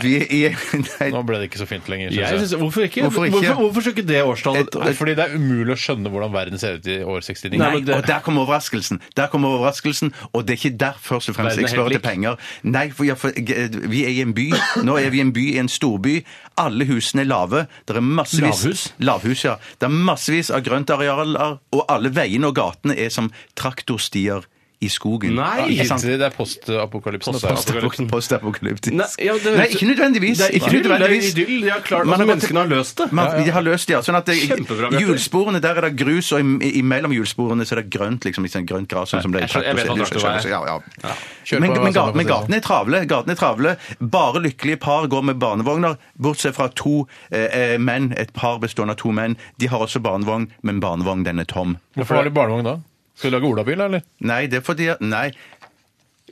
F: Vi er i Nei,
D: Nå ble det ikke så fint lenger. synes
E: Jeg synes, hvorfor ikke?
F: Hvorfor ikke?
E: Hvorfor, hvorfor skulle ikke det årstallet
F: Et-
D: Nei, Fordi det er umulig å skjønne hvordan verden ser ut i år 69.
E: Nei, men det-
F: og der kommer overraskelsen. Der kommer overraskelsen, Og det er ikke der først og fremst
E: Verden er
F: jeg spør
E: helt
F: etter penger. Nei, for, ja, for eh, vi er i en by. Nå er vi i en by i en storby. Alle husene er lave. Det er massevis
E: Lavhus?
F: Lavhus, ja. Det er massevis av grøntarealer, og alle veiene og gatene er som traktorstier i skogen.
E: Nei!
F: Ikke sant?
D: det er postapokalypsen. dette her.
E: Postapokalypsen.
F: Postapokalyptisk.
E: Nei, ja, det høres-
F: Nei, ikke nødvendigvis.
E: Det er
F: Ikke
E: idyll, det er
F: nødvendigvis.
E: idyll. De har klart,
F: Man
E: altså,
F: har bare-
E: menneskene har løst det.
F: Man, De har løst det, ja. Sånn at det,
E: Kjempebra, Bjarte.
F: hjulsporene, der er det grus, og im- imellom hjulsporene så er det grønt, liksom, liksom grønt gras. Sånn som det er i
E: jeg skjønner- jeg vet hva
F: traktor-
E: traktor er. sånn-
F: skjønner- Ja, ja.
D: Kjør
F: Men,
D: på,
F: men, ga,
E: altså,
D: Sandra,
F: men
D: på siden.
F: gatene er travle. Gatene er travle. Bare lykkelige par går med barnevogner, bortsett fra to eh, eh, menn. Et par bestående av to menn. De har også barnevogn, men barnevogn, den er tom.
D: Hvorfor har de barnevogn da? Skal du lage olabil, eller?
F: Nei, det er fordi at- Nei.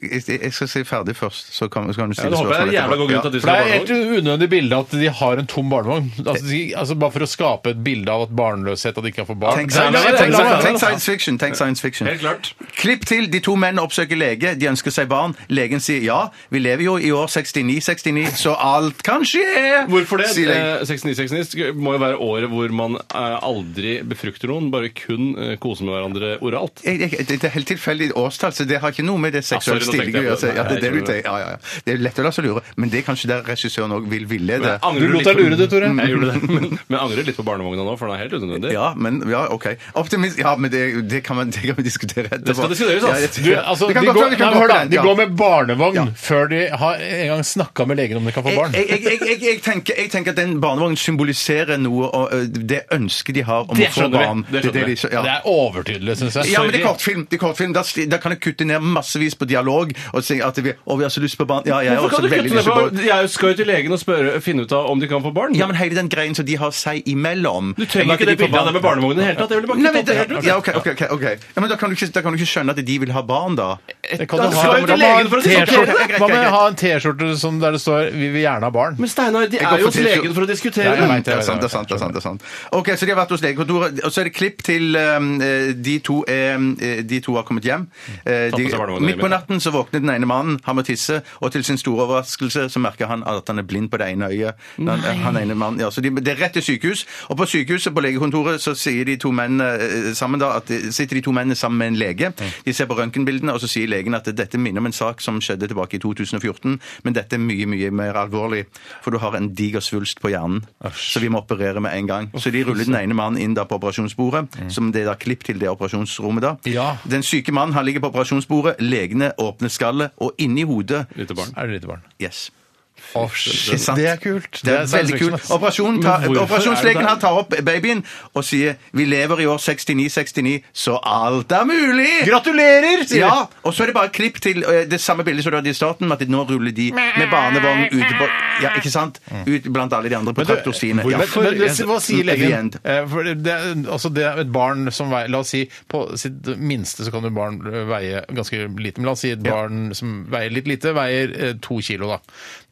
F: Jeg jeg skal si ferdig først, så kan, så kan du
E: Ja,
F: stille
E: det håper jeg er en jævla god grunn til at
F: etterpå.
D: For
E: de skal
D: Det
E: ha
D: er
E: barnevogn.
D: helt unødvendig bilde at de har en tom barnevogn. Altså, de, altså Bare for å skape et bilde av at barnløshet at de ikke kan få barn.
F: Tenk,
E: Nei, nei, nei,
F: tenk,
E: nei, nei, nei.
F: tenk science fiction. Tenk science fiction.
E: Helt klart.
F: Klipp til. De to menn oppsøker lege. De ønsker seg barn. Legen sier ja, vi lever jo i år 69-69, så alt kan skje!
E: Hvorfor det? Eh,
F: Sier legen.
E: 69-69 må jo være året hvor man eh, aldri befrukter noen, bare kun eh, koser med hverandre oralt.
F: Jeg- jeg- Det det er helt tilfeldig årstall, så det har ikke noe med det
E: sorry,
F: seksuelle
E: nå
F: stilling å gjøre seg. Ja, det er det du
E: Nei,
F: tenker. Ja, ja, ja. Det er lett å la seg lure, men det er kanskje der regissøren òg vil
E: Men
F: villede.
E: jeg angrer
D: Du lot
E: litt
D: deg
E: på-
D: lure, du, Tore.
E: Jeg gjorde det, men, men jeg angrer litt på barnevogna nå, for den er helt unødvendig.
F: Ja, men ja, OK. Optimist Ja, men det, det, kan, man, det kan vi diskutere etterpå.
E: Det skal diskuteres, ass.
F: Ja, det-
D: Du, altså, de
F: Det kan
D: går,
F: godt være vi
D: nei,
F: kan
D: men
F: gå
D: hør da,
F: på den,
D: de
F: ja.
D: går med barnevogn før de har en gang snakka med legen om de kan få barn.
F: Jeg, jeg, jeg, jeg, jeg, tenker, jeg tenker at den barnevognen symboliserer noe og ø, det ønsket de har om
E: Det
F: å få
E: skjønner vi.
F: barn.
E: Det skjønner
F: de-
E: vi.
F: ja.
D: Det er overtydelig, syns jeg.
F: Ja, men det er kortfilm. Det er kortfilm. Da, sti- da kan jeg kutte ned massevis på dialog og si at vi, å, vi har så lyst på barn. Ja, jeg har
E: Hvorfor
F: også
E: kan du
F: veldig
E: kutte ned
F: lyst på
E: på
F: barn.
E: Jeg skal jo til legen og spørre, finne ut av om de kan få barn.
F: Ja, men hele den greien som de har seg imellom.
E: Du trenger ikke det bildet av deg med barnevogn i det hele tatt. Jeg ville
F: Nei,
E: bare kutte
F: men,
E: opp det helt
F: det-
E: ut.
F: ja, ok, ok, ok, ok. Ja, men da kan, du ikke, da kan du ikke skjønne at de vil ha barn, da.
D: Det kan
E: Da
D: du
E: skal
D: ha,
E: jo
D: da
E: til
D: må ha
E: legen
D: en
E: for å diskutere
D: T-skjorte.
F: det.
D: Hva med å ha en T-skjorte som- der det står 'Vi vil gjerne ha barn'?
E: Men Steinar, de
F: Jeg
E: er
F: går
E: jo
F: for
E: hos
F: T-skjorte.
E: legen for å diskutere.
D: Ja, jeg vet
F: Det er sant, det er sant. det er sant, det er sant. Ok, Så de har vært hos legekontoret, og så er det klipp til um, eh, de to, er, eh, de to har kommet hjem. Eh,
E: Tatt
F: De,
E: med seg barnevogna
F: midt på
E: hjem, ja.
F: natten så våkner den ene mannen, han må tisse, og til sin store overraskelse så merker han at han er blind på det ene øyet. Han, han ene mannen, ja, så de, Det er rett til sykehus, og på sykehuset, på legekontoret, så sier de to mennene eh, sammen da, at de- sitter de to mennene sammen med en lege. De ser på røntgenbildene, og så sier legen at dette minner om en sak som skjedde tilbake i 2014, men dette er mye, mye mer alvorlig, for du har en diger svulst på hjernen, så vi må operere med en gang. Så de ruller den ene mannen inn da på operasjonsbordet, som det er da klipp til det operasjonsrommet da.
D: Ja.
F: Den syke mannen, han ligger på operasjonsbordet, legene åpner skallet, og inni hodet,
E: Lite barn.
D: Er det lite barn?
F: yes,
D: shit.
F: sant.
D: Det er kult.
F: det er veldig kult. Operasjonen tar-
E: Men hvorfor er det
F: operasjonslegen
E: der?
F: han tar opp babyen og sier, vi lever i år 69-69, så alt er mulig!
D: Gratulerer! sier
F: Ja,
D: de.
F: og så er det bare klipp til eh, det samme bildet som du hadde i starten, med at nå ruller de med barnevogn ute på Ja, ikke sant? Ut blant alle de andre på
D: Men du-
F: traktorstiene.
D: Men,
F: Ja.
D: men det, hva sier
F: At the
D: legen?
F: end.
D: Eh, For det, det, er- altså det er et barn som veier La oss si på sitt minste så kan et barn eh, veie ganske lite. Men la oss si et barn som veier litt lite, veier eh, to kilo, da.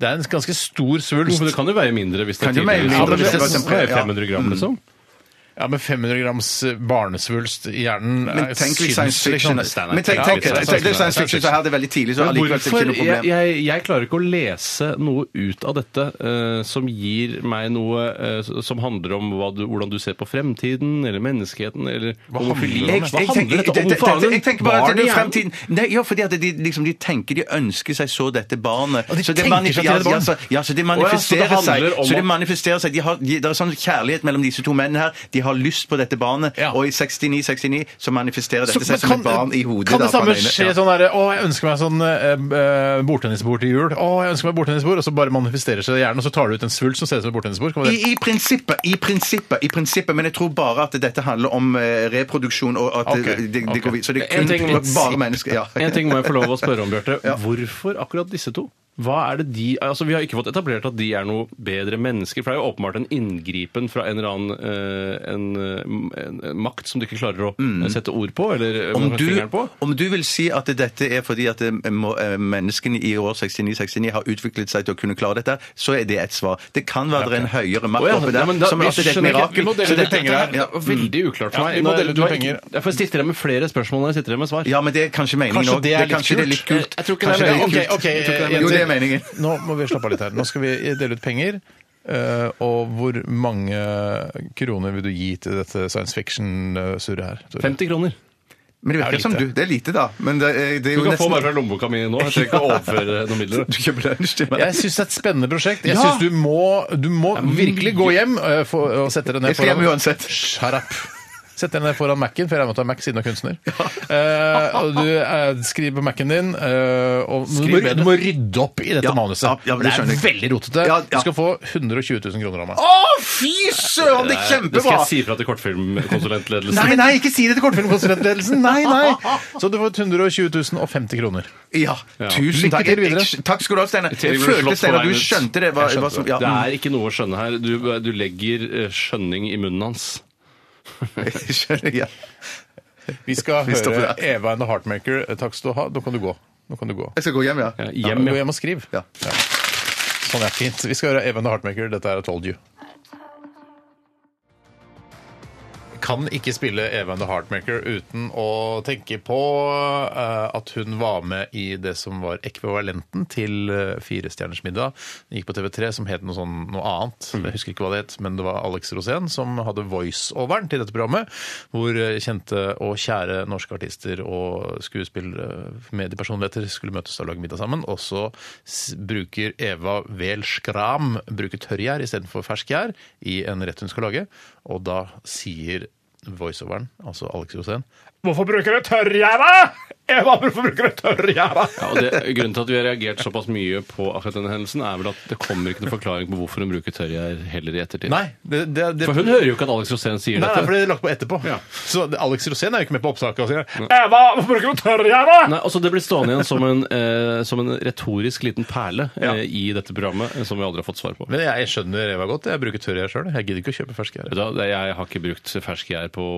D: Det er en ganske stor
E: Men
D: svulst.
E: det kan jo veie mindre hvis det
F: Kan
E: er
F: jo veie
E: tidligere.
F: mindre
E: Ja, men
F: hvis
E: det
F: det var
E: kan
F: eksempel,
E: veie
F: ja.
E: 500 gram, liksom.
D: Ja, men 500 grams eh, barnesvulst i hjernen er
F: Men tenk hvis science
D: sinnssykt,
F: fiction
D: liksom.
E: Steinar.
F: Men tenk,
D: Ja,
F: tenk,
D: litt
F: tenk,
D: science
F: tenk, det er science
D: fiction.
F: fiction, så her er det veldig tidlig, så
E: Men
F: allikevel er det ikke
E: hvorfor?
F: noe
E: Jeg,
F: problem.
E: jeg, jeg klarer ikke å lese noe ut av dette eh, som gir meg noe eh, som handler om hva du, hvordan du ser på fremtiden, eller menneskeheten, eller homofili.
F: Jeg,
E: Hva
F: jeg, tenker-
E: handler
F: jeg,
E: dette om?
F: jeg,
E: Hvorfor har
F: jeg,
E: du
F: jeg tenker bare at
E: barn
F: det
E: i
F: er
E: hjernen?
F: fremtiden Nei, ja, fordi at de, liksom, de tenker de ønsker seg så dette barnet.
D: Og de
F: så det
D: tenker seg til
F: ja,
D: det barnet.
F: ja, så, ja, så det
E: Å ja, så det
F: manifesterer seg.
E: handler om
F: Så
E: at-
F: det manifesterer seg. De har, de, det er sånn kjærlighet mellom disse to mennene her. De har lyst på dette barnet,
D: Ja.
F: og i 69-69 så manifesterer
D: Så-
F: dette seg
D: men
F: som et barn i hodet.
D: kan
F: da,
D: det samme
F: på den ene-
D: skje
F: ja.
D: sånn derre Å, jeg ønsker meg sånn eh, eh, bordtennisbord til jul. Å, jeg ønsker meg bordtennisbord. Og så bare manifesterer seg det i hjernen, og så tar du ut en svulst som ser ut som et bordtennisbord. Kan man-
F: I, i, prinsippet, i prinsippet, i prinsippet, men jeg tror bare at dette handler om eh, reproduksjon. og at
D: Ok,
F: det, det, det går
D: ok.
F: vid- Så det er
E: En
F: kun
E: ting må-
F: bare mennesker. Ja.
E: En ting må jeg få lov å spørre om, Bjarte. Hvorfor akkurat disse to? Hva er det de, altså Vi har ikke fått etablert at de er noe bedre mennesker. For det er jo åpenbart en inngripen fra en eller annen eh, en, en, en makt som du ikke klarer å eh, sette ord på, eller eh,
F: Mm. Om du,
E: fingeren på.
F: om du vil si at dette er fordi at eh, må- eh, menneskene i år 69-69 har utviklet seg til å kunne klare dette, så er det et svar. Det kan være det er en høyere makt
E: Å ja,
F: oppi
E: ja,
F: der.
E: men da-
F: som
E: vi
F: at det er et
E: skjønner mm. ikke-
F: mirakel.
E: vi må dele
F: Så
E: ut
F: dette mm.
E: penger
F: her-
E: her. Det er Veldig uklart for
D: Ja,
E: meg.
D: vi må
E: Nå-
D: dele ut
E: du har-
D: penger.
E: Ja, for Jeg sitter her med flere spørsmål enn jeg sitter her med svar.
F: Ja, men det er kanskje meningen
D: Kanskje
F: også.
D: det er litt
F: kanskje det er litt
D: kult.
F: kult.
E: Jeg tror ikke det er
F: Kanskje det er
E: meningen.
F: kult.
D: Ok, ok,
E: Jeg tror ikke det er
D: eh,
F: Jo, det er meningen.
D: Nå må vi slappe av litt her. Nå skal vi dele ut penger. eh, og hvor mange kroner vil du gi til dette science fiction-surret her? Tore?
E: 50 kroner.
D: Det
F: Men det
D: er
F: virker som
D: lite.
F: du. Det er lite, da. Men det, er- det er
E: Du
F: jo
E: kan få bare
F: nesten
E: fra lommeboka mi nå. Jeg trenger ikke å overføre noen midler. Eh,
F: Du kjøper lunsj til meg.
D: Jeg syns det er et spennende prosjekt. Jeg
F: Ja.
D: synes du må, du må virkelig gå hjem eh, for, og sette deg ned
F: Jeg skal hjem uansett.
D: Shut up. Sett deg ned foran Mac-en, for jeg regner med at du er Mac siden du er kunstner. Eh, og du eh, skriver på Mac-en din, eh, og du må,
F: bedre.
D: du må rydde opp i dette
F: Ja,
D: manuset.
F: ja, ja, men det
D: det,
F: skjønner
D: er
F: jeg.
D: veldig rotete.
F: Ja, ja.
D: Du skal få 120 000 kroner av meg.
F: Å, fy søren! Det er
E: Det skal
F: kjempebra!
E: jeg si fra til kortfilmkonsulentledelsen.
D: Nei, nei, ikke si det til kortfilmkonsulentledelsen! Nei, nei! Så du får 120 050 kroner.
F: Ja, tusen
D: Lykke
F: takk.
D: til videre.
F: Jeg- Takk skal du ha, Steinar.
E: Terje
F: Jeg
E: ble slått
F: følte,
E: på
F: Steinar, du
E: veien ut.
F: skjønte det. Hva,
D: Jeg skjønte
F: hva som, ja, mm.
E: Det er ikke noe å skjønne her. Du, du legger eh, skjønning i munnen hans.
F: Jeg skjønner, ja.
D: Vi skal
F: Vi stopper
D: høre
F: der.
D: Eva and the Heartmaker. Eh, Takk skal du ha. Nå kan du gå. Nå kan du gå.
F: Jeg skal gå hjem, ja.
E: Ja,
D: Ja,
E: hjem,
D: Gå
E: ja.
D: hjem og skriv.
F: Ja.
D: Ja. Sånn er fint. Vi skal høre Even the Heartmaker. Dette er I Told You. kan ikke spille Eva and the Heartmaker uten å tenke på eh, at hun var med i det som var ekvivalenten til eh, Fire stjerners middag. Den gikk på TV3 som het noe, sånn, noe annet.
E: Mm.
D: Jeg husker ikke hva det het, men det var Alex Rosén som hadde voiceoveren til dette programmet, hvor eh, kjente og kjære norske artister og skuespillere, mediepersonligheter, skulle møtes og lage middag sammen. Og så s- bruker Eva vel skram, bruker tørrgjær istedenfor fersk gjær i en rett hun skal lage, og da sier voiceoveren, altså Alex Rosén Hvorfor bruker du tørrgjær, da?! Eva, hvorfor bruker du tørrgjær, da?!
E: Ja, og det, grunnen til at vi har reagert såpass mye på akkurat denne hendelsen, er vel at det kommer ikke noen forklaring på hvorfor hun bruker tørrgjær heller i ettertid.
D: Nei, det, det, det,
E: For hun hører jo ikke at Alex Rosén sier
D: Nei, nei, for
E: dette.
D: det er lagt på etterpå.
E: Ja.
D: Så Alex Rosén er jo ikke med på opptaket altså. og sier Eva, hvorfor bruker du tørrgjær, da?!
E: Nei, altså Det blir stående igjen som en, eh, som en retorisk liten perle eh, i dette programmet eh, som vi aldri har fått svar på.
D: Men jeg skjønner Eva godt. Jeg bruker tørrgjær sjøl. Jeg gidder ikke å kjøpe fersk gjær.
E: Vet du hva, det- Jeg har ikke brukt fersk gjær på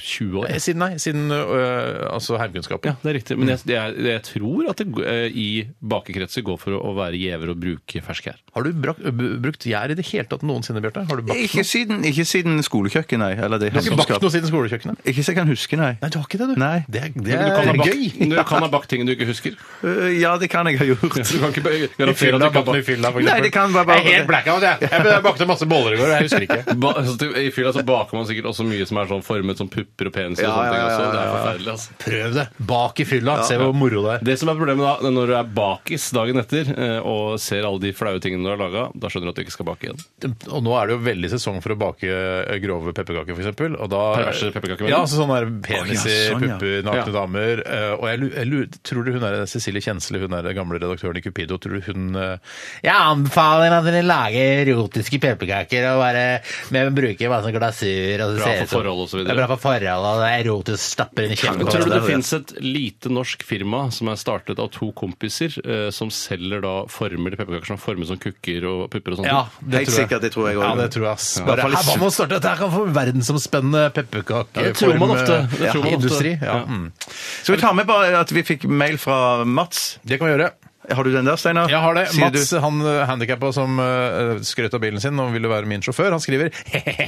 E: 20 år.
D: Siden, nei, siden øh, altså heimkunnskapen.
E: Ja, det er riktig.
D: Mm.
E: Men jeg, jeg, jeg tror at det eh, i bakekretser går for å, å være gjever og bruke fersk gjær.
D: Har du brak, b- brukt gjær i det hele tatt noensinne, Bjarte? Har du bakt
F: Ikke
D: noe?
F: siden, ikke siden skolekjøkkenet, nei. Eller det
D: Du har ikke bakt noe siden skolekjøkkenet?
F: Ikke så jeg kan huske, nei.
D: Nei, du har ikke det, du.
F: Nei.
D: Det er, det
E: Men Du
D: er,
E: kan, ha bakt,
D: Eh, gøy.
E: du kan ha bakt ting du ikke husker.
F: Øh, Ja, det kan jeg ha gjort.
E: Du kan ikke be-
D: I
E: garantere at
D: fylla,
E: du kan
D: bakte i
E: bakt
D: fylla, for
F: Nei,
D: eksempel.
F: det kan være bare-
D: Jeg er helt blackout, jeg. Jeg bakte masse boller i går, jeg husker ikke.
E: Ba, altså, til- I fylla så baker man sikkert også mye som er sånn formet som pupper og peniser. og
F: Ja,
E: sånne ting
F: ja, ja,
E: også. Det er
F: ja, ja.
E: forferdelig. Altså.
D: Prøv det. Bak i fylla. Se hvor moro det er.
E: Det som er problemet da, det er når du er bakis dagen etter eh, og ser alle de flaue tingene du har laga, da skjønner du at du ikke skal bake igjen.
D: Og nå er det jo veldig sesong for å bake eh, grove pepperkaker, for eksempel. Og da,
E: Perverse pepperkaker, mener du?
D: Ja, altså sånn der penis i
F: Å, ja, sånn, ja.
D: pupper, nakne
E: Ja.
D: damer. eh, Og jeg, lu- jeg lu- tror du hun er Cecilie Kjensle, hun er den gamle redaktøren i Cupido, tror du hun eh, Jeg anbefaler at dere lager erotiske pepperkaker og bare med bruker masse glasur.
E: så Bra ser det for som- forhold og så videre. Det er bra
D: for forhold, og erotisk stapper inn i
E: Tror du det fins et lite norsk firma som er startet av to kompiser, eh, som selger da former til pepperkaker som er formet som kukker og pupper og sånt?
D: Ja, det
F: Helt
D: tror jeg.
F: sikkert, det tror jeg
D: Ja,
F: òg.
D: det tror jeg. ass.
F: Ja.
D: Bare,
F: I hvert fall i
D: her, hva med å starte dette her kan få verdensomspennende
E: Ja,
D: pepperkakeform? eh,
E: det tror man ofte. Det
D: ja,
E: tror man ofte.
D: industri. Ja.
E: Ja.
D: Mm.
F: Skal vi ta med bare at vi fikk mail fra Mats?
D: Det kan vi gjøre.
F: Har du den der, Steinar?
D: Jeg har det.
F: Sier
D: Mats,
F: du-
D: han eh, handikappa som eh, skrøt av bilen sin og ville være min sjåfør, han skriver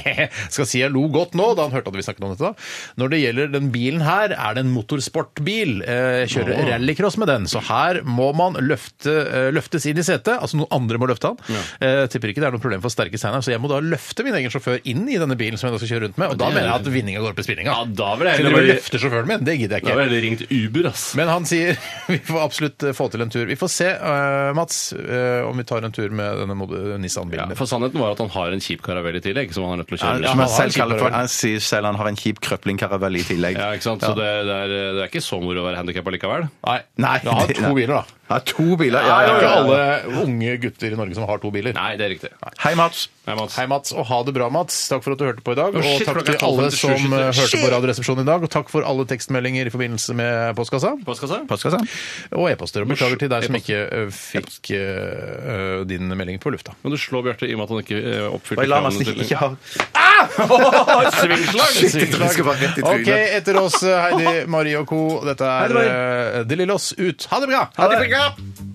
D: skal si jeg lo godt nå, da han hørte at vi snakket om dette. da. Når det gjelder den bilen her, er det en motorsportbil. Eh, Jeg kjører rallycross med den, så her må man løfte, eh, løftes inn i setet. Altså noen andre må løfte han. Eh, Tipper ikke det er noe problem for sterke Steinar, så jeg må da løfte min egen sjåfør inn i denne bilen som jeg da skal kjøre rundt med, og da
E: det er-
D: mener jeg at vinninga går opp i spinninga.
E: Ja, da vil jeg
D: Kunne
E: heller
D: bare
E: bare-
D: løfte sjåføren min, det gidder jeg
E: Da
D: ikke.
E: ville jeg ringt Uber, ass.
D: Men han sier vi får absolutt få til en tur. Vi får se, eh, Mats, eh, om vi tar en tur med denne mod- Nissan-bilen.
E: Ja, for sannheten var at han har en kjip karavell i tillegg, som han er nødt til å kjøre.
F: Han,
E: Ja,
F: som
D: han
F: han,
D: har en
F: selv
D: kjip
F: kaller det for,
D: karavell.
F: han sier selv han har en kjip krøpling-karavell i tillegg.
E: ikke sant? Så det, det, er, det er ikke så moro å være handikappa likevel.
D: Nei.
F: Nei,
D: Jeg har
F: det-
D: to biler, da.
F: Ja, to biler.
D: Det
F: Ja,
D: er
F: ja,
D: jo
F: ja,
D: ikke
F: ja.
D: alle unge gutter i Norge som har to biler.
E: Nei, det er riktig. Nei,
F: Hei, Mats.
E: Mats.
D: Hei, Mats, og ha det bra, Mats. Takk for at du hørte på i dag.
E: Å,
D: og
E: shit,
D: takk
E: klokka er
D: til alle
E: 12.57.
D: som eh, hørte på
E: Shit.
D: Radioresepsjonen i dag. Og takk for alle tekstmeldinger i forbindelse med postkassa.
E: Postkassa?
F: Postkassa.
D: Og e-poster. Og beklager til deg som
E: E-post.
D: ikke eh, fikk eh, eh, din melding på lufta.
E: Kan du slå Bjarte i og med at han ikke eh,
F: Og
E: oppfylte
F: jeg lar Mats ikke, ikke ha
E: Svingslag!
F: Shit, jeg skal bare rett i
D: Ok,
F: trynet.
D: etter eh, oss Heidi, Marie og co. Dette er eh, De Lillos ut. Ha det bra!
F: Ha det.